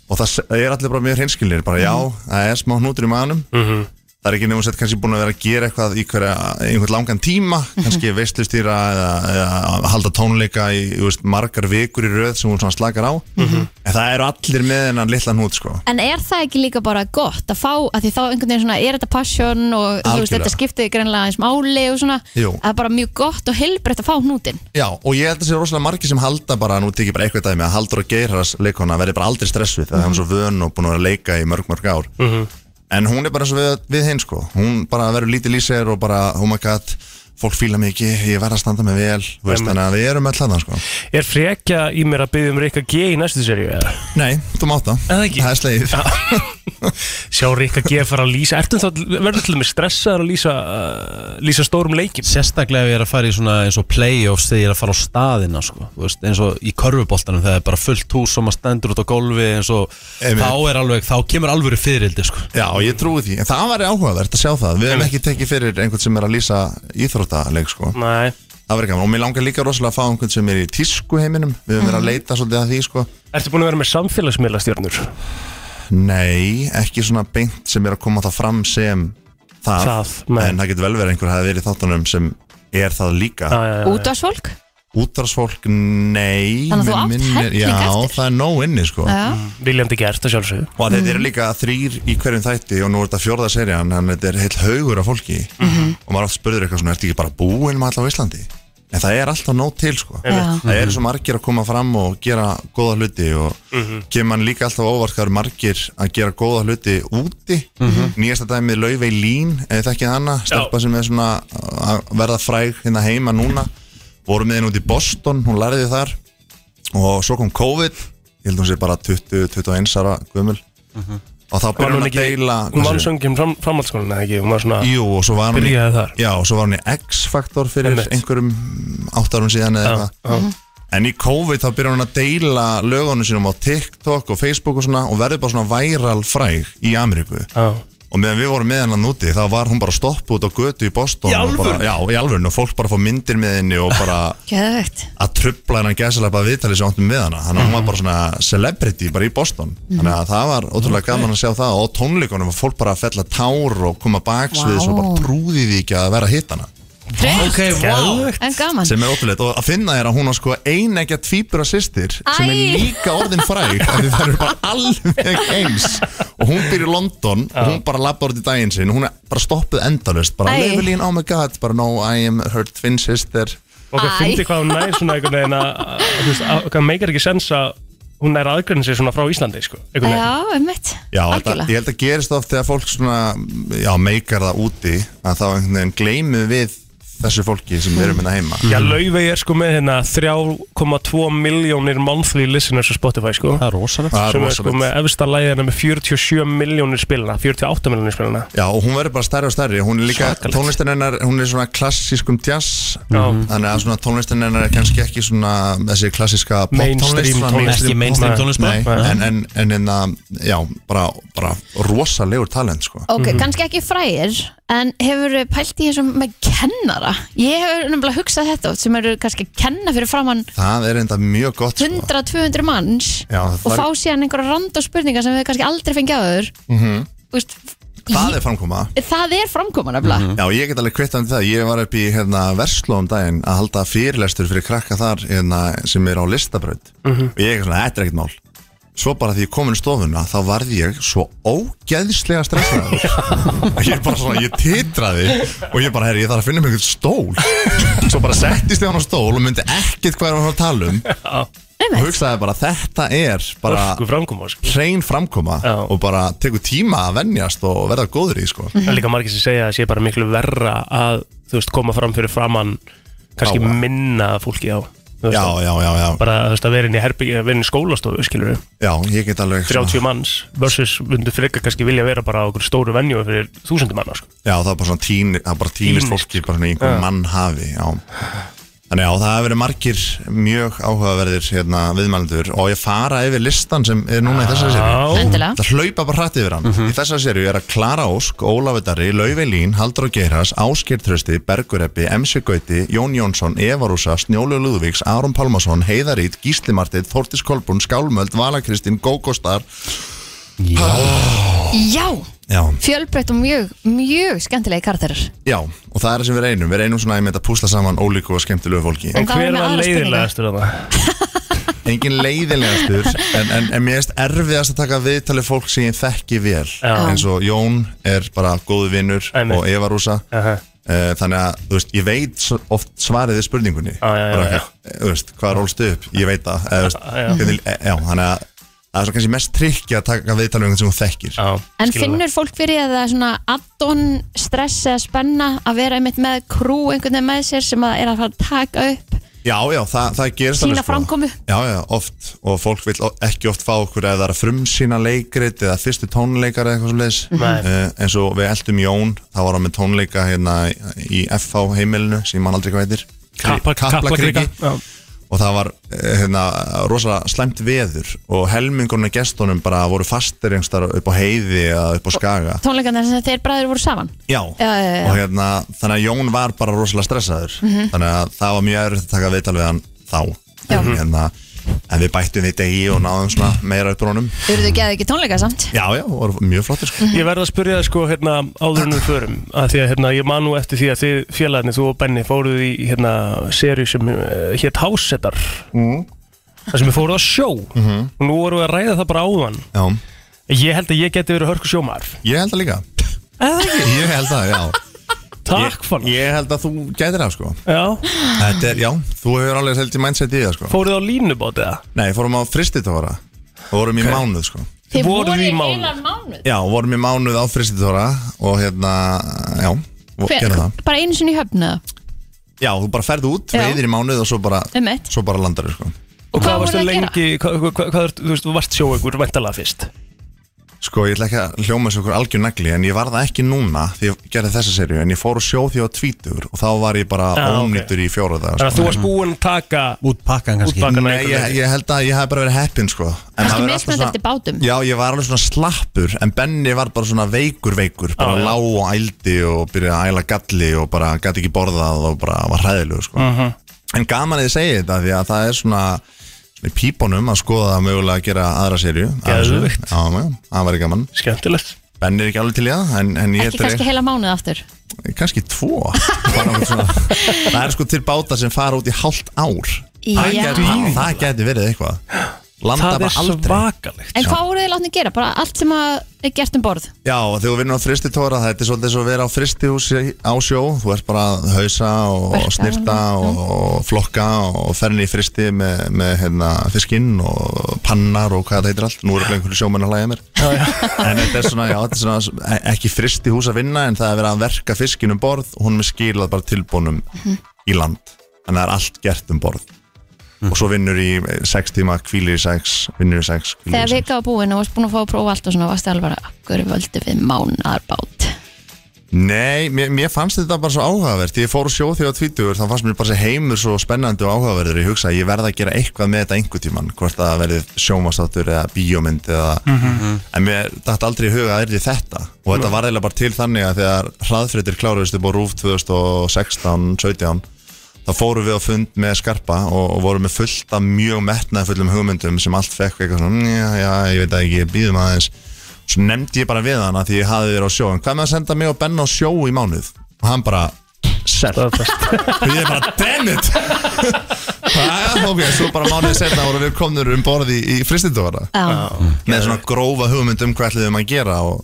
Speaker 7: og það s- er allir bara mjög hreinskilnir bara já, það er smá hnútur í maðanum það er ekki nefnum sett kannski búin að vera að gera eitthvað í hverja, einhvern langan tíma kannski veistlustýra eða, eða halda tónleika í þú veist, margar vikur í röð sem hún svona slakar á en það eru allir með hennan litlan hút sko.
Speaker 2: En er það ekki líka bara gott að fá að því þá einhvern veginn svona er þetta passion og þú veist
Speaker 7: Algjörlega.
Speaker 2: þetta skiptið greinlega eins máli og svona
Speaker 7: Jú.
Speaker 2: að það er bara mjög gott og heilbreytt að fá hnútin
Speaker 7: Já, og ég held að sé rosalega margir sem halda bara nú tekið bara eitthvað dæmi að Haldur og Geirhars leikona verði bara aldrei stressuð það er hann svo vön og búin að vera að leika í mörg mörg ár en hún er bara svo við, við hinn sko hún bara verður lítið lýsir og bara oh my god, fólk fíla mikið ég verð að standa mig vel, þú veist, þannig að við erum alltaf það sko.
Speaker 3: Er frekja í mér að byggja um Rikka G í næstu seríu eða?
Speaker 7: Nei, þú mátt það
Speaker 3: Eða ekki?
Speaker 7: Það er slegið
Speaker 3: Sjá Rikka G fara að lýsa Ertu þá, verður til dæmis stressaður að lýsa uh, lýsa stórum leikjum?
Speaker 1: Sérstaklega ef ég er að fara í svona eins og playoffs þegar ég er að fara á staðina sko. Þú veist, eins og í körfuboltanum það er bara fullt hús og maður stendur út á golfi eins og
Speaker 7: Einmitt.
Speaker 1: þá er alveg, þá kemur alvöru fyririldi sko.
Speaker 7: Já, og ég trúi því En það væri áhugavert að sjá það Við hefum ekki tekið fyrir einhvern sem er að lýsa íþróttaleik sko.
Speaker 3: Nei
Speaker 7: Það væri gaman Og mér langar líka rosalega að fá einhvern sem er í tísku heiminum Við hefum verið að leita svolítið að því sko.
Speaker 3: Mhm. Ertu búin að vera með samfélagsmiðla stjórnur?
Speaker 7: Nei, ekki svona beint sem er að koma það fram sem það,
Speaker 3: Það, nei.
Speaker 7: En það getur vel verið að einhver hafi verið í þáttunum sem er það líka
Speaker 3: Já, já, já.
Speaker 2: Útvarsfólk?
Speaker 7: Útarsfólk, nei
Speaker 2: Þannig að þú
Speaker 7: mig
Speaker 2: átt
Speaker 7: minnir-
Speaker 2: helling
Speaker 7: Já,
Speaker 2: eftir.
Speaker 7: það er nóg inni sko
Speaker 2: Já.
Speaker 3: Mm,
Speaker 2: Mm.
Speaker 3: Viljandi gert að sjálfsögðu
Speaker 7: Og þetta eru líka þrýr í hverjum þætti og nú er þetta fjórða serían en þetta er heill haugur af fólki
Speaker 3: Mm-hmm.
Speaker 7: og maður oft spurður eitthvað svona, ertu ekki bara búinn með alla á Íslandi? En það er alltaf nóg til sko
Speaker 2: Já.
Speaker 7: Það eru svo margir að koma fram og gera góða hluti og kemur mann líka alltaf á óvart hvað eru margir að gera góða hluti úti Nýjasta dæmið Laufey Lín, eða þekkið hana stelpa sem er svona að verða fræg hérna heima núna vorum með henni út í Boston, hún lærði þar og svo kom COVID ég held hún sé bara 20-21 ára gömul og þá byrjar
Speaker 3: Var
Speaker 7: hún
Speaker 3: hún
Speaker 7: að
Speaker 3: ekki,
Speaker 7: deila
Speaker 3: hún
Speaker 7: hvað
Speaker 9: Ναι.
Speaker 3: vann
Speaker 7: segirðu?
Speaker 3: söngin fram, framhaldsskólan eða ekki, hún var svona
Speaker 7: Jú, og svo var hún í,
Speaker 3: Byrjaði þar.
Speaker 7: já, og svo var hún í X-faktor fyrir
Speaker 3: Einmitt.
Speaker 7: einhverjum áttarum síðan eða
Speaker 3: Já,
Speaker 7: eitthvað En í COVID þá byrjar hún að deila lögunum sínum á TikTok og Facebook og svona og verður bara svona væral fræg í Ameríku
Speaker 3: já,
Speaker 7: og meðan við vorum með hennan úti þá var hún bara stopp út á götu í Boston
Speaker 3: Í
Speaker 7: og bara,
Speaker 3: alvöru?
Speaker 7: Já, í alvörun og fólk bara fór myndir með henni og bara
Speaker 2: Geðvegt
Speaker 7: að trubla hennan gæsilega viðtalið sem áttum með hana þannig að
Speaker 2: Mhm.
Speaker 7: hún var bara svona celebrity bara í Boston þannig að það var ótrúlega gaman að sjá það og á tónleikunum var fólk bara að fella tár og koma baks við þessu og bara trúði því ekki að vera að hitta hana
Speaker 1: Ok, wow
Speaker 3: Geðvegt.
Speaker 2: En gaman
Speaker 7: sem er ótrúlega og að finna er að hún var sko einegja tvíbura sýstir sem er
Speaker 2: Æ.
Speaker 7: líka orðin fræg af því það eru bara alveg eins og hún býr í London og hún bara labba orðið daginn sinn hún er bara stoppuð endalust bara
Speaker 2: Æ.
Speaker 7: levelín oh my god bara no I am her twin sister
Speaker 3: og hvað
Speaker 2: Æ.
Speaker 3: fyndi hvað hún nær svona einhvern veginn að, að, þú veist, að hvað meikar ekki sens að hún nær aðgrenni sig svona frá Íslandi, sko, einhvern veginn
Speaker 2: Já, einmitt
Speaker 7: Já, það,
Speaker 2: Algjörlega
Speaker 7: ég held að gerist oft þegar fólk svona, já, meikar það úti að þá einhvern veginn gleymið við þessu fólki sem við erum hérna heima
Speaker 3: Já, Laufey er sko með hérna 3,2 miljónir monthly listeners á Spotify, sko
Speaker 1: Það er rosalegt
Speaker 7: Það er
Speaker 3: sem er sko
Speaker 7: rosalegt
Speaker 3: með efsta læðina með 47 miljónir spilna 48 miljónir spilna
Speaker 7: Já, og hún verður bara stærri og stærri Hún er líka,
Speaker 3: Svakalegt.
Speaker 7: tónlistin hennar, hún er svona klassískum jazz
Speaker 3: Já.
Speaker 7: Þannig að svona tónlistin hennar er kannski ekki svona þessi klassíska
Speaker 3: Mainstream
Speaker 7: pop-tónlist svona
Speaker 3: tónlist.
Speaker 1: Ekki mainstream
Speaker 3: Nei.
Speaker 1: tónlist
Speaker 7: Nei,
Speaker 1: bara
Speaker 7: en, en, en, en já, bara, bara rosalegur talent, sko
Speaker 2: Ok, kannski ekki fræðir En hefur pælt í þessum með kennara Ég hefur nefnilega hugsað þetta oft, sem eru kannski að kenna fyrir framann
Speaker 7: Það er enda mjög gott, sko
Speaker 2: 100-200 manns
Speaker 7: Já,
Speaker 2: og
Speaker 7: það
Speaker 2: fá
Speaker 7: er-
Speaker 2: síðan einhverja rand og spurningar sem við kannski aldrei fengið áður mm
Speaker 7: Það Mhm. er framkoma
Speaker 2: Það er framkoman nefnilega
Speaker 7: Já, ég get alveg kvittandi það. Ég var upp í hérna, Versló um daginn að halda fyrirlestur fyrir krakka þar hérna, sem er á listabraut og ég er svona, þetta er ekkert mál Svo bara því ég kom inn í stofuna þá varð ég svo ógeðslega stressaður og ég bara svona, ég titraði og ég bara, herri, ég þarf að finna mig einhvern stól Svo bara settist ég á hann á stól og myndi ekkert hvað er hann að tala um og hugsaði bara, þetta er bara
Speaker 3: Örsku framkoma, sko
Speaker 7: hrein framkoma
Speaker 3: Já.
Speaker 7: og bara tekur tíma að venjast og verða góður í, sko
Speaker 3: Það er líka margir sem segja að það sé bara miklu verra að þú veist, koma fram fyrir framann kannski
Speaker 7: Áa.
Speaker 3: minna fólki á þú veist,
Speaker 7: Já, já, já, já
Speaker 3: bara þú veist, að vera inn í, herbygi, vera inn í skólastofu skilur við,
Speaker 7: Já, ég get alveg
Speaker 3: 30 manns versus myndu frekar kannski vilja vera bara á okkur stóru venju fyrir þúsundum manna sko.
Speaker 7: Já, það er bara svona tín, það er bara tínist
Speaker 3: Tínist.
Speaker 7: fólki bara svona í einhver mann hafi já. Þannig já, það hefur verið margir mjög áhugaverðir hérna, viðmælendur og ég fara yfir listan sem er núna í þessari séri
Speaker 2: Endilega
Speaker 7: Það hlaupa bara hrætt yfir hann Í þessari séri er að Klara Ósk, Ólafur Darri, Laufey Lín, Haldur og Geiras, Ásker Trösti, Bergur Eppi, MC Gauti, Jón Jónsson, Eva Rúsa, Snjólu Lúðvíks, Aron Pálmason, Heiðarít, Gísli Martið, Þórtis Kolbún, Skálmöld, Vala Kristín, Gógó Star
Speaker 2: Já,
Speaker 7: Já,
Speaker 2: fjölbreytt og mjög, mjög skemmtilegi karakterar
Speaker 7: Já, og það er það sem við reynum Við reynum svona einmitt að púsla saman ólíku og skemmtilegu fólki
Speaker 2: En hvað er
Speaker 3: hver
Speaker 2: með
Speaker 3: var
Speaker 2: aðra
Speaker 3: leiðilegastur þarna?
Speaker 7: Engin leiðilegastur en, en, en mér erst erfiðast að taka viðtalið fólk sem ég þekki vel
Speaker 3: Já.
Speaker 7: eins og Jón er bara góðu vinnur
Speaker 3: Einmitt.
Speaker 7: og Eva Rúsa
Speaker 3: Aha.
Speaker 7: Eh, Þannig að, þú veist, ég veit s- oft svarið við spurningunni
Speaker 3: Já, já, já,
Speaker 7: Bara,
Speaker 3: já.
Speaker 7: eh, Þú veist, hvað rólstu upp? Ég veit það eða, þú veist,
Speaker 3: Já, já.
Speaker 7: hvernig- eh, já, þannig að það er svo kannski mest trikki að taka viðtalið um einhvern sem hún þekkir
Speaker 3: Já,
Speaker 2: En
Speaker 3: skilur það.
Speaker 2: finnur fólk fyrir að það er svona addon stress eða spenna að vera einmitt með krú einhvern veginn með sér sem að er að fara að taka upp
Speaker 7: Já, já, það, það gerist
Speaker 2: Sýna
Speaker 7: alveg, sko.
Speaker 2: framkomu.
Speaker 7: Já, já, oft Og fólk vil o- ekki oft fá okkur eða það er að frumsýna leikrit eða fyrstu tónleikar eða eitthvað svo leis
Speaker 3: Nei.
Speaker 7: En svo við eldum Jón þá var hann með tónleika hérna í FH heimilinu sem mann aldrei hvað heitir
Speaker 3: Kappa-
Speaker 7: Kaplakriki.
Speaker 3: Kaplakrika Já.
Speaker 7: Og það var eh, hérna, rosalega slæmt veður og helmingurinn af gestunum bara voru fastir einhverstaðar upp á heiði eða upp á skaga
Speaker 2: tónleikarnar sem þeir bræður voru saman
Speaker 7: Já,
Speaker 2: Já, já, já.
Speaker 7: og hérna, þannig að Jón var bara
Speaker 2: Mhm.
Speaker 7: rosalega stressaður þannig að það var mjög erfitt að taka viðtal við hann þá
Speaker 2: Já.
Speaker 7: En hérna, En við bættum því degi og náðum svona meira upp rónum
Speaker 2: Urðu geði ekki tónleika samt
Speaker 7: Já, já, og voru mjög flottir sko
Speaker 3: Ég verð að spyrja það sko hérna áður en við förum að því að hérna ég man nú eftir því að þið félagarni þú og Benni fóruð í hérna seri sem uh, hétt Hásetar
Speaker 7: mm.
Speaker 3: þar sem við fóruð á sjó og nú vorum við að ræða það bara áðan
Speaker 7: Mhm. Já,
Speaker 3: Ég held að ég geti verið hörku sjómar
Speaker 7: ég held það líka Ég held það, já
Speaker 3: Takk fann
Speaker 7: Ég held að þú gætir það sko
Speaker 3: Já,
Speaker 7: Þetta er, já, þú hefur alveg held í mindset í það sko
Speaker 3: fóruð á línubót eða
Speaker 7: Nei, fórum á fristitóra og vorum í mánuð sko
Speaker 2: Þið
Speaker 3: Voruð
Speaker 2: voru
Speaker 3: í
Speaker 2: í
Speaker 3: mánuð.
Speaker 2: heilan mánuð
Speaker 7: Já, vorum í mánuð á fristitóra og hérna, já, og
Speaker 2: Hver-
Speaker 7: gerðum það
Speaker 2: Bara einu sinni í höfnu
Speaker 7: Já, þú bara ferð út,
Speaker 2: Já.
Speaker 7: veiðir í mánuð og svo bara,
Speaker 2: Einmitt.
Speaker 7: svo bara landar sko
Speaker 2: Hvað
Speaker 3: Og hvað varstu
Speaker 2: voruð þið að
Speaker 3: lengi, hvað, hvað, hvað, hvað, þú veist, þú varst sjó ykkur væntalega fyrst
Speaker 7: Sko, ég ætla ekki að hljóma þessu okkur algjör negli en ég var það ekki núna því ég gerði þessa serju en ég fór og sjóð því á tvítur og þá var ég bara
Speaker 3: Já, Ah, ok.
Speaker 7: ónýttur í fjóra dagar
Speaker 3: Þannig
Speaker 7: sko.
Speaker 3: að þú varst búinn að taka
Speaker 1: Út pakkan kannski
Speaker 3: útbakana
Speaker 7: Nei, ég, ég held að ég hef bara verið heppin sko En
Speaker 2: Kannski
Speaker 7: maður er alltaf
Speaker 2: mismunandi eftir bátum.
Speaker 7: Já, ég var alveg svona slappur en Benni var bara svona veikur veikur bara
Speaker 3: Já, já.
Speaker 7: lág og ældi og byrjaði að æla galli og bara gæti ekki borðað og bara var hræðilegu sko
Speaker 3: Mhm.
Speaker 7: En gaman að ég segi þetta því að það er svona svona í pípunum að skoða mögulega að gera aðra serju af þessu.
Speaker 3: Geðveikt.
Speaker 7: Já, já, það væri gaman
Speaker 3: Skemmtilegt
Speaker 7: Benni er ekki alveg til í það en, en ég
Speaker 2: Ekki kannski heila mánuð aftur
Speaker 7: kannski tvo Bara nokkuð svona- það er sko til báta sem fara út í hálft ár það,
Speaker 2: Já.
Speaker 7: gæti, það gæti verið eitthvað landa
Speaker 3: Það
Speaker 7: bara
Speaker 3: er
Speaker 7: aldrei
Speaker 3: svakalegt sko.
Speaker 2: En hvað voru þið látni að gera? Bara allt sem að er gert um borð
Speaker 7: já og þegar við vinnum á fristitóra þetta er svolítið svo að vera á fristihúsi á sjó þú ert bara að hausa og
Speaker 2: Verka
Speaker 7: snirta og, og flokka og ferni í fristi með, með hérna, fiskinn og pannar og hvað þetta heitir allt nú eru einhverju sjómenn að hlæja mér en þetta er svona, já, þetta er svona e- ekki fristihús að vinna en það er verið að verka fiskinn um borð og hún er skilað bara tilbúnum í land þannig að það er allt gert um borð og svo vinnur í 6 tíma, kvílir í 6 vinnur í 6,
Speaker 2: Þegar
Speaker 7: kvílir í 6
Speaker 2: vika var búin og varst búin að fá að prófa allt og svona varst alveg bara, akkur völdu við mánarbát
Speaker 7: Nei, mér, mér fannst þetta bara svo áhugavert Þegar ég fór sjóð því á tvítugur þá fannst mér bara þessi heimur svo spennandi og áhugaverður ég hugsa að ég verða að gera eitthvað með þetta einhver tíman hvort það verði sjómasáttur eða bíómynd eða...
Speaker 1: Mhm.
Speaker 7: en mér dætt aldrei í huga að það er þetta og þetta var eiginlega bara til þannig að þegar hraðfritir kláruðist upp á RÚF 2016-17 þá fórum við á fund með Skarpa og, og vorum með fullt af mjög metnaðfullum hugmyndum sem allt fekk eitthvað svona, "Mm, já, já, ég veit það ekki, býðum aðeins svo nefndi ég bara við hana því ég hafi verið á sjó en hvað með að senda mig og Benna á sjó í mánuð og hann bara Sell. og ég bara, damn it Það er ok, svo bara mánuðið setna vorum við komnur um borði í, í fristindóra
Speaker 2: Já,
Speaker 7: með svona grófa hugmynd um hvað ætliðum að gera og,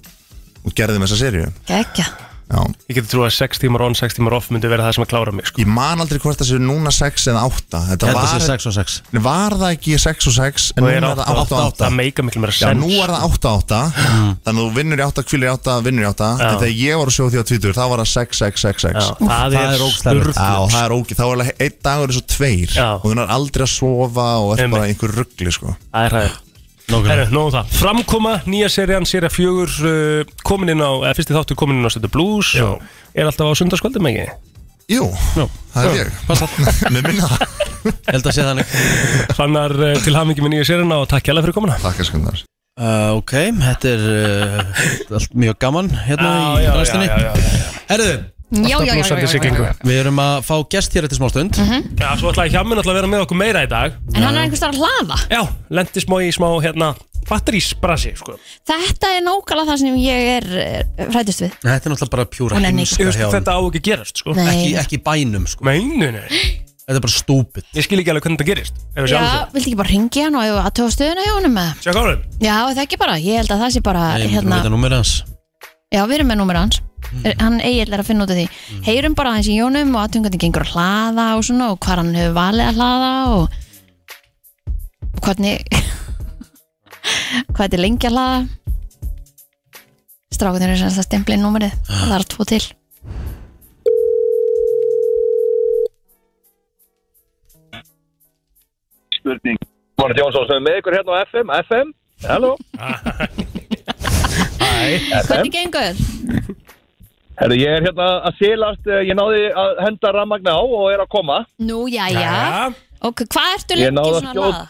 Speaker 7: og gerðum þessa serju
Speaker 2: geggja
Speaker 7: Já.
Speaker 3: Ég geti trú að 6 tímar on, 6 tímar off myndi vera það sem að klára mig sko.
Speaker 7: ég man aldrei hvort það séu núna 6 eða 8 þetta
Speaker 1: Ég held að sé
Speaker 7: var,
Speaker 1: 6 og 6
Speaker 7: var það ekki 6 og 6 en
Speaker 3: Og
Speaker 7: núna
Speaker 3: er
Speaker 7: er það 8 og 8
Speaker 3: Það meika miklu meira
Speaker 7: Já,
Speaker 3: sens
Speaker 7: nú er það 8 og 8 Þannig að þú vinnur í 8, kvílir í 8, vinnur í 8
Speaker 3: Mm. Já.
Speaker 7: En þegar ég var að sjóða því á 20 þá var það 6, 6, 6, 6
Speaker 3: Já, Það
Speaker 1: það
Speaker 3: er
Speaker 1: er ógeðslegt.
Speaker 3: sturð
Speaker 7: Já, það er ógið, þá er alveg einn dagur eins og tveir
Speaker 3: Já.
Speaker 7: og þú er aldrei að sofa og er
Speaker 3: Einmitt.
Speaker 7: bara í einhver ruggli sko.
Speaker 3: Það er hægt Herru, nóg um það Framkoma, nýja serían, serja fjögur uh, komin inn á, eða fyrsti þáttur komin inn á Stötu Blues
Speaker 1: Já.
Speaker 3: og er alltaf á sundarskvöldum ekki?
Speaker 7: Jú,
Speaker 1: Já.
Speaker 7: það er ég Mér minna það
Speaker 1: Held að sé þannig
Speaker 3: Fannar uh, til hamingi með nýja serían og takk hérlega fyrir komuna
Speaker 7: Takk að skundar
Speaker 1: uh, Ok, þetta er uh, allt mjög gaman hérna í ræstinni
Speaker 3: já
Speaker 1: Herðu,
Speaker 2: Já, já, já, já,
Speaker 3: Blúsandi
Speaker 2: já, já,
Speaker 3: siglingu
Speaker 2: já.
Speaker 1: við erum að fá gest hér eftir smástund
Speaker 3: Já, svo ætlaði Hjamin alltaf að vera með okkur meira í dag
Speaker 2: Mhm. En hann er einhvers þar að hlaða
Speaker 3: Já, lendi smá í smá, hérna, batterísbrasi, sko
Speaker 2: Þetta er nákvæmlega það sem ég er eh, hræddust við
Speaker 1: Þetta er náttúrulega bara pjúra
Speaker 2: Hún er
Speaker 3: Ég
Speaker 1: heimska
Speaker 3: veist
Speaker 1: hjá honum.
Speaker 3: þetta á ekki að gerast, sko
Speaker 2: Nei.
Speaker 1: ekki, ekki í bænum sko.
Speaker 3: Meinu, nei
Speaker 1: Þetta er bara stúpid
Speaker 3: Ég skil ekki alveg hvernig þetta gerist Ef við sjáum
Speaker 2: Já,
Speaker 3: þetta
Speaker 2: viltu ekki bara ringi hann og aðtöfa stöðuna hjá honum eða?
Speaker 3: Sjá hvað erum
Speaker 2: Já, það ekki bara, ég held að það sé bara
Speaker 1: Nei, Ég myndi
Speaker 2: hérna,
Speaker 1: að veita númerið hans
Speaker 2: Já, við erum með númur hans mm. Hann eiginlega er að finna út af því Heyrum bara aðeins í Jónum og aðtöngandi gengur að hlaða og svona og hvað hann hefur valið að hlaða og, og hvernig hvað þetta er lengi að hlaða Strákunir eru sem sagt að stempla inn númerið það er tvo til
Speaker 10: Mána Jónsson sem er með ykkur hérna á FM FM, halló
Speaker 2: Hvernig gengur?
Speaker 10: Herðu, ég er hérna að sílast Ég náði að henda rammagna á og er að koma
Speaker 2: Nú, jæja Ok, hvað ertu
Speaker 10: Ég
Speaker 2: lengi
Speaker 10: náði
Speaker 2: svona
Speaker 10: að
Speaker 2: að
Speaker 10: skjóta-
Speaker 2: hlaða?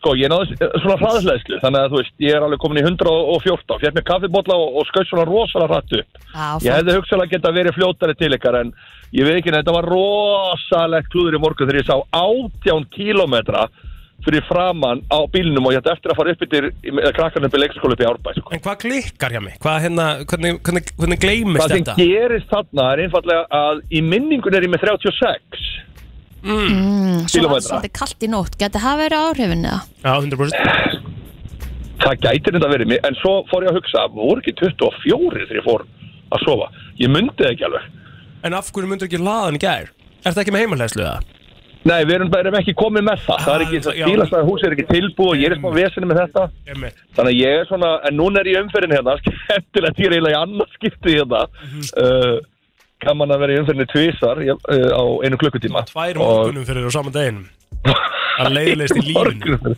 Speaker 10: Sko, ég náði eh, svona hraðisleðslu Þannig að þú veist, ég er alveg komin í 114 Fjert mér kaffibólla og, og skauð svona rosalega hratt upp Ég
Speaker 2: Já,
Speaker 10: hefði hugsalega getað verið fljótari til ykkar En ég veit ekki, þetta var rosalegt klúður í morgun Þegar ég sá 18 kílómetra fyrir framann á bílnum og ég ætti eftir að fara upp yfir eða krakkan upp í leikskóla upp í Árbæ sko.
Speaker 3: En hvað glikkar hjá mig? Hvað hérna, hvernig, hvernig, hvernig gleymist
Speaker 10: Það sem
Speaker 3: þetta?
Speaker 10: gerist þarna er einfallega að í minningun er ég með 36
Speaker 2: mm, Svo var
Speaker 10: Kílómetra.
Speaker 2: þetta svolítið kallt í nótt Gæti það verið áhrifin eða?
Speaker 3: Já, 100%
Speaker 10: Það gæti þetta verið mér, en svo fór ég að hugsa voru ekki 24 þegar ég fór að sofa Ég myndi það ekki alveg
Speaker 3: En af hverju myndur ekki laðan í gær? Er þetta ekki með heimalæslu það?
Speaker 10: Nei, við erum, við erum ekki komið með það Það er ekki, það
Speaker 3: Ah, já.
Speaker 10: bílastæða hús er ekki tilbúið og ég er smá vesinni með þetta Þannig að ég er svona, en núna er ég í umferðin hérna Skemmtilegt, ég er eiginlega í annars skipti hérna
Speaker 3: Mhm.
Speaker 10: uh, Kannan að vera í umferðinni tvisar ég, uh, á einu klukkutíma
Speaker 3: Tvær
Speaker 10: Og-
Speaker 3: morgunum fyrir á sama deginum Það leiðilegst í lífinu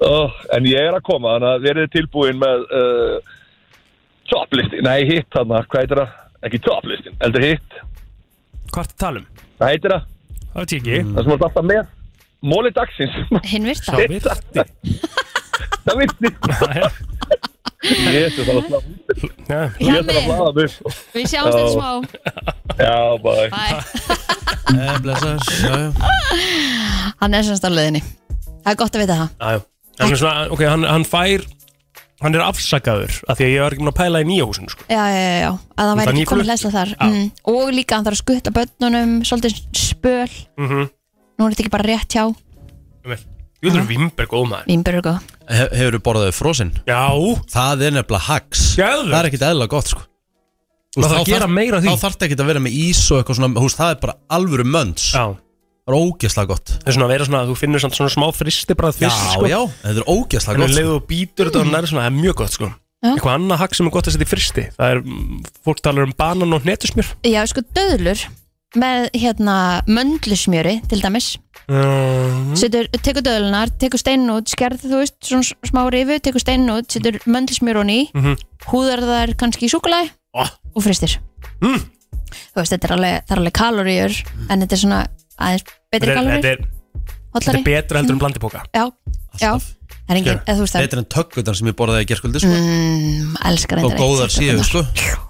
Speaker 10: Ó, en ég er að koma, þannig að verið tilbúin með uh, toplisti, nei hitt þarna, hvað heitir það? Ekki toplistin, heldur hitt.
Speaker 3: Hvað ertu að tala um?
Speaker 10: Hvað heitir það?
Speaker 3: Það veit ég ekki.
Speaker 10: Það sem voru alltaf með. Móli dagsins.
Speaker 2: Hinn virta
Speaker 10: Sá virti. Það virti. Jésu, það var slá. Ég þarf að hlaða mig. sko.
Speaker 2: Við sjáumst þetta
Speaker 10: Já.
Speaker 2: smá
Speaker 10: Já, bæ.
Speaker 2: Bye.
Speaker 1: Eh, Blessas, já, já
Speaker 2: Hann er semst á leiðinni Það er gott að vita það
Speaker 3: Jájá Þannig svona, ok, hann, hann fær Hann er afsakaður af Því að ég var ekki múin að pæla í nýja húsinu sko.
Speaker 2: Já, já, já, já, að það
Speaker 3: Það
Speaker 2: væri
Speaker 3: er
Speaker 2: ekki komið
Speaker 3: nýkomið.
Speaker 2: hlæsla þar mm. Og líka hann þarf að skutta börnunum Svolítið spöl
Speaker 3: mm
Speaker 1: Mhm.
Speaker 3: -hmm.
Speaker 2: Nú er þetta ekki bara rétt hjá
Speaker 3: Ég vil vera vimber góð maður
Speaker 2: Vínbjörg og
Speaker 1: He Hefur þú borðaðið frosin?
Speaker 3: Já
Speaker 1: Það er nefnilega hacks
Speaker 3: Gjöður.
Speaker 1: Það er ekkit eðla gott sko Þú
Speaker 3: Maður
Speaker 1: veist,
Speaker 3: þarf að
Speaker 1: þá
Speaker 3: gera
Speaker 1: þarf-
Speaker 3: meira af því.
Speaker 1: Þá þarf það ekki að vera með ís og eitthvað svona húst, Það er bara alvöru mönns
Speaker 3: Já
Speaker 1: Það er ógeðslega gott
Speaker 3: Það er svona að vera svona að þú finnur samt svona smá fristi bara
Speaker 1: Já,
Speaker 3: fyrst sko.
Speaker 1: já, þetta er ógeðslega
Speaker 3: En
Speaker 1: gott
Speaker 3: þú
Speaker 1: sko.
Speaker 3: leiðu og býtur þetta og nær svona, það er mjög gott sko
Speaker 2: Já.
Speaker 3: Eitthvað annað hakk sem er gott að setja í fristi Það er, mm, fólk talar um banan og hnetusmjör
Speaker 2: Já, sko, döðlur með hérna möndlusmjöri til dæmis
Speaker 3: mm.
Speaker 2: setur, tekur döðlunar, tekur steinin út skerð, þú veist, svona s- smá rifu tekur steinin út, setur möndlusmjör honi í
Speaker 3: Mhm.
Speaker 2: húðar þær kannski í súkulæði
Speaker 3: oh.
Speaker 2: og fristir
Speaker 3: Mm.
Speaker 2: þú veist, þetta er alveg, það er alveg kaloríur en þetta er svona aðeins
Speaker 3: Þetta
Speaker 2: betri
Speaker 3: er, þetta
Speaker 2: kaloríur
Speaker 3: er, þetta er betra heldur en blandipoka
Speaker 2: Já, já, það er engin, eða þú veist það
Speaker 1: Betur en tökkutan sem ég borðaði í gerskvöldi sko.
Speaker 2: mm, elskar
Speaker 1: Og
Speaker 2: reyndar ekki
Speaker 1: góðar
Speaker 2: sérstakarnar.
Speaker 1: síðu sko.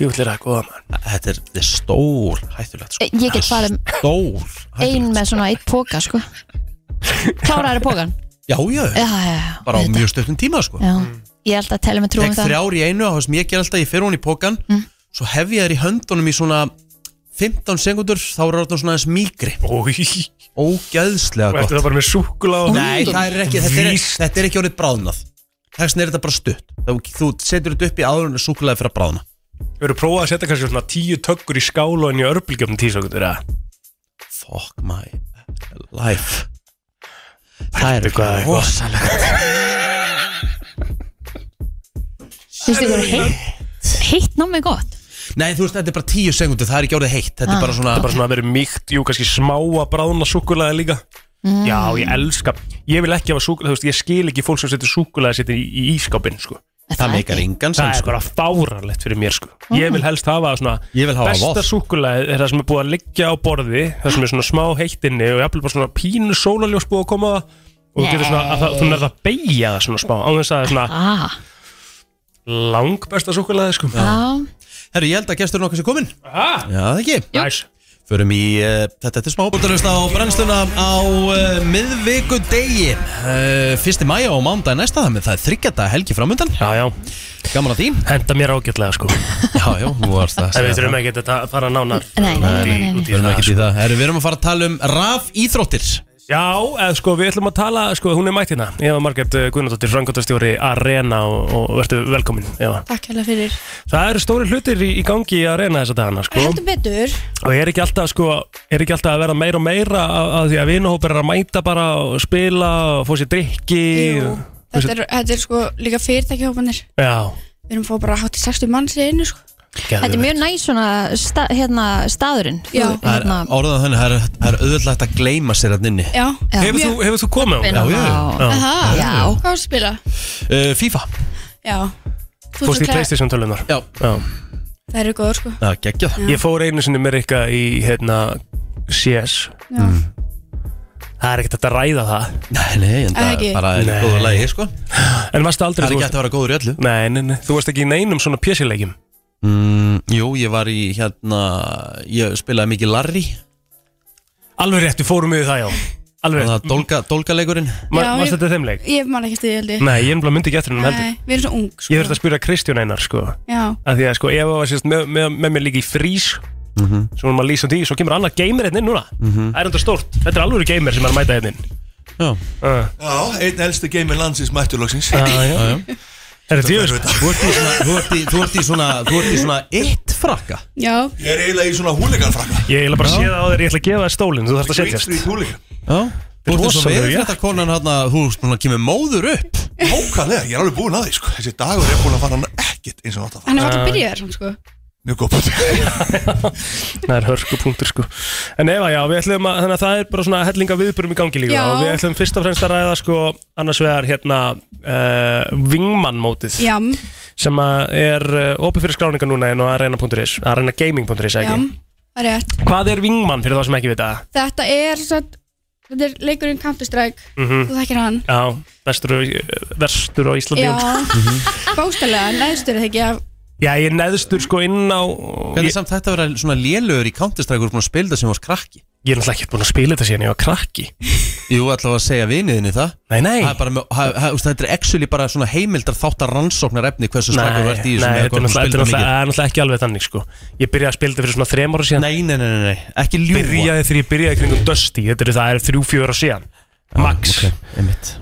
Speaker 3: Sjöfullir að góða mann
Speaker 1: Þetta er, þetta er stór hættulegt sko.
Speaker 2: Ég get farið
Speaker 1: Stór
Speaker 2: ein með svona eitt póka, sko kláraður pókan
Speaker 1: Já, já,
Speaker 2: Já, já, já
Speaker 1: bara á mjög stöttum tíma sko.
Speaker 11: Mm.
Speaker 2: Já, ég held að telja um með trúum
Speaker 1: Tek þrjár í einu á það Mm. sem ég ger alltaf Ég fer hún í pókan Svo hef ég þær í höndunum í svona 15 sekundur Þá er það svona aðeins mýgri Ógeðslega
Speaker 3: Og
Speaker 1: gott
Speaker 3: eftir það bara með súkula og
Speaker 1: Nei, það er ekki, þetta er, þetta er ekki orðið bráðnað Þess vegna er þetta bara stutt Þú, þú setur þetta upp í áður en súkulega fyrir að bráðna
Speaker 3: Við erum prófað að setja kannski svona tíu tökkur í skála og inn í örbulgjöfnum tísakundur eða
Speaker 1: Fuck my life Það er
Speaker 3: hvað-
Speaker 1: rosalegt
Speaker 2: Þú veist, þetta er heitt Heitt námið gott
Speaker 1: Nei, þú veist, þetta er bara tíu sekundu, það er ekki orðið heitt Þetta
Speaker 2: Ah.
Speaker 1: er bara svona
Speaker 3: Þetta er bara svona að vera mýkt, jú, kannski smá að bráðna súkulaði líka
Speaker 2: Mm.
Speaker 3: Já, ég elska Ég vil ekki hafa súkulaði, þú veist, ég skil ekki fólk sem setur súkulaði setja í, í ískápinn, sko
Speaker 1: Það meikar engan
Speaker 3: Það
Speaker 1: sem
Speaker 3: er
Speaker 1: sko
Speaker 3: bara fáralegt fyrir mér, sko Ég vil helst hafa svona
Speaker 1: Ég vil hafa
Speaker 3: Besta
Speaker 1: voff.
Speaker 3: súkulaði er það sem er búið að liggja á borði Það sem er svona smá heittinni og jafnvel bara svona pínu sólaljós búið að koma á það Og þú getur svona, að það, þú nærð að beigja það svona smá Á þess að það er svona
Speaker 2: ah,
Speaker 3: langbesta súkulaði, sko
Speaker 2: Já,
Speaker 1: Herru, ég held að gesturinn okkar sé komin
Speaker 3: Ah,
Speaker 1: Já, það ekki
Speaker 3: nice.
Speaker 1: Förum í uh, þetta til smá Búttalust á brennsluna á uh, miðvikudegi uh, Fyrsti mæja og mándag næsta þannig Það er þryggjata helgi framöndan
Speaker 3: Já, já,
Speaker 1: Gaman að því
Speaker 3: henda mér ágætlega, sko
Speaker 1: Já, já, þú varst að
Speaker 3: En
Speaker 1: segja
Speaker 3: við þurfum ekki að fara nánar
Speaker 2: Nei, nei, nei, nei, nei.
Speaker 3: Út
Speaker 1: Við
Speaker 3: í- út í
Speaker 1: erum
Speaker 3: það,
Speaker 1: ekki
Speaker 3: sko.
Speaker 1: í það Herru, við erum að fara að tala um raf íþróttir
Speaker 3: Já, eða sko við ætlum að tala, sko hún er mætt hérna Ég var Margrét eh, Guðnardóttir, frangotastjóri Arena og, og verður velkomin Eva.
Speaker 12: Takk hella fyrir.
Speaker 3: Það eru stóri hlutir í, í gangi í Arena þessa dagana, sko
Speaker 12: Heldur betur.
Speaker 3: Og er ekki alltaf, sko, er ekki alltaf að vera meira og meira að, að því að vinahópar er að mæta bara og spila og fá sér drikki
Speaker 12: Jú,
Speaker 3: og-
Speaker 12: þetta er, þetta er sko líka fyrirtækihópanir.
Speaker 3: Já,
Speaker 12: Við erum að fá bara hátt í 60 manns í einu sko.
Speaker 2: þetta er mjög næs svona sta, hérna, staðurinn
Speaker 12: Já.
Speaker 2: Þú-
Speaker 1: Það
Speaker 2: hérna,
Speaker 1: er orðað þannig, það er- það er auðvitað að gleyma sér hann inni
Speaker 12: Já.
Speaker 2: Já.
Speaker 3: Hefur þú, hefur þú komið á
Speaker 2: Vinna
Speaker 1: já, já.
Speaker 2: þá.
Speaker 12: Aha,
Speaker 2: Já.
Speaker 12: hvað var að spila?
Speaker 3: Eh,
Speaker 1: uh, FIFA
Speaker 12: Já. Þú
Speaker 3: Fórst í
Speaker 12: ert að-
Speaker 3: Playstation tölunar
Speaker 1: Já,
Speaker 3: Já
Speaker 12: Það eru góður sko.
Speaker 1: það geggja það
Speaker 3: Ég fór einu sinni með Rikka í hérna CS
Speaker 12: Já.
Speaker 3: Mm. Það er ekkert hægt að ræða það
Speaker 1: Nei, nei, en það
Speaker 12: Ekki.
Speaker 1: er bara
Speaker 3: Nei.
Speaker 1: góða lægi, sko
Speaker 3: En varstu aldrei
Speaker 1: Það er
Speaker 3: þú
Speaker 1: ekki
Speaker 3: varst-
Speaker 1: hægt að vera góður í öllu
Speaker 3: Nei, nei, nei, þú varst ekki í neinum svona pjessilegjum
Speaker 1: mm, Jú, ég var í hérna Ég spilaði mikið Larry
Speaker 3: Alveg rétt, við fórum yfir það já Alveg Mhm.
Speaker 1: Þannig að dólga, dólgaleikurinn
Speaker 12: Já, ég- Ég man ekki stuði, held ég
Speaker 3: Nei, ég er náttúrulega myndi ekki eftir hennum heldur
Speaker 12: Nei, við erum svo ung sko.
Speaker 3: Ég þurfti að spyrja Kristján Einar sko
Speaker 12: Já,
Speaker 3: að Því að sko, Eva var sérst með, með, með mér líka í frís mm -hmm. Svo erum að lýsa því, svo kemur annar gamer hérna inn núna
Speaker 1: Mhm.
Speaker 3: Það er enda stórt, þetta er alveg gamer sem er að mæta hérna inn
Speaker 1: Já
Speaker 3: uh.
Speaker 11: Já, einn elsti geimur landsins mætturlóksins
Speaker 3: Ah, Já, já. Já, já. Herra,
Speaker 1: Þú ert í svona, þú ert í- þú ert í svona, þú ert í svona eitt frakka
Speaker 12: já
Speaker 11: Ég er eiginlega í svona húlegan frakka
Speaker 3: Ég er bara að
Speaker 1: Já.
Speaker 3: sé það á þér, ég ætla að gefa þér stólinn, þú þarft að setjast
Speaker 11: Street húlegan
Speaker 1: Já Þú ert eins og
Speaker 3: Rosalega,
Speaker 1: við
Speaker 3: já.
Speaker 1: þetta konan hann að þú svona kemur móður upp
Speaker 11: Mókallega, ég er alveg búinn að því sko Þessi dagur er búinn að fara hann ekkert eins og hann átt að fara
Speaker 12: hann er
Speaker 3: Ah.
Speaker 12: alltaf byrjaður samt, sko.
Speaker 11: Mjög góð
Speaker 3: Það er hörku punktur sko En Eva, já, við ætlum að, þannig að það er bara svona hellinga viðburum í gangi líka
Speaker 12: Já.
Speaker 3: Og við ætlum fyrst og fremst að ræða sko annars vegar hérna uh, Vingmann-mótið
Speaker 12: Jam.
Speaker 3: Sem að er uh, opið fyrir skráninga núna en á arena.is arenagaming.is, eða
Speaker 12: Jam.
Speaker 3: ekki?
Speaker 12: Það er rétt
Speaker 3: Hvað er Vingmann fyrir það sem ekki vita?
Speaker 12: Þetta er, satt, þetta er leikurinn Counter Strike
Speaker 3: Mhm.
Speaker 12: Þú þekkir hann
Speaker 3: Já, bestur, og- verstur á Íslandi Mhm.
Speaker 12: Já, bóstalega, neðstur er það ekki af
Speaker 3: Já, ég er neðstur sko inn á
Speaker 1: Hvernig samt þetta að vera svona lélögur í Counter-Strike og spilda sem varst krakki
Speaker 3: Ég er náttúrulega ekkert búin að spila þetta síðan ég var krakki
Speaker 1: Jú, ætlaðu að segja viniðinni það
Speaker 3: Nei, nei
Speaker 1: Það er bara með, það, það, þetta er actually bara svona heimildar þáttar rannsóknar efni hversu slagur verðt í
Speaker 3: nei,
Speaker 1: þessu
Speaker 3: þetta
Speaker 1: eða
Speaker 3: er
Speaker 1: hvort þú
Speaker 3: náttúrulega þetta er
Speaker 1: spildir mikið.
Speaker 3: náttúrulega- það er náttúrulega ekki alveg þannig sko Ég byrjaði að spila þetta fyrir svona þrem ára síðan
Speaker 1: Nei, nei, nei, nei, nei. ekki ljúa
Speaker 3: Byrjaði þegar ég byrjaði kringum Dusty, þetta er það er þrjú, fjör ára síðan Max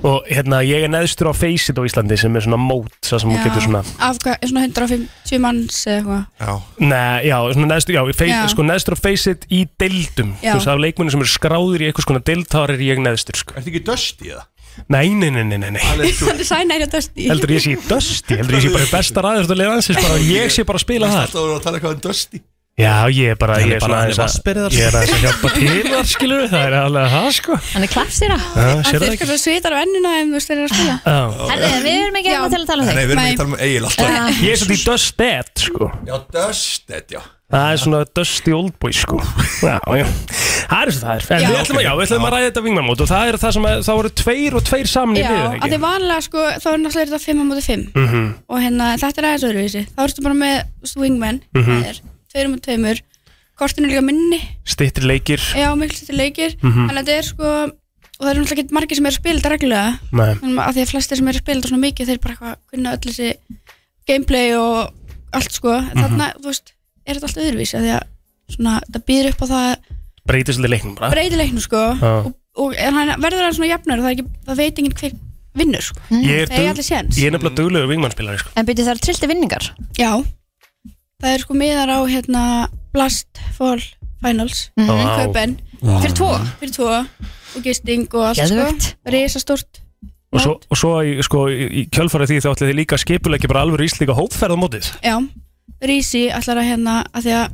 Speaker 3: Og hérna, ég er neðstur á Faceit á Íslandi sem er svona mót, það sem hún getur svona
Speaker 12: Af hvað, svona 150 manns eða eitthvað
Speaker 11: Já
Speaker 3: Nei, já, svona neðstur, já, face,
Speaker 12: Já.
Speaker 3: Sko, neðstur á Faceit í deildum
Speaker 12: Já.
Speaker 3: Þú veist, af leikmenni sem eru skráður í eitthvað skona deild, þá er ég neðstur sko
Speaker 11: Ertu ekki Dusty eða?
Speaker 3: Nei, nei, nei, nei, nei, nei.
Speaker 12: Hann er sæna hérna, er að dösti
Speaker 3: Heldur ég sé í Dusty, heldur ég sé bara í besta ræður Þetta leið ansins bara, ég sé bara að spila það
Speaker 11: Það voru að tala eitthvað um Dusty
Speaker 3: Já, ég er bara,
Speaker 1: Hann er
Speaker 3: ég er
Speaker 1: bara-
Speaker 3: svona
Speaker 1: hann er
Speaker 3: aðeins
Speaker 1: vatnsberið
Speaker 3: að
Speaker 1: þar.
Speaker 3: Ég er aðeins að hjálpa til þar, skilur við, það er alveg það, sko
Speaker 2: Hann er klappstýra
Speaker 3: Já,
Speaker 12: Það
Speaker 3: sérðu
Speaker 12: er
Speaker 3: það
Speaker 12: eitthvað svo svitar á ennuna en þú veist þeir eru að spila
Speaker 3: Já.
Speaker 2: Herði, við erum ekki að tala að tala um þig
Speaker 11: Nei, við erum ekki að tala um Egil
Speaker 12: Uh,
Speaker 11: alltaf
Speaker 3: Ég er svona í Dusted, sko
Speaker 11: Já, Dusty, já
Speaker 3: Það er svona Dusty Oldboy, sko Já, já Það er svo það er En
Speaker 12: Já.
Speaker 3: við ætlum að, já, við ætlum að ræða þetta vingnamót Og það er það sem, að, það voru tveir og tveir saman í
Speaker 12: Já,
Speaker 3: liðið,
Speaker 12: að því
Speaker 3: ekki?
Speaker 12: vanlega sko, þá er náttúrulega þetta 5 á móti 5
Speaker 3: Mhm.
Speaker 12: og hérna, þetta er aðeins öðruvísi þá ertu bara með þú veist, wingmen
Speaker 3: Mhm.
Speaker 12: það er tveir móti tveimur kortin er líka minni,
Speaker 3: Styttir leikir
Speaker 12: já, miklu þetta leikir
Speaker 3: Mhm.
Speaker 12: þannig að þetta er sko og það eru náttúrulega ekki margir sem eru að spila þetta reglulega
Speaker 3: Nei.
Speaker 12: þannig að því að flestir sem eru að spila þetta svona mikið þeir bara eitthvað kunna öll þessi gameplay og allt sko mm
Speaker 3: Mhm.
Speaker 12: þannig að þú veist, er þetta allt öðruvísi af því að svona, þetta býður upp á það
Speaker 3: Breytir svolítið leiknum bara
Speaker 12: breytileiknum sko
Speaker 3: Já.
Speaker 12: og, og en hann verður hann svona jafnur og það, er ekki, það veit enginn hver vinnur sko.
Speaker 3: Ég er,
Speaker 12: það er
Speaker 3: dug,
Speaker 12: allir séns
Speaker 3: ég er nefnilega duglegu vingmannspilari, sko
Speaker 2: En byrju það eru trillti vinningar
Speaker 12: já, það er sko miðar á hérna Blast Fall Finals
Speaker 2: Mhm.
Speaker 12: í
Speaker 2: Vá.
Speaker 12: Köpen
Speaker 3: Vá.
Speaker 12: fyrir tvo, fyrir tvo og gisting og allt
Speaker 2: Geðveikt.
Speaker 12: sko risastórt
Speaker 3: Og svo, og svo í, sko, í, í kjölfarið því þá ætlið þið líka að skipuleggja bara alveg íslíka hópferðamótið
Speaker 12: Já, Rísi allar að hérna að því að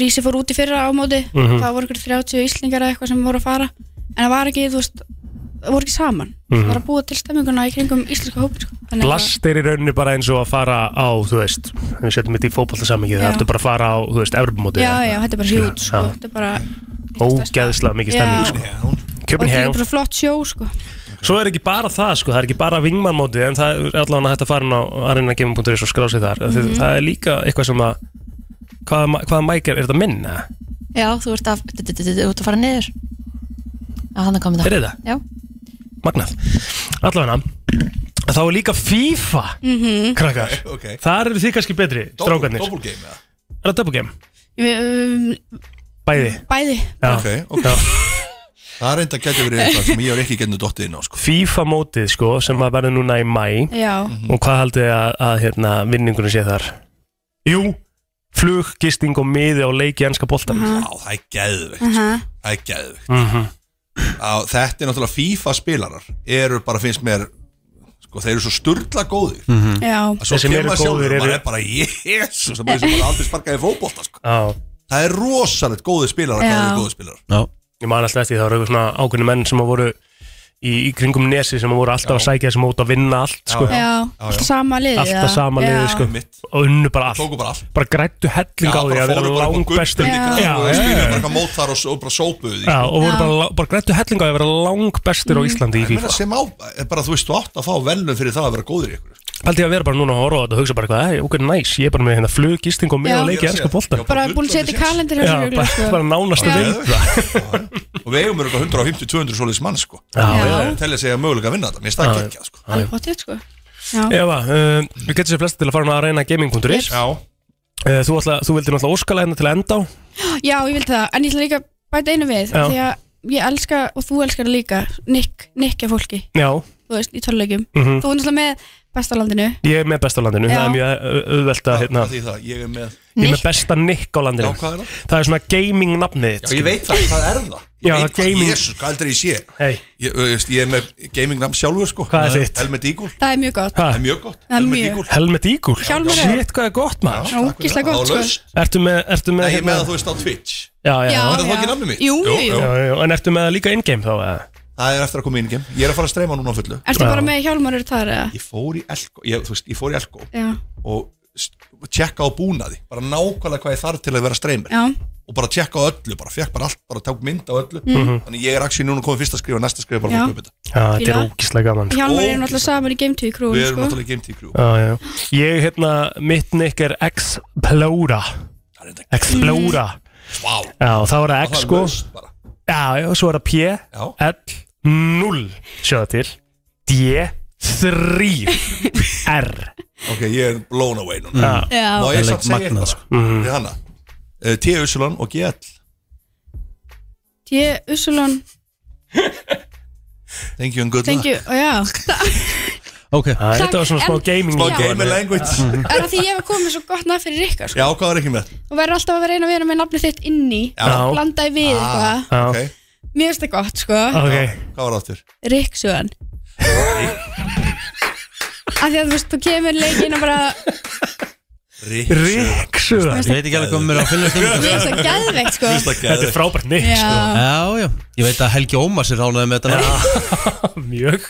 Speaker 12: Rísi fór út í fyrra ámóti
Speaker 3: Mhm.
Speaker 12: það voru ykkur 30 íslingar eða eitthvað sem voru að fara en það var ekki, þú veist, það voru ekki saman
Speaker 3: Mhm.
Speaker 12: það var að búa til stemminguna í kringum íslenska hópin sko. Þannig að-
Speaker 3: Blast er í rauninni bara eins og að fara á, þú veist, við setjum þetta í fótballtasammingi, það
Speaker 12: Já.
Speaker 3: ertu bara að fara á, þú veist, Evropamótið.
Speaker 12: Já, já, þetta er bara hjút sko.
Speaker 3: Já.
Speaker 12: þetta er bara,
Speaker 3: Ógeðslega mikið
Speaker 12: Já.
Speaker 3: stemming, sko.
Speaker 12: og þetta er
Speaker 3: Köpenhjá.
Speaker 12: bara flott sjó sko.
Speaker 3: Svo er ekki bara það, sko, það er ekki bara vingmannmótið, en það er allavega hægt að fara inn á arenagame.is og skrá sig þar. Mm
Speaker 2: Mhm.
Speaker 3: Það er líka eitthvað sem að, hvaða, ma- hvaða mæk er, er þetta minna?
Speaker 2: Já, þú ert að, du- du- du- du- þú ert að fara niður Já, hann er komin það
Speaker 3: Er þetta?
Speaker 2: Já
Speaker 3: Magnað. Allavega, þá er líka FIFA,
Speaker 12: Mhm.
Speaker 3: krakkar.
Speaker 11: okay.
Speaker 3: Þar eru þið kannski betri, strákarnir.
Speaker 11: Double game eða?
Speaker 3: Er það double game?
Speaker 12: um,
Speaker 3: Bæði.
Speaker 12: bæði
Speaker 3: Já.
Speaker 11: Ok, ok Það er enda gæti verið eitthvað sem ég er ekki gætið dottið inn á sko
Speaker 3: FIFA mótið sko sem að verða núna í mæ
Speaker 12: Já.
Speaker 3: og hvað haldið þið að, að hérna, vinningunum sé þar? Jú, flug, gisting og miði á leiki ennska boltan
Speaker 11: Já, það er geðveikt sko.
Speaker 12: Mhm.
Speaker 11: Það er geðveikt
Speaker 3: Mhm.
Speaker 11: Já, Þetta er náttúrulega FIFA spilarar eru bara finnst mér sko, þeir eru svo sturla góðir
Speaker 3: Mhm.
Speaker 12: Já.
Speaker 11: að svo
Speaker 3: Þeir sem
Speaker 11: kemur
Speaker 3: eru
Speaker 11: maður
Speaker 3: góðir
Speaker 11: sjálfur og maður
Speaker 3: eru-
Speaker 11: er bara jésus það er sem bara aldrei sparkaði í fótbolta sko.
Speaker 3: Já.
Speaker 11: það er rosalegt góðir spilarar
Speaker 12: Já.
Speaker 11: hvað eru góðir spilarar
Speaker 1: Já.
Speaker 3: Ég man alltaf eftir því, það voru eitthvað svona ákveðni menn sem að voru í, í kringum nesi sem að voru alltaf að sækja þessi mót að vinna allt sko.
Speaker 12: já, alltaf sama liði
Speaker 3: Alltaf
Speaker 12: eða?
Speaker 3: sama liðið
Speaker 12: Já.
Speaker 3: sko og unnu bara allt
Speaker 11: Tóku bara allt
Speaker 3: Bara grættu helling á því að vera langbestur
Speaker 11: og
Speaker 3: Já, já, já.
Speaker 11: spilaði bara eitthvað mót þar og, s- og bara sópuðu því
Speaker 3: Já, og voru
Speaker 11: Já.
Speaker 3: bara, la- bara grættu helling
Speaker 12: Mm.
Speaker 3: á því að vera langbestur á Íslandi í
Speaker 11: Ég meina,
Speaker 3: FIFA
Speaker 11: Eh, sem á, er bara þú veist þú átt að fá velnum fyrir það að vera góður í ykkur
Speaker 3: Paldi að vera bara núna að horfa á þetta og hugsa bara eitthvað, "Æ, ok, næs, ég er bara með hérna flug, gisting og með
Speaker 12: Já.
Speaker 3: að leikja ennska bolta
Speaker 12: Bara búin að setja í kalendar sko.
Speaker 3: Já, bara- bara nánast að veita
Speaker 11: og við eigum örgulega 150-200 svoleiðis mann sko
Speaker 3: Já, já.
Speaker 11: telja sig að mögulega vinna þetta, mér finnst það
Speaker 3: Já, já.
Speaker 11: ekki sko.
Speaker 3: Já, já.
Speaker 12: Potið, sko
Speaker 3: Eva, uh, við getum sér flesta til að fara að reyna gaming.is
Speaker 11: Já
Speaker 3: uh, þú, ætla, þú vildir náttúrulega óskala hérna til að enda á
Speaker 12: Já, ég vildi það, en ég ætla líka að bæta einu við
Speaker 3: Já.
Speaker 12: Því að ég elska, og þú elskar það líka Nick, Nick er fólki,
Speaker 3: Já,
Speaker 12: þú veist, í tölulegjum
Speaker 3: Mhm.
Speaker 12: Þú er náttúrulega með bestalandinu
Speaker 3: ég er með besta á landinu,
Speaker 12: Já.
Speaker 3: það er mjög eh, au- auðvelt að hérna,
Speaker 11: því það, ég er með
Speaker 3: Ég er með besta nikk á landinu
Speaker 11: Já, hvað er það?
Speaker 3: Það er svona gaming nafnið þitt,
Speaker 11: Já, ég
Speaker 3: skilur.
Speaker 11: veit það, hvað er það?
Speaker 3: Já,
Speaker 11: ég veit
Speaker 3: gaming-
Speaker 11: það, jésus, hvað heldur ég sé?
Speaker 3: Hey.
Speaker 11: Ég, þú veist, ég er með gaming namn sjálfur sko
Speaker 3: Hvað er þitt?
Speaker 11: Helmet Eagle,
Speaker 12: Það er mjög gott
Speaker 11: það er mjög gott
Speaker 12: Það er mjög
Speaker 3: Helmet Eagle
Speaker 12: Hjálmar er-
Speaker 3: Shit, hvað er gott maður
Speaker 12: Já, ógeðslega gott,
Speaker 11: sko.
Speaker 3: Ertu með, ertu með
Speaker 11: Nei, ég er með
Speaker 3: hérna-
Speaker 11: að þú veist á Twitch
Speaker 3: Já, já,
Speaker 12: Já,
Speaker 11: Er það
Speaker 12: já.
Speaker 11: ekki nafnið mitt?
Speaker 12: Jú, jú, jú.
Speaker 3: já, já, En ertu með það líka in-game þá? eða?
Speaker 11: Það er eftir að koma inn í game Ég er að fara að streyma núna á fullu
Speaker 12: Ertu bara með hjálmarur þar eða?
Speaker 11: Ég fór í Elko, ég, þú veist, ég fór í Elko
Speaker 12: Já,
Speaker 11: og st- og tjekka á búnaði bara nákvæmlega hvað ég þarf til að vera streymir
Speaker 12: já,
Speaker 11: og bara tjekka á öllu, bara fekk bara allt bara tók mynd á öllu,
Speaker 3: Mhm.
Speaker 11: þannig ég er aksjóð núna komið fyrsta skrif og næsta skrif er bara
Speaker 12: Já.
Speaker 11: að fólk upp þetta
Speaker 3: Já, þetta er
Speaker 12: Fíla.
Speaker 3: ógíslega gaman sko.
Speaker 12: hjálmar er náttúrulega saman í Game 2 krú
Speaker 11: Við erum
Speaker 12: sko.
Speaker 11: náttúrulega game team crew
Speaker 3: Já, já. Ég, hérna, mitt nick er Explora Explora
Speaker 11: Vá.
Speaker 3: Já, þá er það
Speaker 11: Og
Speaker 3: X
Speaker 11: það er
Speaker 3: sko
Speaker 11: laust bara.
Speaker 3: Já, já, svo er það P L 0 Sjáðu til D 3 R
Speaker 11: Ok, ég er blown away núna
Speaker 3: Já.
Speaker 2: Já.
Speaker 11: Má
Speaker 2: Það er
Speaker 11: ég samt
Speaker 2: leik
Speaker 11: segja
Speaker 2: magnað,
Speaker 11: eitthvað
Speaker 2: sko.
Speaker 3: Mhm.
Speaker 11: mm. Við hana Eh, T. Ussulon og GL
Speaker 12: T. Ussulon,
Speaker 11: Thank you and good
Speaker 12: thank
Speaker 11: luck
Speaker 12: you, og já Það
Speaker 1: Ok,
Speaker 3: Æ, þetta var svona smá
Speaker 12: En-
Speaker 3: gaming Mhm.
Speaker 11: Smá
Speaker 12: Já.
Speaker 11: gaming language
Speaker 12: er að því ég hef komið svo gott nafn fyrir ykkar sko.
Speaker 11: Já, hvað er ekki með?
Speaker 12: og verður alltaf að reyna að vera með nafnið þitt inni
Speaker 11: Já. Ah,
Speaker 12: blanda í við eitthvað
Speaker 3: Já.
Speaker 11: Ok,
Speaker 12: mér finnst það gott sko
Speaker 3: Ah. Ok
Speaker 11: hvað var áttur?
Speaker 12: Riksson af því að þú veist þú kemur í leikinn og bara
Speaker 3: Riksöðan
Speaker 1: Ég veit ekki alveg hvað mér er að finna
Speaker 12: mér finnst það geðveikt sko
Speaker 3: Þetta er frábært nick sko
Speaker 1: Já, já, ég veit að Helgi Ómars er ránaði með þetta nafn.
Speaker 3: Mjög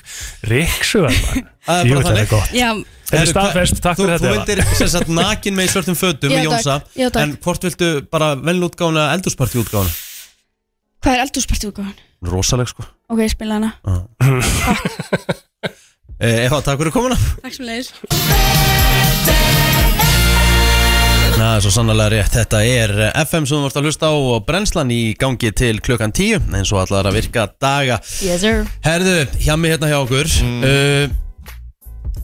Speaker 3: Riksöðan mann
Speaker 1: Það er
Speaker 3: Jú,
Speaker 1: bara
Speaker 3: þetta
Speaker 1: þannig.
Speaker 3: er gott
Speaker 12: já,
Speaker 3: Þetta er staðfest, takk
Speaker 1: Þú,
Speaker 3: fyrir
Speaker 1: þú
Speaker 3: þetta Eva.
Speaker 1: vildir sem sagt nakin með í svörtum fötum
Speaker 12: Já,
Speaker 1: í
Speaker 12: takk.
Speaker 1: Jónsa
Speaker 12: Já, takk.
Speaker 1: En hvort viltu bara velnútgána eða eldursparti útgána?
Speaker 12: hvað er eldúspartið útgáðan?
Speaker 1: Rosaleg sko
Speaker 12: ok, ég spila hana
Speaker 1: Eh, Eva, takk fyrir komuna
Speaker 12: takk sem leiðis
Speaker 1: Na, svo sannlega rétt, þetta er FM sem þú vart að hlusta á og brennslan í gangi til klukkan 10 eins og allar að virka daga
Speaker 2: Yes sir
Speaker 1: Herðu, hjá mig hérna hjá okkur uh,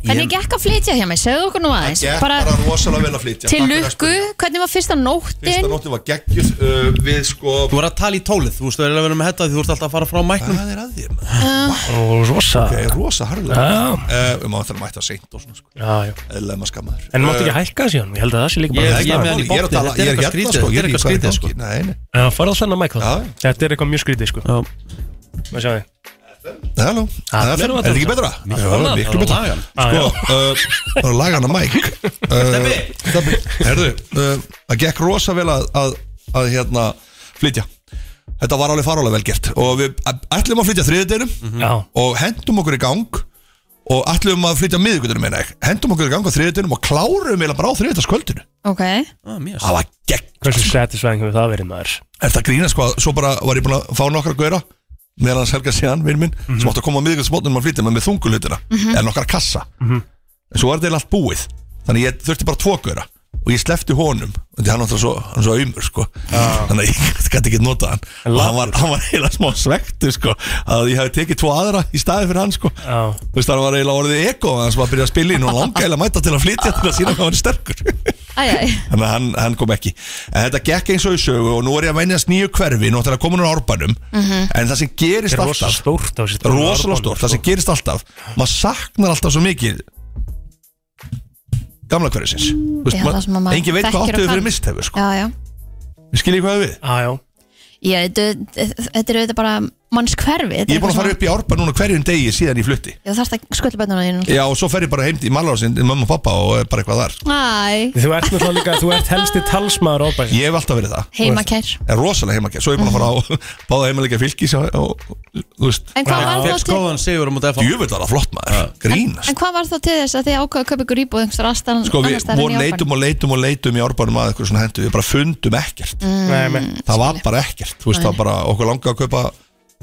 Speaker 2: Hvernig gekk að flytja hjá mig? Segðu okkur nú aðeins
Speaker 11: Gekk
Speaker 2: Bara
Speaker 11: bara rosalega vel að flytja
Speaker 2: til
Speaker 11: Takk fyrir að
Speaker 2: lukku, hvernig var fyrsta
Speaker 11: Fyrsta
Speaker 2: nóttin?
Speaker 11: nóttu var geggjur uh, Við sko
Speaker 1: Þú voru að tala í tólið, þú veistu að vera með þetta því þú ert alltaf að fara frá mæknum
Speaker 11: Hvað er að þér?
Speaker 3: Ó, Rosa
Speaker 11: Það er rosa harðlega
Speaker 3: Já.
Speaker 11: uh, Við máum það að mæta seint og svona sko
Speaker 3: Já, já
Speaker 11: Eðlega maður skammaður
Speaker 3: En máttu ekki hækka síðan, ég held að það sé líka
Speaker 1: Ég-
Speaker 3: bara
Speaker 1: ég- með hann í botni, þetta er eitthvað
Speaker 11: Ég er að tala, ég er hérna
Speaker 1: skrítið,
Speaker 11: sko,
Speaker 1: þetta
Speaker 11: ég
Speaker 1: er eitthvað skrítið, sko.
Speaker 11: er ekki hvað er gangi Nei, nei,
Speaker 3: Já, farðu alltaf að mækla
Speaker 11: Já.
Speaker 3: Þetta er eitthvað mjög skrítið sko
Speaker 1: Já.
Speaker 3: Maður sjá þið
Speaker 11: Nei, halló,
Speaker 3: Það
Speaker 11: það er
Speaker 3: er
Speaker 11: fyrir,
Speaker 3: Ah, að
Speaker 11: er þetta ekki
Speaker 3: tala. um.
Speaker 11: betra? Já,
Speaker 1: annað,
Speaker 11: miklu
Speaker 1: það er
Speaker 11: betra
Speaker 1: að laga hann.
Speaker 3: Ah, Já,
Speaker 11: Sko, uh, það er að laga hann að mæk Steppi Eh, Steppi, herðu, uh, það gekk rosa vel að, að, að hérna flytja Þetta var alveg farálega vel gert Og við ætlum að flytja þriðudeginum
Speaker 3: Já,
Speaker 11: Og hendum okkur í gang Og ætlum að flytja miðvikudunum meina ég Hendum okkur í gang á þriðudeginum og klárum eða bara á þriðudagskvöldinu
Speaker 2: Ok
Speaker 1: ah, mjög
Speaker 11: Það var gegn
Speaker 3: hversu satisfæðing hefur það verið maður
Speaker 11: Er það grínast hvað, svo bara var ég búin að fá nokkra gauðra meðan hans Helga síðan, vinn minn
Speaker 3: Mhm.
Speaker 11: sem átti að koma á miðgjöldsmótnum að flytja með með þungulutina eða nokkra kassa
Speaker 1: Mhm.
Speaker 11: en svo var þetta eiginlega allt búið þannig ég þurfti bara tvo gauðra og ég slefti honum því hann var svo, hann er svo aumur sko. þannig að ég gæti ekki notað hann
Speaker 3: En
Speaker 11: og hann var, hann var eiginlega smá svektu sko, að ég hefði tekið tvo aðra í staði fyrir hann sko.
Speaker 3: Já,
Speaker 11: þú veist það var eiginlega orðið ego hann var að byrja að spila inn og langæla mæta til að flytja til að sína hvað hann er sterkur
Speaker 2: Æjæj
Speaker 11: þannig að hann, hann kom ekki en þetta gekk eins og í sögu og nú er ég að venjast nýju hverfi náttúrulega komin úr árbanum Mm.
Speaker 3: Mm-hmm.
Speaker 11: en það sem gerist
Speaker 3: þetta er rosa
Speaker 11: alltaf
Speaker 3: stórt á sér
Speaker 11: rosalega stórt, það
Speaker 3: sko.
Speaker 11: sem gerist alltaf maður saknar alltaf svo mikið gamla hverfisins Þú veist,
Speaker 2: Já, það sem að maður
Speaker 11: engin veit hvað
Speaker 2: þekkir
Speaker 11: áttuðu
Speaker 2: og
Speaker 11: fyrir
Speaker 2: kann.
Speaker 11: misthefur sko.
Speaker 2: Já, já
Speaker 11: við skiljið hvað við
Speaker 3: Ah, Já, já,
Speaker 2: Já, þetta- þetta er auðvitað bara manns hverfi
Speaker 11: ég er búin að fara upp í árban núna hverjum degi síðan ég flutti
Speaker 2: Já, þarfst að skulda bönnuna þínu
Speaker 11: já og svo fer ég bara heim til- í Malarsinn til mamma og pappa og er bara eitthvað þar
Speaker 2: Æ,
Speaker 3: þú ert náttúrulega líka, þú ert helsti talsmaður ábæðin
Speaker 11: ég hef alltaf verið það
Speaker 2: heimakær
Speaker 11: er rosalega heimakjær, svo er ég búin að fara á báða heimalega fylgis og, og, þú veist,
Speaker 2: En hvað var þá
Speaker 1: Fekk
Speaker 2: til
Speaker 1: skóðan sigur um út af
Speaker 11: djöfull var það flott maður, grínast
Speaker 2: En hvað var þá til þess að þið ákvaðu að kaupa ykkur íbúð einhvers rastan
Speaker 11: Sko við vorum leitum og leitum og leitum í árbænum að eitthvað svona hendu, við bara fundum ekkert
Speaker 2: Mm.
Speaker 3: Nei, men
Speaker 11: það var bara ekkert, þú veist það var bara okkur langa að kaupa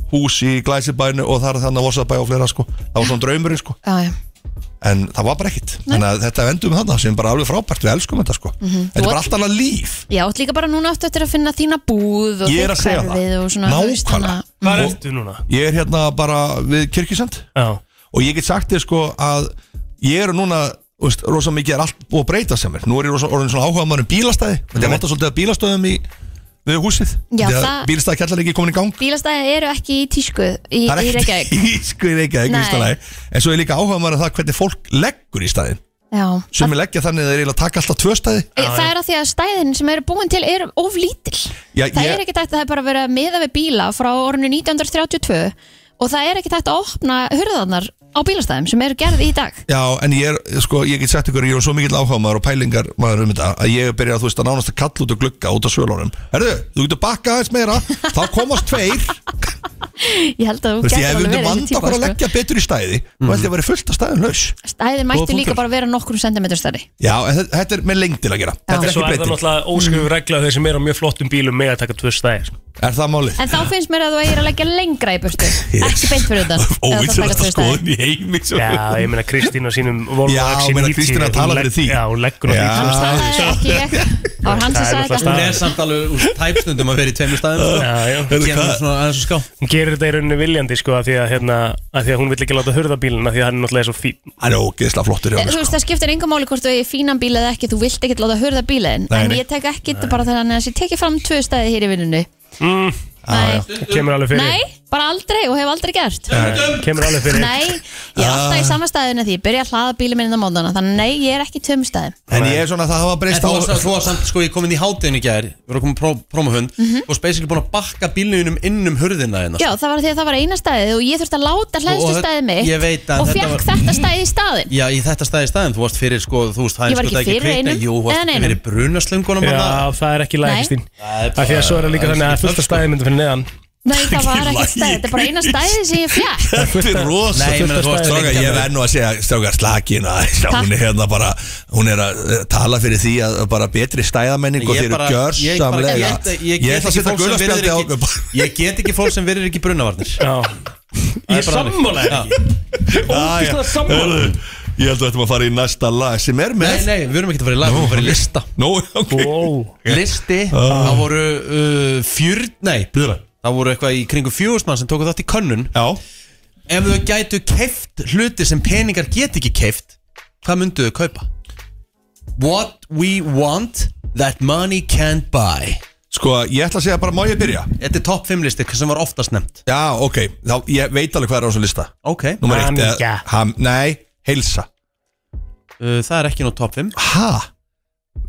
Speaker 11: hús í Glæsibænu og þar þannig að Vossabæ og fleira sko, það var svona draumurinn sko
Speaker 2: Já, já,
Speaker 11: en það var bara ekkit þannig að þetta endum þarna sem bara alveg frábært við elskum þetta sko
Speaker 2: Mhm.
Speaker 11: þetta er
Speaker 2: Þú
Speaker 11: bara
Speaker 2: átt-
Speaker 11: allt annað líf
Speaker 2: Já, þú ert líka bara núna áttu eftir að finna þína búð og
Speaker 11: Ég er
Speaker 2: þitt
Speaker 11: að segja það.
Speaker 2: hverfið og svona, þú veist,
Speaker 11: Nákvæmlega.
Speaker 2: þannig Mm.
Speaker 3: Hvað ertu núna?
Speaker 11: ég er hérna bara við kirkisend
Speaker 3: Já.
Speaker 11: og ég get sagt þér sko að ég er núna þú veist, rosa mikið er allt búið að breyta sem mér nú er ég rosa, orðin svona áhuga maður um bílastæði þetta er vantar svolítið að bílastöðum í við húsið
Speaker 2: Já,
Speaker 11: Því að
Speaker 2: það-
Speaker 11: bílastæði kjallar ekki komin í gang
Speaker 2: að bílastæði eru ekki í tísku í,
Speaker 11: það
Speaker 2: í
Speaker 11: er
Speaker 2: Reykjavík
Speaker 11: ekki tísku í Reykjavík
Speaker 2: Nei.
Speaker 11: í fyrsta lagi. en svo er líka áhuga maður um það hvernig fólk leggur í staðin
Speaker 2: Já,
Speaker 11: sem er leggja þannig að þeir eiginlega taka alltaf tvö staði
Speaker 2: Það er að því að stæðin sem eru búin til eru of lítil
Speaker 11: Já,
Speaker 2: Það
Speaker 11: ég-
Speaker 2: er ekki tætt að það er bara verið að miða við bíla frá orðinu 1932 og það er ekki tætt að opna hurðarnar á bílastæðum sem eru gerð í dag
Speaker 11: Já, en ég er, sko, ég get sagt ykkur Ég er svo mikill áhuga maður og pælingar maður um þetta Að ég byrja, þú veist, að nánast að kalla út og glugga Út af svölunum, herðu, þú getur bakka aðeins meira Þá komast tveir
Speaker 2: Ég held að
Speaker 11: Þú
Speaker 2: þú
Speaker 11: veist,
Speaker 2: getur
Speaker 11: ég
Speaker 2: alveg
Speaker 11: hefði
Speaker 2: verið þessi
Speaker 11: vanda
Speaker 2: típa
Speaker 11: okkur að
Speaker 2: sko.
Speaker 11: leggja betur í stæði Og ætti að vera fullt af stæðin laus
Speaker 2: Stæðin
Speaker 11: Góða
Speaker 2: mættu líka
Speaker 11: punktur.
Speaker 2: bara vera nokkrum sentimetur stærri
Speaker 11: Já, en þetta, þetta er með lengdil að gera Þetta er
Speaker 3: Svo er það
Speaker 11: ekki breyting
Speaker 3: náttúrulega óskrifur regla
Speaker 11: Mhm.
Speaker 3: að þeir sem er á mjög flottum bílum með að taka tvö stæði sko.
Speaker 11: Er það málið?
Speaker 2: En þá finnst mér að þú eigir að leggja lengra í burtu Ekki beint fyrir utan eða þá taka tvö stæði.
Speaker 11: í heimi
Speaker 3: Já, ég meina Kristín á sínum Volvo
Speaker 11: Já,
Speaker 3: XC90
Speaker 11: ég meina Kristín að tala fyrir því
Speaker 3: Já, hún leggur á
Speaker 11: Já.
Speaker 3: því
Speaker 2: Það er ekki ég
Speaker 11: Hann
Speaker 2: Það var hann sem sagði þetta
Speaker 1: Hún er samt alveg úr tæpstundum að vera í tveimur staðum sko. Kemur svona aðeins og ská
Speaker 3: Hérna, Hún gerir þetta í rauninni viljandi sko af því að, hérna, af því að hún vill ekki láta hurða bílina því að hann er náttúrulega svo fín
Speaker 11: Hann er ógeðslega flottur
Speaker 2: Eh,
Speaker 11: sko.
Speaker 2: Þú veist, það skiptir engum máli hvort þú er fínan bíl eða ekki, þú vilt ekkert láta hurða bílinn
Speaker 3: Nei,
Speaker 2: en
Speaker 3: nei.
Speaker 2: ég tek ekkert bara þannig að ég tekið fram tvö stæði hér í vinnunni
Speaker 3: mm. Það kemur alveg fyrir
Speaker 2: Nei, bara aldrei og hef aldrei gert
Speaker 3: Nei. Kemur alveg fyrir
Speaker 2: Nei, ég er alltaf í sama stæðinu því, ég byrja að hlaða bílinn minn á mótana þannig að nei, ég er ekki í tveim stæðum
Speaker 11: En ég er svona að það hafa breyst
Speaker 1: á
Speaker 11: á-
Speaker 1: Þú var samt, sko, ég kom inn í hátinn í gær Við erum komin pró, prómahund mm -hmm. Og basically búin að bakka bílunum inn um hurðina hérna
Speaker 2: Mhm. Já, það var því að það var eina stæðið og ég þurfti að láta hlæðstu
Speaker 1: Og- og-
Speaker 2: stæðið mitt
Speaker 1: ég veit að
Speaker 2: og
Speaker 1: þetta
Speaker 2: fekk
Speaker 1: var-
Speaker 2: þetta stæði í staðin
Speaker 1: Já, í þetta staði staðin, þú varst fyrir, sko, þú veist, það
Speaker 2: Ég var ekki fyrir einum
Speaker 1: Jú, þú
Speaker 2: eða
Speaker 1: varst
Speaker 2: neinum.
Speaker 1: fyrir brunaslöngunum
Speaker 3: Já,
Speaker 1: þarna.
Speaker 3: það er ekki
Speaker 2: Nei.
Speaker 3: lægistín Af því að svo er það líka
Speaker 1: Það er
Speaker 3: þannig að
Speaker 1: ekki sko.
Speaker 3: fullta stæði myndi fyrir neðan
Speaker 2: Nei, það var ekki stæðið, þetta er bara eina stæðið sem ég fekk
Speaker 11: Þetta er rosa
Speaker 1: Nei, ég meina, þú varst
Speaker 11: Stráka,
Speaker 1: lengi
Speaker 11: ég
Speaker 1: að-
Speaker 11: verð nú að segja Stráka, slakin aðeins Já, Hún er hérna bara Hún er að eh, tala fyrir því að bara betri stæðamenning Og
Speaker 1: Ég
Speaker 11: þeir eru
Speaker 1: bara- ég bara-
Speaker 11: gjörsamlega
Speaker 1: ég ætla- ég
Speaker 11: Ég
Speaker 1: get
Speaker 11: ætla að
Speaker 1: ekki
Speaker 11: setja
Speaker 1: fólk sem
Speaker 11: gulaspjaldi á
Speaker 1: virðir Ég get ekki fólk sem verður ekki brunavarnir
Speaker 3: Já
Speaker 1: Ég sammála
Speaker 11: Ógislega sammála Ég held að þetta maður að fara í næsta lag sem er með
Speaker 1: Nei, nei, við erum ekki að fara í lag, við erum að fara í lista
Speaker 11: Nó, ok Ah.
Speaker 3: wow.
Speaker 1: Listi, það voru uh, fjör, nei, Bíðra. það voru eitthvað í kringu fjögusmann sem tóku þátt í könnun
Speaker 11: Já
Speaker 1: Ef þau gætu keift hluti sem peningar get ekki keift, hvað myndu þau kaupa? What we want that money can't buy
Speaker 11: Sko, ég ætla að segja bara, má ég byrja?
Speaker 1: Þetta er topp 5 listi sem var oftast nefnt
Speaker 11: Já, ok Þá, ég veit alveg hvað er á þessum lista
Speaker 1: Ok
Speaker 11: Númer eitt eh,
Speaker 1: Hamingja.
Speaker 11: ham, Nei, heilsa
Speaker 1: uh, Það er ekki nú topp 5
Speaker 11: Ha?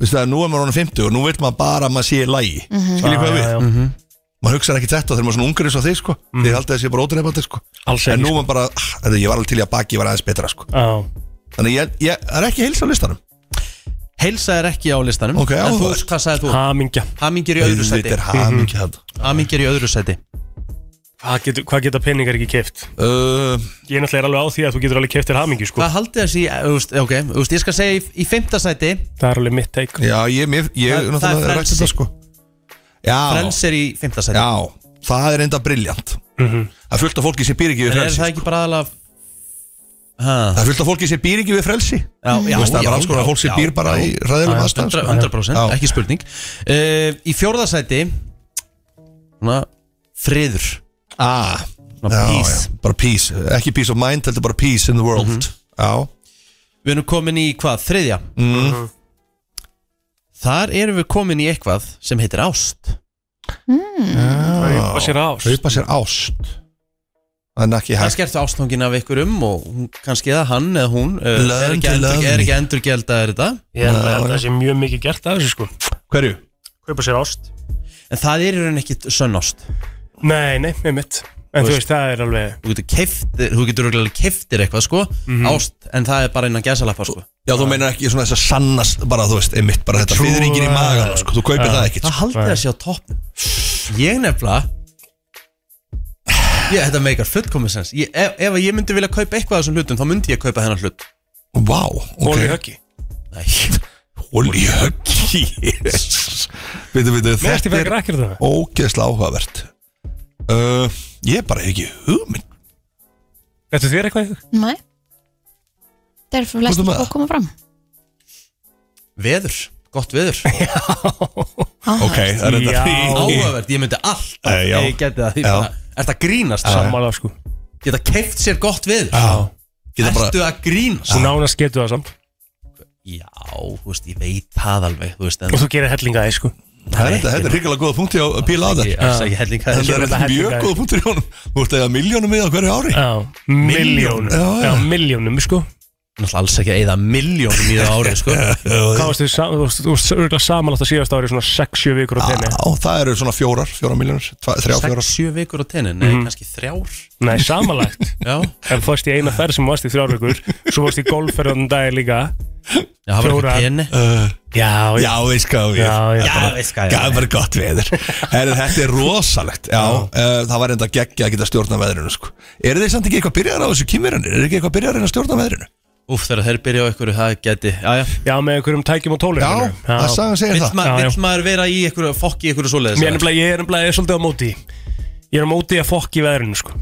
Speaker 11: Veistu það, nú er maður honum 50 og nú veit maður bara að maður sé í lagi
Speaker 1: Mhm.
Speaker 11: Skiljið hvað
Speaker 1: Já,
Speaker 11: við?
Speaker 1: já, Mhm. já.
Speaker 11: Maður hugsaði ekki þetta þegar maður er svona ungar eins og þið sko mm. Þið haldið að sé bara ótrefandi sko
Speaker 3: Alls
Speaker 11: En nú er maður bara, ah, þetta, ég var alveg til í að baki, ég var aðeins betra sko
Speaker 3: Já.
Speaker 11: Þannig ég, ég, það er ekki heilsa á listanum
Speaker 1: Heilsa er ekki á listanum
Speaker 11: Ok,
Speaker 1: En þú,
Speaker 11: áhugavert.
Speaker 1: hvað sagði þú?
Speaker 3: Hamingja
Speaker 1: Hamingja er í öðru sæti
Speaker 11: Auðvitað er hamingja
Speaker 1: Hamingja er í öðru sæti
Speaker 3: Hvað geta, hvað geta peningar ekki keft?
Speaker 11: Uh,
Speaker 3: ég er náttúrulega alveg á því að þú getur alveg keft þér hamingju sko
Speaker 1: Hvað haldið þessi, þú veist, ok, þú veist, ég skal segja í, í fimmta sæti
Speaker 3: Það er alveg mitt teik
Speaker 11: Já, ég, mér, ég
Speaker 1: Það- það er
Speaker 11: náttúrulega rækti
Speaker 1: frelsi.
Speaker 11: þetta, sko. Já
Speaker 1: Frels er í fimmta sæti
Speaker 11: Já, það er enda briljant
Speaker 3: Mhm.
Speaker 11: Það er fullt af fólki sem býr ekki við
Speaker 1: En er
Speaker 11: frelsi sko.
Speaker 1: það ekki bara aðalega Það
Speaker 11: er fullt af fólki sem býr ekki við frelsi
Speaker 1: Já, já,
Speaker 11: Þú veist, það er
Speaker 1: já,
Speaker 11: bara alls konar
Speaker 1: já,
Speaker 11: fólk sem
Speaker 1: já,
Speaker 11: býr bara
Speaker 1: já.
Speaker 11: í ræðilegum
Speaker 1: Já,
Speaker 11: aðstæðum
Speaker 1: 100%,
Speaker 11: sko.
Speaker 1: 100%
Speaker 11: Já.
Speaker 1: ekki spurning uh, Í fjórða sæti Svona friður
Speaker 11: ah,
Speaker 1: Svona
Speaker 11: Já,
Speaker 1: peace
Speaker 11: já, bara peace, Mhm. ekki peace of mind heldur bara peace in the world Já,
Speaker 1: Við erum komin í hvað, þriðja
Speaker 11: Mhm.
Speaker 1: Þar erum við komin í eitthvað sem heitir ást
Speaker 3: Kaupa sér ást
Speaker 11: Kaupa sér ást En ekki
Speaker 1: Það
Speaker 11: hægt
Speaker 1: skertu ástangin af ykkur um og hún, kannski eða hann eða hún uh, er,
Speaker 11: Learn
Speaker 1: ekki
Speaker 11: to
Speaker 1: endur, er
Speaker 11: love me.
Speaker 1: ekki endur gældaðir þetta
Speaker 3: Ég held að það sé mjög mikið gert af þessu sko
Speaker 11: Hverju?
Speaker 3: Kaupa sér ást
Speaker 1: En það er í raun ekki sönn ást
Speaker 3: Nei, nei, með mitt En þú
Speaker 1: Þú
Speaker 3: veist, það er alveg Mhm.
Speaker 1: Þú getur keiftir, þú getur örugglega keiftir eitthvað sko Ást, en það er bara innan gæsalappa sko
Speaker 11: Já, þú meinar ekki svona þess að sannast bara, þú veist, einmitt bara þetta friðringin í magan, sko, þú kaupir það ekkit
Speaker 1: Það
Speaker 11: sko.
Speaker 1: haldið að sé á topp Ég nefnilega Ég, þetta meikar fullkomisens ég, ef, ef ég myndi vilja kaupa eitthvað af þessum hlutum Þá myndi ég kaupa þennan hlut
Speaker 11: Vá, ok
Speaker 3: Hól í höggi
Speaker 11: Holy höggi Býtu, býtu,
Speaker 3: Mér ertu
Speaker 11: þetta
Speaker 3: fyrir
Speaker 11: er
Speaker 3: grækir það
Speaker 11: ógeðslega áhugavert uh, Ég bara hef ekki hugmynd
Speaker 3: Þetta þér eitthvað?
Speaker 2: Nei, það er flest
Speaker 11: Komdu með
Speaker 2: að koma fram
Speaker 1: Veður, gott veður
Speaker 11: Ok, það er þetta
Speaker 1: Áhugavert, ég myndi alltaf
Speaker 11: Eh, já.
Speaker 1: Ég geti það, ég
Speaker 11: Já.
Speaker 1: bara, ert að grínast
Speaker 11: Já.
Speaker 3: Sammála, sko
Speaker 1: Geta keift sér gott veður
Speaker 3: Geta bara-
Speaker 1: Ertu að grínast
Speaker 3: Þú nánast getur það samt
Speaker 1: Já, þú veist, ég veit það alveg Þú veist, en
Speaker 3: Og þú gerir hellinga það, sko
Speaker 11: Það er þetta, þetta er hrikalega góða punkti á að píla á
Speaker 1: Ég
Speaker 11: þetta
Speaker 1: alls ekki hellingaði.
Speaker 11: Þetta er
Speaker 1: Ég
Speaker 11: þetta
Speaker 1: alveg
Speaker 11: mjög
Speaker 1: hellingaði.
Speaker 11: góða punktur í honum Þú ert að eiga miljónum við á hverju ári
Speaker 3: Já, miljónum
Speaker 11: Já, já.
Speaker 3: Já, miljónum, sko
Speaker 1: Náttúrulega alls ekki að eyða miljónum í það árið, sko
Speaker 3: Hvað varst þið, sam- þú varst- þú varst örgulega samanlátt að síðast ári Svona 6-7 vikur á tenni
Speaker 11: Á, það eru svona fjórar, fjórar miljónur Þrjá,
Speaker 1: Sex,
Speaker 11: fjórar
Speaker 1: sjö vikur á tenni, nei,
Speaker 3: Mhm.
Speaker 1: kannski þrjár
Speaker 3: Nei, samanlagt
Speaker 1: Já
Speaker 3: En fórst í eina ferð sem varst í þrjár vikur Svo varst í golfferðan dagi líka
Speaker 1: Já, það var ekki
Speaker 3: Fjórar.
Speaker 1: tenni
Speaker 3: Já,
Speaker 11: já, veist hvað við
Speaker 3: Já, já, bara-
Speaker 1: veist hvað
Speaker 11: Gaf bara gott veður Herri, Þetta er rosalegt Já, uh, það var enda geggja að geta stjórna veðrinu sko. Er þið samt ekki eitthvað byrjar á þessu kýmverjanir? Er þið ekki eitthvað byrjar að stjórna veðrinu?
Speaker 1: Úf, þegar þeir byrja á ykkur, það geti Já, já,
Speaker 3: já með einhverjum tækjum og tólum Já,
Speaker 11: það sagan segir
Speaker 1: Vill
Speaker 11: það.
Speaker 1: ma-
Speaker 3: Já, já.
Speaker 1: Vill maður vera í ykkur, fokki ykkur svoleiðis
Speaker 3: Mér er nefnilega, ég er nefnilega, ég er svolítið á móti því. Ég er á móti því að fokki veðrinu, sko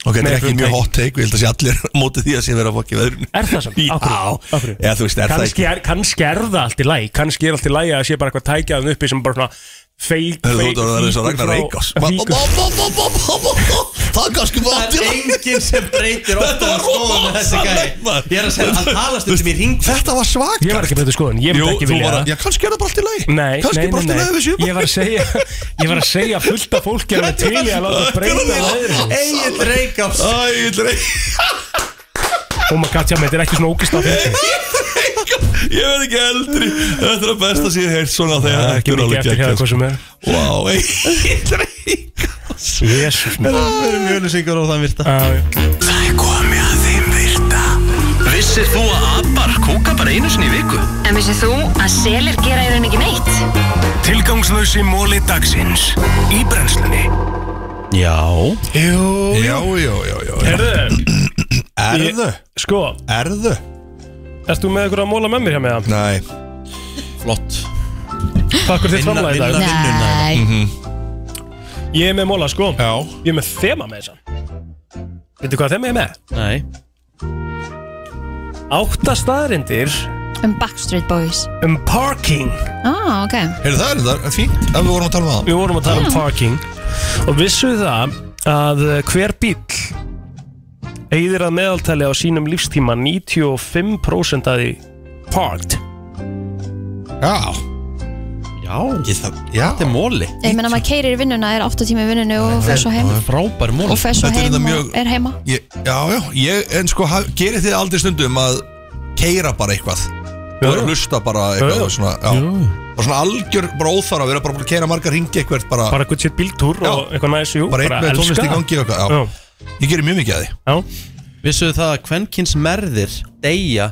Speaker 11: Ok,
Speaker 3: Með
Speaker 11: þetta er
Speaker 3: einhverjum
Speaker 11: ekki mjög
Speaker 3: tækjum.
Speaker 11: hot take Við held að sé allir á móti því að sé vera að fokki veðrinu
Speaker 3: Er það samt?
Speaker 11: Já,
Speaker 3: Af hverju? Af hverju?
Speaker 11: Já, þú veist, er það
Speaker 3: kannski, er, kannski er það allt í læg Kannski er allt í læg að sé bara eitthvað tækjaðan uppi sem bara svona feik
Speaker 11: Þú ert að vera eins og Ragnar Reykjás Það er kannski bara
Speaker 1: Það er enginn sem breytir ofta á
Speaker 11: Þetta var
Speaker 1: skoðun með þessi gæi
Speaker 11: rosalegt, maður.
Speaker 1: Ég er að segja, hann talast um sem ég ring
Speaker 11: Þetta var svak
Speaker 3: Ég var ekki að breyta skoðun, ég
Speaker 11: Jú,
Speaker 3: myndi ekki
Speaker 11: þú
Speaker 3: vilja
Speaker 11: var að
Speaker 3: það
Speaker 11: Já, kannski er það bara allt í lagi
Speaker 3: Nei,
Speaker 11: Kannski
Speaker 3: nei,
Speaker 11: bara allt í
Speaker 3: nei,
Speaker 11: lagi við
Speaker 3: nei.
Speaker 11: séum
Speaker 3: Ég var að segja Ég var að segja fullt af fólki að það er til í að láta breyta í veðrinu
Speaker 1: Egil Reykjafs
Speaker 11: Æ,
Speaker 3: Oh my god, já, þetta er ekki svona ógist á fyrir
Speaker 11: ég verð ekki eldri Þetta er að besta síðan heilt svona þegar
Speaker 3: Það er ekki
Speaker 11: þetta
Speaker 3: mikið
Speaker 11: alveg
Speaker 3: eftir
Speaker 11: geggjað,
Speaker 3: hérna
Speaker 11: sko.
Speaker 3: hvað sem er
Speaker 11: Vá, Egil Reykjás
Speaker 3: Jésus minn
Speaker 1: Það eru mjölusingar á þann virta
Speaker 4: Það er komið að þeim virta Vissir þú að abar kúka bara einu sinni í viku?
Speaker 13: En vissið þú að selir gera í raun ekki neitt?
Speaker 4: Tilgangslösi móli dagsins Í brennslunni
Speaker 1: Já
Speaker 11: Jú, já, já, já, já
Speaker 3: Herðu,
Speaker 11: Erðu,
Speaker 3: sko,
Speaker 11: erðu
Speaker 3: erst þú með ykkur að móla með mér hjá með það?
Speaker 11: Nei,
Speaker 1: Flott
Speaker 3: Takk fyrir þitt
Speaker 1: Vinna-
Speaker 3: framlega í dag
Speaker 1: vinna- vinnuna. Mhm.
Speaker 2: Nei,
Speaker 3: Ég er með móla, sko
Speaker 11: já
Speaker 3: Ég er með þema með þessan Veitu hvað þema ég er með?
Speaker 1: Nei
Speaker 3: Átta staðrindir
Speaker 2: um Backstreet Boys
Speaker 3: um parking
Speaker 2: ah, ok
Speaker 11: Heyrðu, það er þetta fínt Ef við vorum að tala um það
Speaker 3: Við vorum að tala um parking Og vissu það að eh, hver bíll Eyðir að meðaltali á sínum lífstíma 95% að því parked
Speaker 11: Já,
Speaker 1: Já
Speaker 11: ég það Já,
Speaker 1: Þetta er móli
Speaker 2: Ég meina maður keirir í vinnuna, er 8 tíma í vinnunni og fer svo heim
Speaker 1: Frábær móli
Speaker 2: og fer svo
Speaker 11: Þetta er
Speaker 2: heim
Speaker 11: þetta
Speaker 2: og
Speaker 11: mjög-
Speaker 2: er heima
Speaker 11: ég, já, já ég, En sko, ha- gerið þið aldrei stundum að Keira bara eitthvað
Speaker 3: Jú,
Speaker 11: Og
Speaker 3: jú.
Speaker 11: hlusta bara
Speaker 3: Jú,
Speaker 11: eitthvað
Speaker 3: jú.
Speaker 11: svona, já. Og svona algjör, bara óþara Við erum bara búin að keira margar ringi eitthvað Bara,
Speaker 3: Bara eitthvað sitt bíltúr
Speaker 11: Já.
Speaker 3: og eitthvað næs jú,
Speaker 11: bara einn með tónlist í
Speaker 3: það.
Speaker 11: gangi og eitthvað Já,
Speaker 3: Já,
Speaker 11: ég gerir mjög mikið að því
Speaker 3: já
Speaker 1: Vissuðu það að kvenkins merðir deyja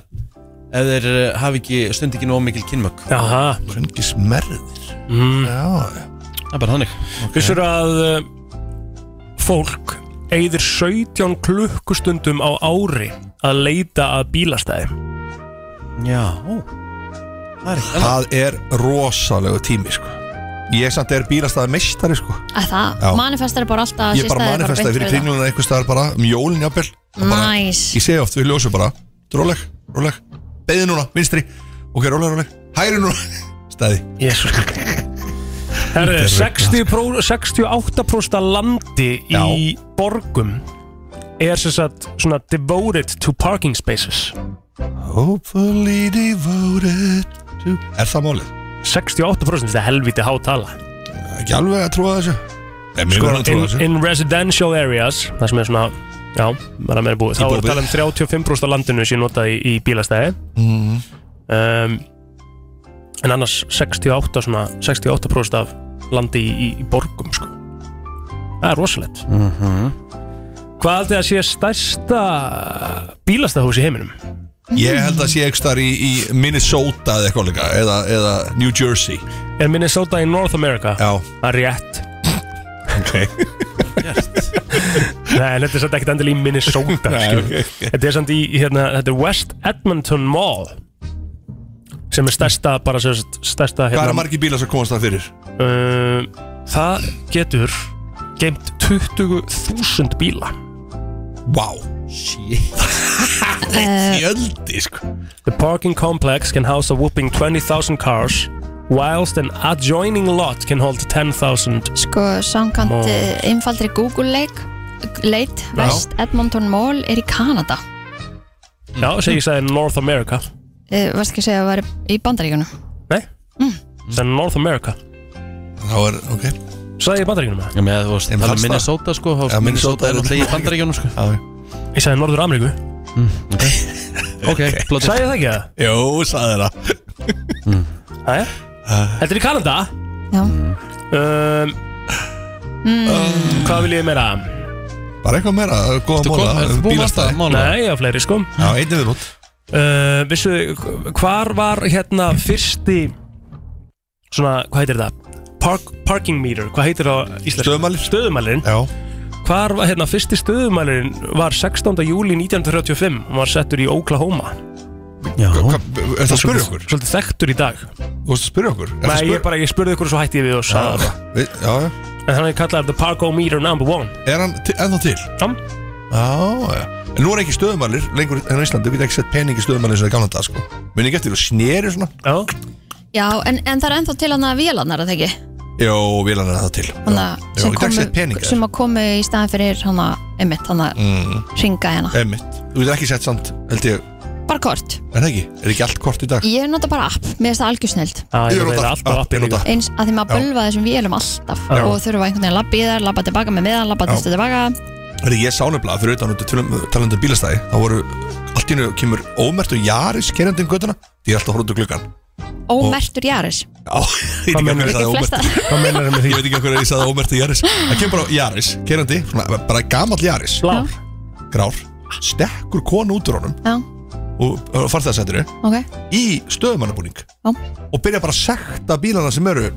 Speaker 1: ef þeir eh, hafi ekki stund ekki nóg mikil kynmök
Speaker 3: Jaha,
Speaker 11: Svengis merðir
Speaker 3: Mm.
Speaker 11: Já,
Speaker 1: Það er bara þannig
Speaker 3: vissur að uh, fólk eyðir 17 klukkustundum á ári að leita að bílastæði
Speaker 1: Já ó. Það er ekki
Speaker 11: það er rosalegu tími sko. Ég samt er bílastæði meistari sko.
Speaker 2: að það,
Speaker 11: Já.
Speaker 2: manifestar er bara alltaf
Speaker 11: Ég bara manifestaði fyrir kringluna einhvers staðar bara um jólin jafnvel Og bara-
Speaker 2: næs,
Speaker 11: Ég segi oft við ljósum bara Róleg, róleg, beði núna, vinstri Ok, róleg, róleg, hægri núna Stæði
Speaker 3: Jésus Herri, 60 pró- 68% af landi í borgum er sem sagt svona devoted to parking spaces
Speaker 11: Hopefully devoted to Er það málið?
Speaker 3: 68% þetta er helviti hátala
Speaker 11: Ekki alveg að trúa þessu Nei, mér
Speaker 3: sko,
Speaker 11: verður að
Speaker 3: in,
Speaker 11: trúa þessu
Speaker 3: in residential areas það sem er svona já, bara meira búið þá er
Speaker 11: Íbúðir.
Speaker 3: talað um 35% af landinu sem notaði í, í bílastæði
Speaker 11: Mhm.
Speaker 3: um, en annars 68, svona, 68% af landi í, í, í borgum sko. það er rosalegt
Speaker 11: Mm. Mhm.
Speaker 3: hvað haldið að sé stærsta bílastæðhús í heiminum
Speaker 11: Ég held að sé ekki staðar í, í Minnesota eða eitthvað líka eða, eða New Jersey
Speaker 3: er Minnesota í North America
Speaker 11: Já,
Speaker 3: það er rétt
Speaker 11: ok
Speaker 3: Nei, en þetta er samt ekkert endil í Minnesota
Speaker 11: Nei,
Speaker 3: skilur.
Speaker 11: ok, ok.
Speaker 3: Þetta er samt í, hérna, þetta er West Edmonton Mall sem er stærsta, bara sem sagt, stærsta
Speaker 11: Hvað er
Speaker 3: hérna,
Speaker 11: margir bílar sem komast það fyrir?
Speaker 3: uh, Það getur geimt 20.000 bíla
Speaker 11: Vá wow. Fjöldi sko
Speaker 3: The parking complex can house a whooping 20,000 cars whilst an adjoining lot can hold 10,000
Speaker 2: Sko, samkant
Speaker 3: Mall.
Speaker 2: eh, einfaldri Google-leik leit,
Speaker 3: Já.
Speaker 2: West Edmonton Mall er í Kanada
Speaker 3: Já, segi ég sagði North America
Speaker 2: uh, Varst ekki að segja að það væri í Bandaríkunum
Speaker 3: Nei, sagði North America
Speaker 11: Þá er, ok
Speaker 3: Sagði ég Bandaríkunum það?
Speaker 1: Já, með þú varst að tala um Minnesota sko þá-
Speaker 11: Já, Minnesota
Speaker 1: er náttúrulega í bandaríkjónu sko Mm,
Speaker 3: Ég sagði Norður Ameríku
Speaker 1: Ok, plotið
Speaker 3: Sagði ég það ekki það?
Speaker 11: Jó, sagði það
Speaker 3: Æja Þetta er í Kanada
Speaker 2: Já
Speaker 3: um, Mm. Hvað vil ég meira?
Speaker 11: Bara eitthvað meira, uh, góða
Speaker 3: Ertu
Speaker 11: móla
Speaker 3: kom- ertu búin með þetta mál? Nei, já, fleiri sko
Speaker 11: Já, einnig við bútt
Speaker 3: uh, Vissu, hvar var hérna fyrsti Svona, hvað heitir þetta? Park, parking meter, hvað heitir það á íslensku?
Speaker 11: Stöðumælir
Speaker 3: Stöðumælirinn
Speaker 11: Já
Speaker 3: Hvar var hérna fyrsti stöðumælirinn var 16. júli 1935 og var settur í Oklahoma
Speaker 1: Já
Speaker 11: Er það að spyrja okkur?
Speaker 3: Svolítið þekktur í dag
Speaker 11: Þú veist að spyrja okkur? Ertu að
Speaker 3: Nei,
Speaker 11: spyrja-
Speaker 3: ég bara, ég spurði ykkur og svo hætti ég við og sagði það
Speaker 11: Við- Já, já
Speaker 3: En þannig kallaði The Parkometer number one
Speaker 11: Er hann til- ennþá til?
Speaker 3: Já
Speaker 11: Já, já En nú er ekki stöðumælir lengur en á Íslandi Þú getur ekki sett pening í stöðumælir sem er gamla dag sko Minn ekki eftir og sneri svona
Speaker 3: Já
Speaker 2: Já, en, en það er ennþá til hann að vélarnar er það ekki
Speaker 11: Jó, vilan er það til
Speaker 2: Þannig að
Speaker 11: Já,
Speaker 2: sem
Speaker 11: í dag sett peninga,
Speaker 2: komu,
Speaker 11: sko.
Speaker 2: sem að komu í staðin fyrir hann að einmitt, hann að
Speaker 11: Mm.
Speaker 2: ringa hérna
Speaker 11: Emmitt Þú getur ekki sett samt, held ég
Speaker 2: Bara kort,
Speaker 11: Er það ekki? Er ekki allt kort í dag? Ah,
Speaker 2: ég nota bara app, mér finnst það algjörsneild
Speaker 3: Já,
Speaker 11: Ég
Speaker 3: ég
Speaker 11: nota
Speaker 3: nota alltaf
Speaker 11: app,
Speaker 3: appið
Speaker 11: ég nota
Speaker 3: líka.
Speaker 2: eins að því maður
Speaker 11: Já.
Speaker 2: bölva þessum vélum alltaf
Speaker 11: Já.
Speaker 2: og þurfa einhvern veginn að labba í þær, labba tilbaka með meðan, labba
Speaker 11: Já.
Speaker 2: tilbaka
Speaker 11: Þegar ég sá nefnilega fyrir utan út í talandu um bílastæði þá voru allt í hennu kemur ómert og jaris kerjandi um göttuna því ég er alltaf að horfa út úr gluggan
Speaker 2: ómertur jaris
Speaker 11: Já, ég veit ekki
Speaker 3: meinarðu?
Speaker 11: hvernig það er
Speaker 2: Ekki
Speaker 11: ómert
Speaker 2: flesta.
Speaker 3: Hvað meinar það með því?
Speaker 11: Ég veit ekki hvernig ég sagði ómert í jaris Það kemur bara jaris, kerjandi, svona, bara gamall jaris
Speaker 3: Blár
Speaker 11: Grár, stekkur konu út úr honum
Speaker 2: Já,
Speaker 11: og og farþegarsættinu
Speaker 2: ok,
Speaker 11: í stöðumannabúning
Speaker 2: Já.
Speaker 11: og byrja bara að sekta bílana sem eru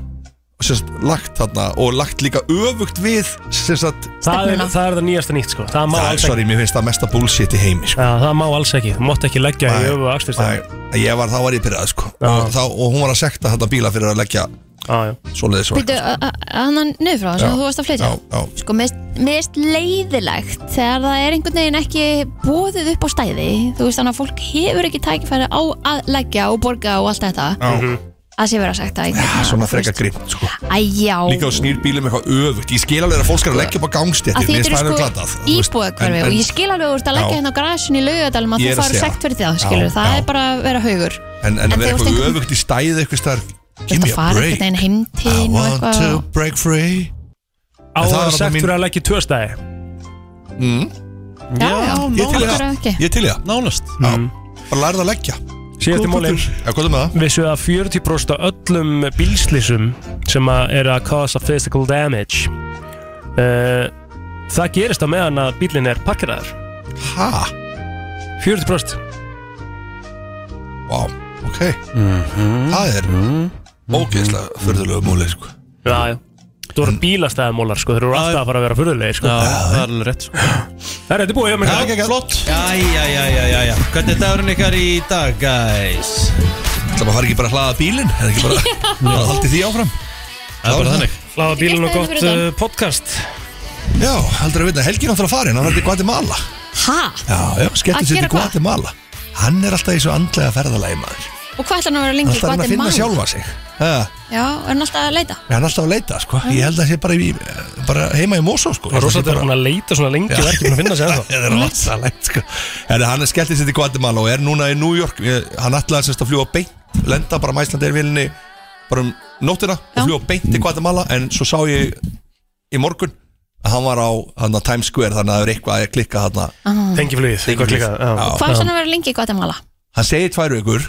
Speaker 11: sérst, lagt þarna og lagt líka öfugt við sérst,
Speaker 3: Það er,
Speaker 2: Stefnuna.
Speaker 3: það er það nýjasta nýtt sko Það má
Speaker 11: það,
Speaker 3: alls ekki
Speaker 11: sorry, mér finnst það mesta bullshit í heimi sko.
Speaker 3: Já, það má alls ekki Þú mátt ekki leggja
Speaker 11: Nei,
Speaker 3: í öfu aksturstæði
Speaker 11: Nei, ég var, þá var ég byrjað sko. og, þá, og hún var að sekta þetta bíla fyrir að leggja
Speaker 3: Já, já
Speaker 11: svoleiðis og
Speaker 2: býttu annan niður frá það sem þú varst að flytja
Speaker 11: já, já,
Speaker 2: Sko, mér finnst leiðilegt þegar það er einhvern veginn ekki bóðið upp á stæði þú veist þannig að fólk hefur ekki tækifæri á að leggja og borga og allt þetta
Speaker 11: já.
Speaker 3: Mhm.
Speaker 2: að sé vera sagt að einhvern
Speaker 11: Ah,
Speaker 2: veginn
Speaker 11: svona frekar grimm sko.
Speaker 2: Æjá,
Speaker 11: líka á snýr bílum eitthvað öfugt ég skil alveg að fólk er að leggja upp á
Speaker 2: að
Speaker 11: gangstéttir
Speaker 2: því
Speaker 11: mér
Speaker 2: þetta
Speaker 11: finnst
Speaker 2: er
Speaker 11: það
Speaker 2: sko
Speaker 11: glatað, þú veist.
Speaker 2: íbúðakverfi
Speaker 11: En-
Speaker 2: og
Speaker 11: en-
Speaker 2: ég skil alveg að þú ert að leggja
Speaker 11: Já.
Speaker 2: hérna á græsinu í laugadalum að
Speaker 11: Ég
Speaker 2: þú
Speaker 11: er að
Speaker 2: fari
Speaker 11: segja.
Speaker 2: sekt fyrir það,
Speaker 11: Já,
Speaker 2: skilur það
Speaker 11: já.
Speaker 2: er bara að vera haugur
Speaker 11: en,
Speaker 2: En
Speaker 11: en, en
Speaker 2: þegar
Speaker 11: vera
Speaker 2: þú
Speaker 11: eitthvað
Speaker 2: ert
Speaker 11: öfugt í stæðið eitthvað staðar, give
Speaker 2: Þetta
Speaker 11: me a
Speaker 2: fara
Speaker 11: break
Speaker 2: einhvern veginn
Speaker 11: I
Speaker 2: heimtíðin og
Speaker 11: want
Speaker 2: eitthvað
Speaker 11: to break free
Speaker 3: Á
Speaker 11: En það
Speaker 3: það
Speaker 11: var
Speaker 3: er sagt
Speaker 11: mín-
Speaker 3: fyrir að leggja í tvö stæði
Speaker 11: mm.
Speaker 2: Já, já,
Speaker 11: Ég til í
Speaker 2: nokkur
Speaker 11: það.
Speaker 2: ekki
Speaker 11: Ég til í það
Speaker 1: Nánast
Speaker 11: Já.
Speaker 3: Mm.
Speaker 11: Bara lærið að leggja
Speaker 3: Síðast í mólin
Speaker 11: Já, hvað er með það?
Speaker 3: Vissu að 40% af öllum bílslýsum sem að eru að causa physical damage uh, Það gerist á meðan að bílinn er parkeraður
Speaker 11: Ha?
Speaker 3: 40%
Speaker 11: Vá, ok
Speaker 1: Mhm.
Speaker 11: Það er ógeðslega förðulegu múli sko.
Speaker 3: Já, já Þú eru bílastæðamólar sko, þeir eru alltaf að fara að vera furðulegi sko
Speaker 1: Já, það er alveg rétt sko
Speaker 3: Það er þetta er búið, ég með
Speaker 11: Það er ekki flott
Speaker 1: Æjæjæjæjæjæ Hvernig er dagurinn ykkar í dag, guys?
Speaker 11: Það maður fari ekki bara að hlaða bílinn Það er ekki bara bara að haldi því áfram
Speaker 1: Það er bara þannig
Speaker 3: Láða bílinn og
Speaker 2: Ég
Speaker 3: gott
Speaker 2: stæði fyrir
Speaker 3: uh, podcast
Speaker 11: Já, heldur að vita Helgin áttur að fara inn Hann er til Guatemala
Speaker 2: Hæ?
Speaker 11: Já, já, skellur
Speaker 2: Að
Speaker 11: sér
Speaker 2: gera
Speaker 11: til
Speaker 2: hvað?
Speaker 11: Guatemala Hann er alltaf í svo andlega ferðalagi maður
Speaker 2: Og hvað ætlar hann að vera
Speaker 11: Hann
Speaker 2: lengi
Speaker 11: er
Speaker 2: í
Speaker 11: alltaf að reyna að finna
Speaker 2: Guatemala?
Speaker 11: sjálfa sig Ha,
Speaker 2: Já, er hann alltaf að leita?
Speaker 11: Hann er alltaf að leita sko Ég held að sé bara, í, bara heima í Mosó sko
Speaker 3: Það er rosalega
Speaker 11: Bara-
Speaker 3: búin að leita svona lengi
Speaker 11: Já.
Speaker 3: og ekki búin að finna sér ennþá
Speaker 11: Það er rosalegt sko Herri, Hann er skelltið sér til Guatemala og er núna í New York Ég- Hann ætlaði semst að fljúa beint Lenda bara um mæsland er vilinni Bara um nóttina
Speaker 2: Já.
Speaker 11: og fljúa beint til Guatemala En svo sá ég í morgun Að hann var á hann, Times Square Þannig að það er eitthvað að klikka hann
Speaker 3: Tengiflugið, eitthvað klikkað já.
Speaker 11: Já.
Speaker 2: Hvað ætlar hann að vera lengi í Guatemala?
Speaker 11: Hann segir tvær vikur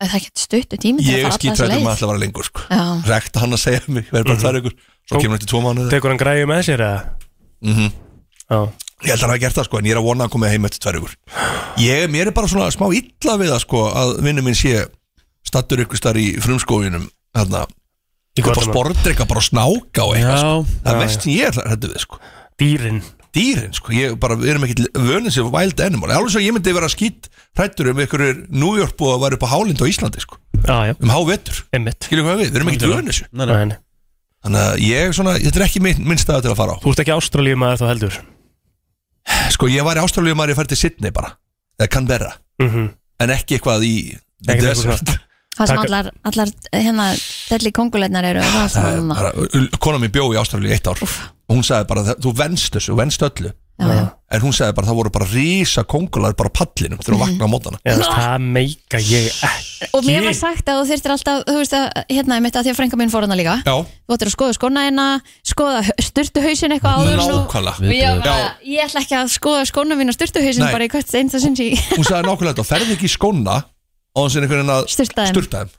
Speaker 2: Er Það er ekkert stuttu tími til að
Speaker 11: Ég er
Speaker 2: fara alltaf þessa
Speaker 11: skítrættum að
Speaker 2: leið
Speaker 11: ætla að vera lengur sko.
Speaker 2: Já,
Speaker 11: Rekta hann að segja mig, verður bara tvær vikur Svo
Speaker 3: Mhm. Kom.
Speaker 11: kemur hann til tvo mánuði
Speaker 3: Tekur hann græði með sér eða?
Speaker 11: mm
Speaker 3: Já
Speaker 11: Ég held að hann hafa gert það sko, en ég er að vona að hann komið heim eftir tvær vikur Ég, mér er bara svona smá illa við það sko að vinnu minn sé stattur ykkur starf í frumskóinum þarna,
Speaker 3: Í
Speaker 11: ykkur bara
Speaker 3: Guatemala.
Speaker 11: sportreika, bara snáka og eitthvað sko.
Speaker 1: Já
Speaker 11: Það er
Speaker 3: Já,
Speaker 11: mest sem ég er hættu við sko
Speaker 3: Dýrin
Speaker 11: Dýrin sko, ég bara, við erum ekki vönið sér wild animal, alveg svo ég myndi vera skýtt hrættur um ykkur er New York búið að vera upp á hálind á Íslandi sko,
Speaker 3: Já, já,
Speaker 11: um hávetur
Speaker 3: einmitt
Speaker 11: Skilum hvað við, við erum ekki vönið sér
Speaker 1: Nei, nei.
Speaker 3: Nei, nei.
Speaker 11: Þannig að ég svona, þetta er ekki minn, minn staða til að fara á
Speaker 3: Þú ert ekki ástralíu maður þá heldur
Speaker 11: Sko ég var í Ástralíu maður ég færi til Sydney bara Eða Canberra
Speaker 3: Mhm.
Speaker 11: En ekki eitthvað í the
Speaker 3: Ekkert eitthvað
Speaker 11: desert
Speaker 2: Það sem allar, allar hérna, delli kongulegnar eru og það
Speaker 11: Það
Speaker 2: er
Speaker 11: er
Speaker 2: svona
Speaker 11: bara- ul- Kona mín bjó í Ástralíu í eitt ár Og hún sagði bara, þú venst þessu, þú venst öllu En hún sagði bara, það voru bara rísa kongular bara á pallinum þegar hún vaknaði á mótana
Speaker 3: Já, þú veist, það meika ég ekki
Speaker 2: Og mér var sagt að þú þurftir alltaf, þú veist að, hérna, mitt að því að frænka mín fór hana líka
Speaker 11: Já.
Speaker 2: Þú ættir að skoða skóna hérna, skoða styrtuhausin eitthvað áður en þú-
Speaker 11: Nákvæmlega.
Speaker 2: Og ég, var,
Speaker 11: Já.
Speaker 2: ég ætla ekki að skoða skóna mín og styrtuhausin
Speaker 11: Nei.
Speaker 2: bara í hvert einsta sinn sem ég
Speaker 11: Hún sagði nákvæmlega þetta, ferði ekki í skóna á hans en einhvern veginn að
Speaker 2: Sturta þeim.
Speaker 11: sturta þeim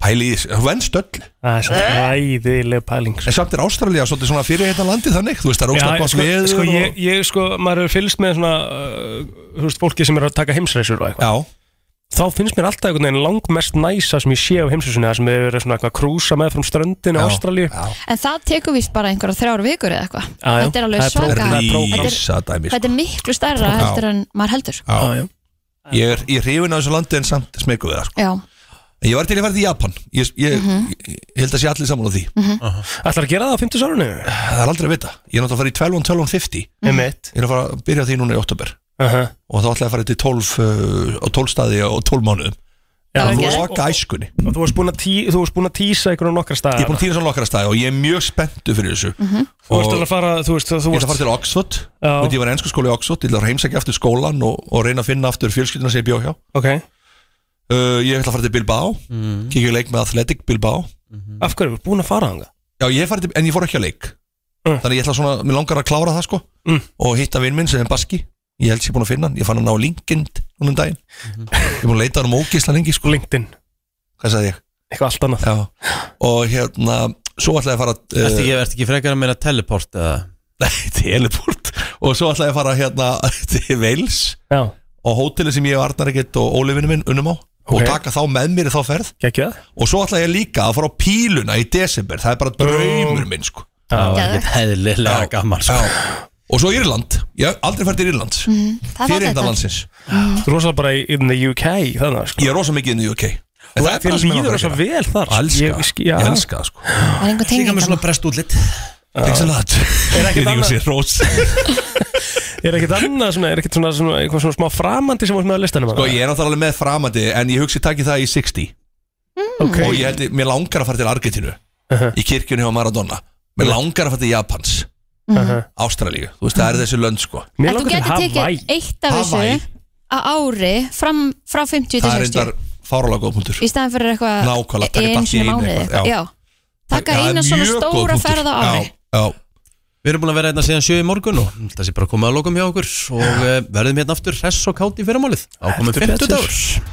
Speaker 11: Pæli í þessu, þú venst öllu
Speaker 3: Það er
Speaker 2: Eh?
Speaker 3: svo ræðileg pæling
Speaker 11: En samt er Ástralía svolítið svona fyrir hérna landi þannig Þú veist, það er óstaklega gott
Speaker 3: sko,
Speaker 11: veður
Speaker 3: sko,
Speaker 11: og-
Speaker 3: ég, ég, sko, maður hefur fylgst með svona uh, Þú veist, fólki sem er að taka heimsreisur og eitthvað
Speaker 11: Já
Speaker 3: Þá finnst mér alltaf einhvern veginn langmest næsa sem ég sé af heimsreisunni Það sem hefur verið svona eitthvað að krúsa með frá ströndinu
Speaker 11: Já,
Speaker 3: Ástralíu
Speaker 2: En það tekur víst bara einhverja þrjár vikur eða eitthvað
Speaker 3: Já, já.
Speaker 2: Þetta er alveg
Speaker 3: Það er prógram-
Speaker 2: svaka Þetta
Speaker 3: það er prógram.
Speaker 11: Rísa dæmi, sko.
Speaker 2: Þetta er miklu stærra
Speaker 11: Já.
Speaker 2: heldur en maður heldur sko.
Speaker 11: Já, já Ég er, ég er hrifin af þessu landi en samt smeku við það sko.
Speaker 2: Já,
Speaker 11: En Ég var til að fara til Japan Ég, ég, ég held að sé allir saman á því
Speaker 2: Mhm.
Speaker 3: Ætlar að gera það á 50 árunni?
Speaker 11: Það er aldrei að vita Ég er náttúrulega að fara í 12 1250
Speaker 3: Mhm. Einmitt.
Speaker 11: Ég er að fara að byrja á því núna í oktober
Speaker 3: -huh.
Speaker 11: Og þá ætla ég að fara til 12 uh, á 12 staði og 12 mánuðum
Speaker 3: Já,
Speaker 11: Það
Speaker 3: ok.
Speaker 11: er loka æskunni
Speaker 3: Og þú varst búin að, tí, þú varst búin að tísa einhvern á nokkra staðar
Speaker 11: Ég er búin að týra svo nokkra staði og ég er mjög spenntu fyrir þessu
Speaker 3: Þú varst alveg að fara, þú veist, þú
Speaker 11: Ég ætla
Speaker 3: varst
Speaker 11: að fara til Oxford Þú veit, Ég var ennsku skóla í Oxford Ég ætla að fara heimsækja aftur skólan og, og reyna að finna aftur fjölskylduna sem ég bjó hjá
Speaker 3: okay.
Speaker 11: uh, Ég ætla að fara til Bilbao mm. Kíkja í leik með Athletic Bilbao
Speaker 3: Af hverju, búin að fara þangað? Mm.
Speaker 11: Já, ég hef farið til, en ég fór ekki á leik Þannig ég ætla svona, mér langar að klára það sko Og hitta vinn minn sem er Baski Ég held sér búin að finna hann, ég fann hann á LinkedIn Núna um daginn, ég er búin að leita hann um ógisla lengi sko
Speaker 3: LinkedIn
Speaker 11: Hvað sagði ég?
Speaker 3: Eitthvað allt annað
Speaker 11: Já, og hérna, svo ætla ég að fara uh,
Speaker 1: Ertu ekki, ert ekki frekar að meina teleport eða?
Speaker 11: Nei, teleport Og svo ætla ég að fara hérna til Wales
Speaker 3: Já
Speaker 11: Og hóteli sem ég og Arnar ekkert og Ólefinu minn unnum á Og
Speaker 3: Ok.
Speaker 11: taka þá með mér í þá ferð
Speaker 3: Gekja.
Speaker 11: Og svo ætla ég líka að fara á píluna í desember Það er bara draumur minn sko
Speaker 1: Það var ekkert heðlilega gaman sko.
Speaker 11: Og svo Írland, ég hef aldrei fært til Írland
Speaker 2: Mhm,
Speaker 5: 嗯
Speaker 2: það er
Speaker 11: Fyrir
Speaker 2: fallegt
Speaker 11: þetta
Speaker 2: þar.
Speaker 11: landsins
Speaker 3: Rosa bara í- in the UK þannig, sko.
Speaker 11: Ég er rosa mikið in the UK En það er bara
Speaker 3: Þér
Speaker 11: það sem ég
Speaker 3: líður
Speaker 11: langar að
Speaker 3: þess
Speaker 11: gera.
Speaker 3: vel þar
Speaker 11: Elska,
Speaker 3: Ég- ég- já.
Speaker 11: ég elska það, sko
Speaker 2: það er einhver
Speaker 1: Líka
Speaker 2: tenging
Speaker 1: með
Speaker 2: þarna.
Speaker 1: svona brest útlitt
Speaker 11: Thanks a lot
Speaker 3: Er ekkert
Speaker 11: Ég
Speaker 3: annað-
Speaker 11: sé hrós.
Speaker 3: Er ekkert annað svona, er ekkert svona, svona, eitthvað svona smá framandi sem var með að listanum
Speaker 11: Sko ég er náttúrulega alveg með framandi En ég hugsi takki það í 60
Speaker 3: Ok.
Speaker 11: Og ég held, ég- mér langar að fara til Argentínu Í kirkjunni hjá Maradona Mér langar að fara til Japans
Speaker 2: Mhm. Uh-huh.
Speaker 11: Ástralíu, þú veist það er þessi lönd sko
Speaker 2: En þú getur tekið eitt af
Speaker 11: Hawaii.
Speaker 2: þessu á ári fram, frá 50
Speaker 11: Það er
Speaker 2: til 60
Speaker 11: reyndar fáralega góð punktur
Speaker 2: Í staðan fyrir eitthvað
Speaker 11: Nákvæmlega, taka
Speaker 2: einu
Speaker 11: bara
Speaker 2: sinni
Speaker 11: í einu
Speaker 2: mánuði
Speaker 11: eitthvað,
Speaker 2: eitthvað
Speaker 11: já.
Speaker 2: Já, taka
Speaker 11: Það er
Speaker 2: eina svona
Speaker 11: mjög góð
Speaker 2: stóra
Speaker 11: punktur.
Speaker 2: ferð á ári
Speaker 11: Já, já.
Speaker 1: Við erum búin að vera hérna síðan sjö í morgun og það sé bara komið að lokum hjá okkur og eh, verðum hérna aftur hress og kátt í fyrramálið. Ákomum
Speaker 3: Heldur
Speaker 1: 50
Speaker 3: betur.
Speaker 1: dagur.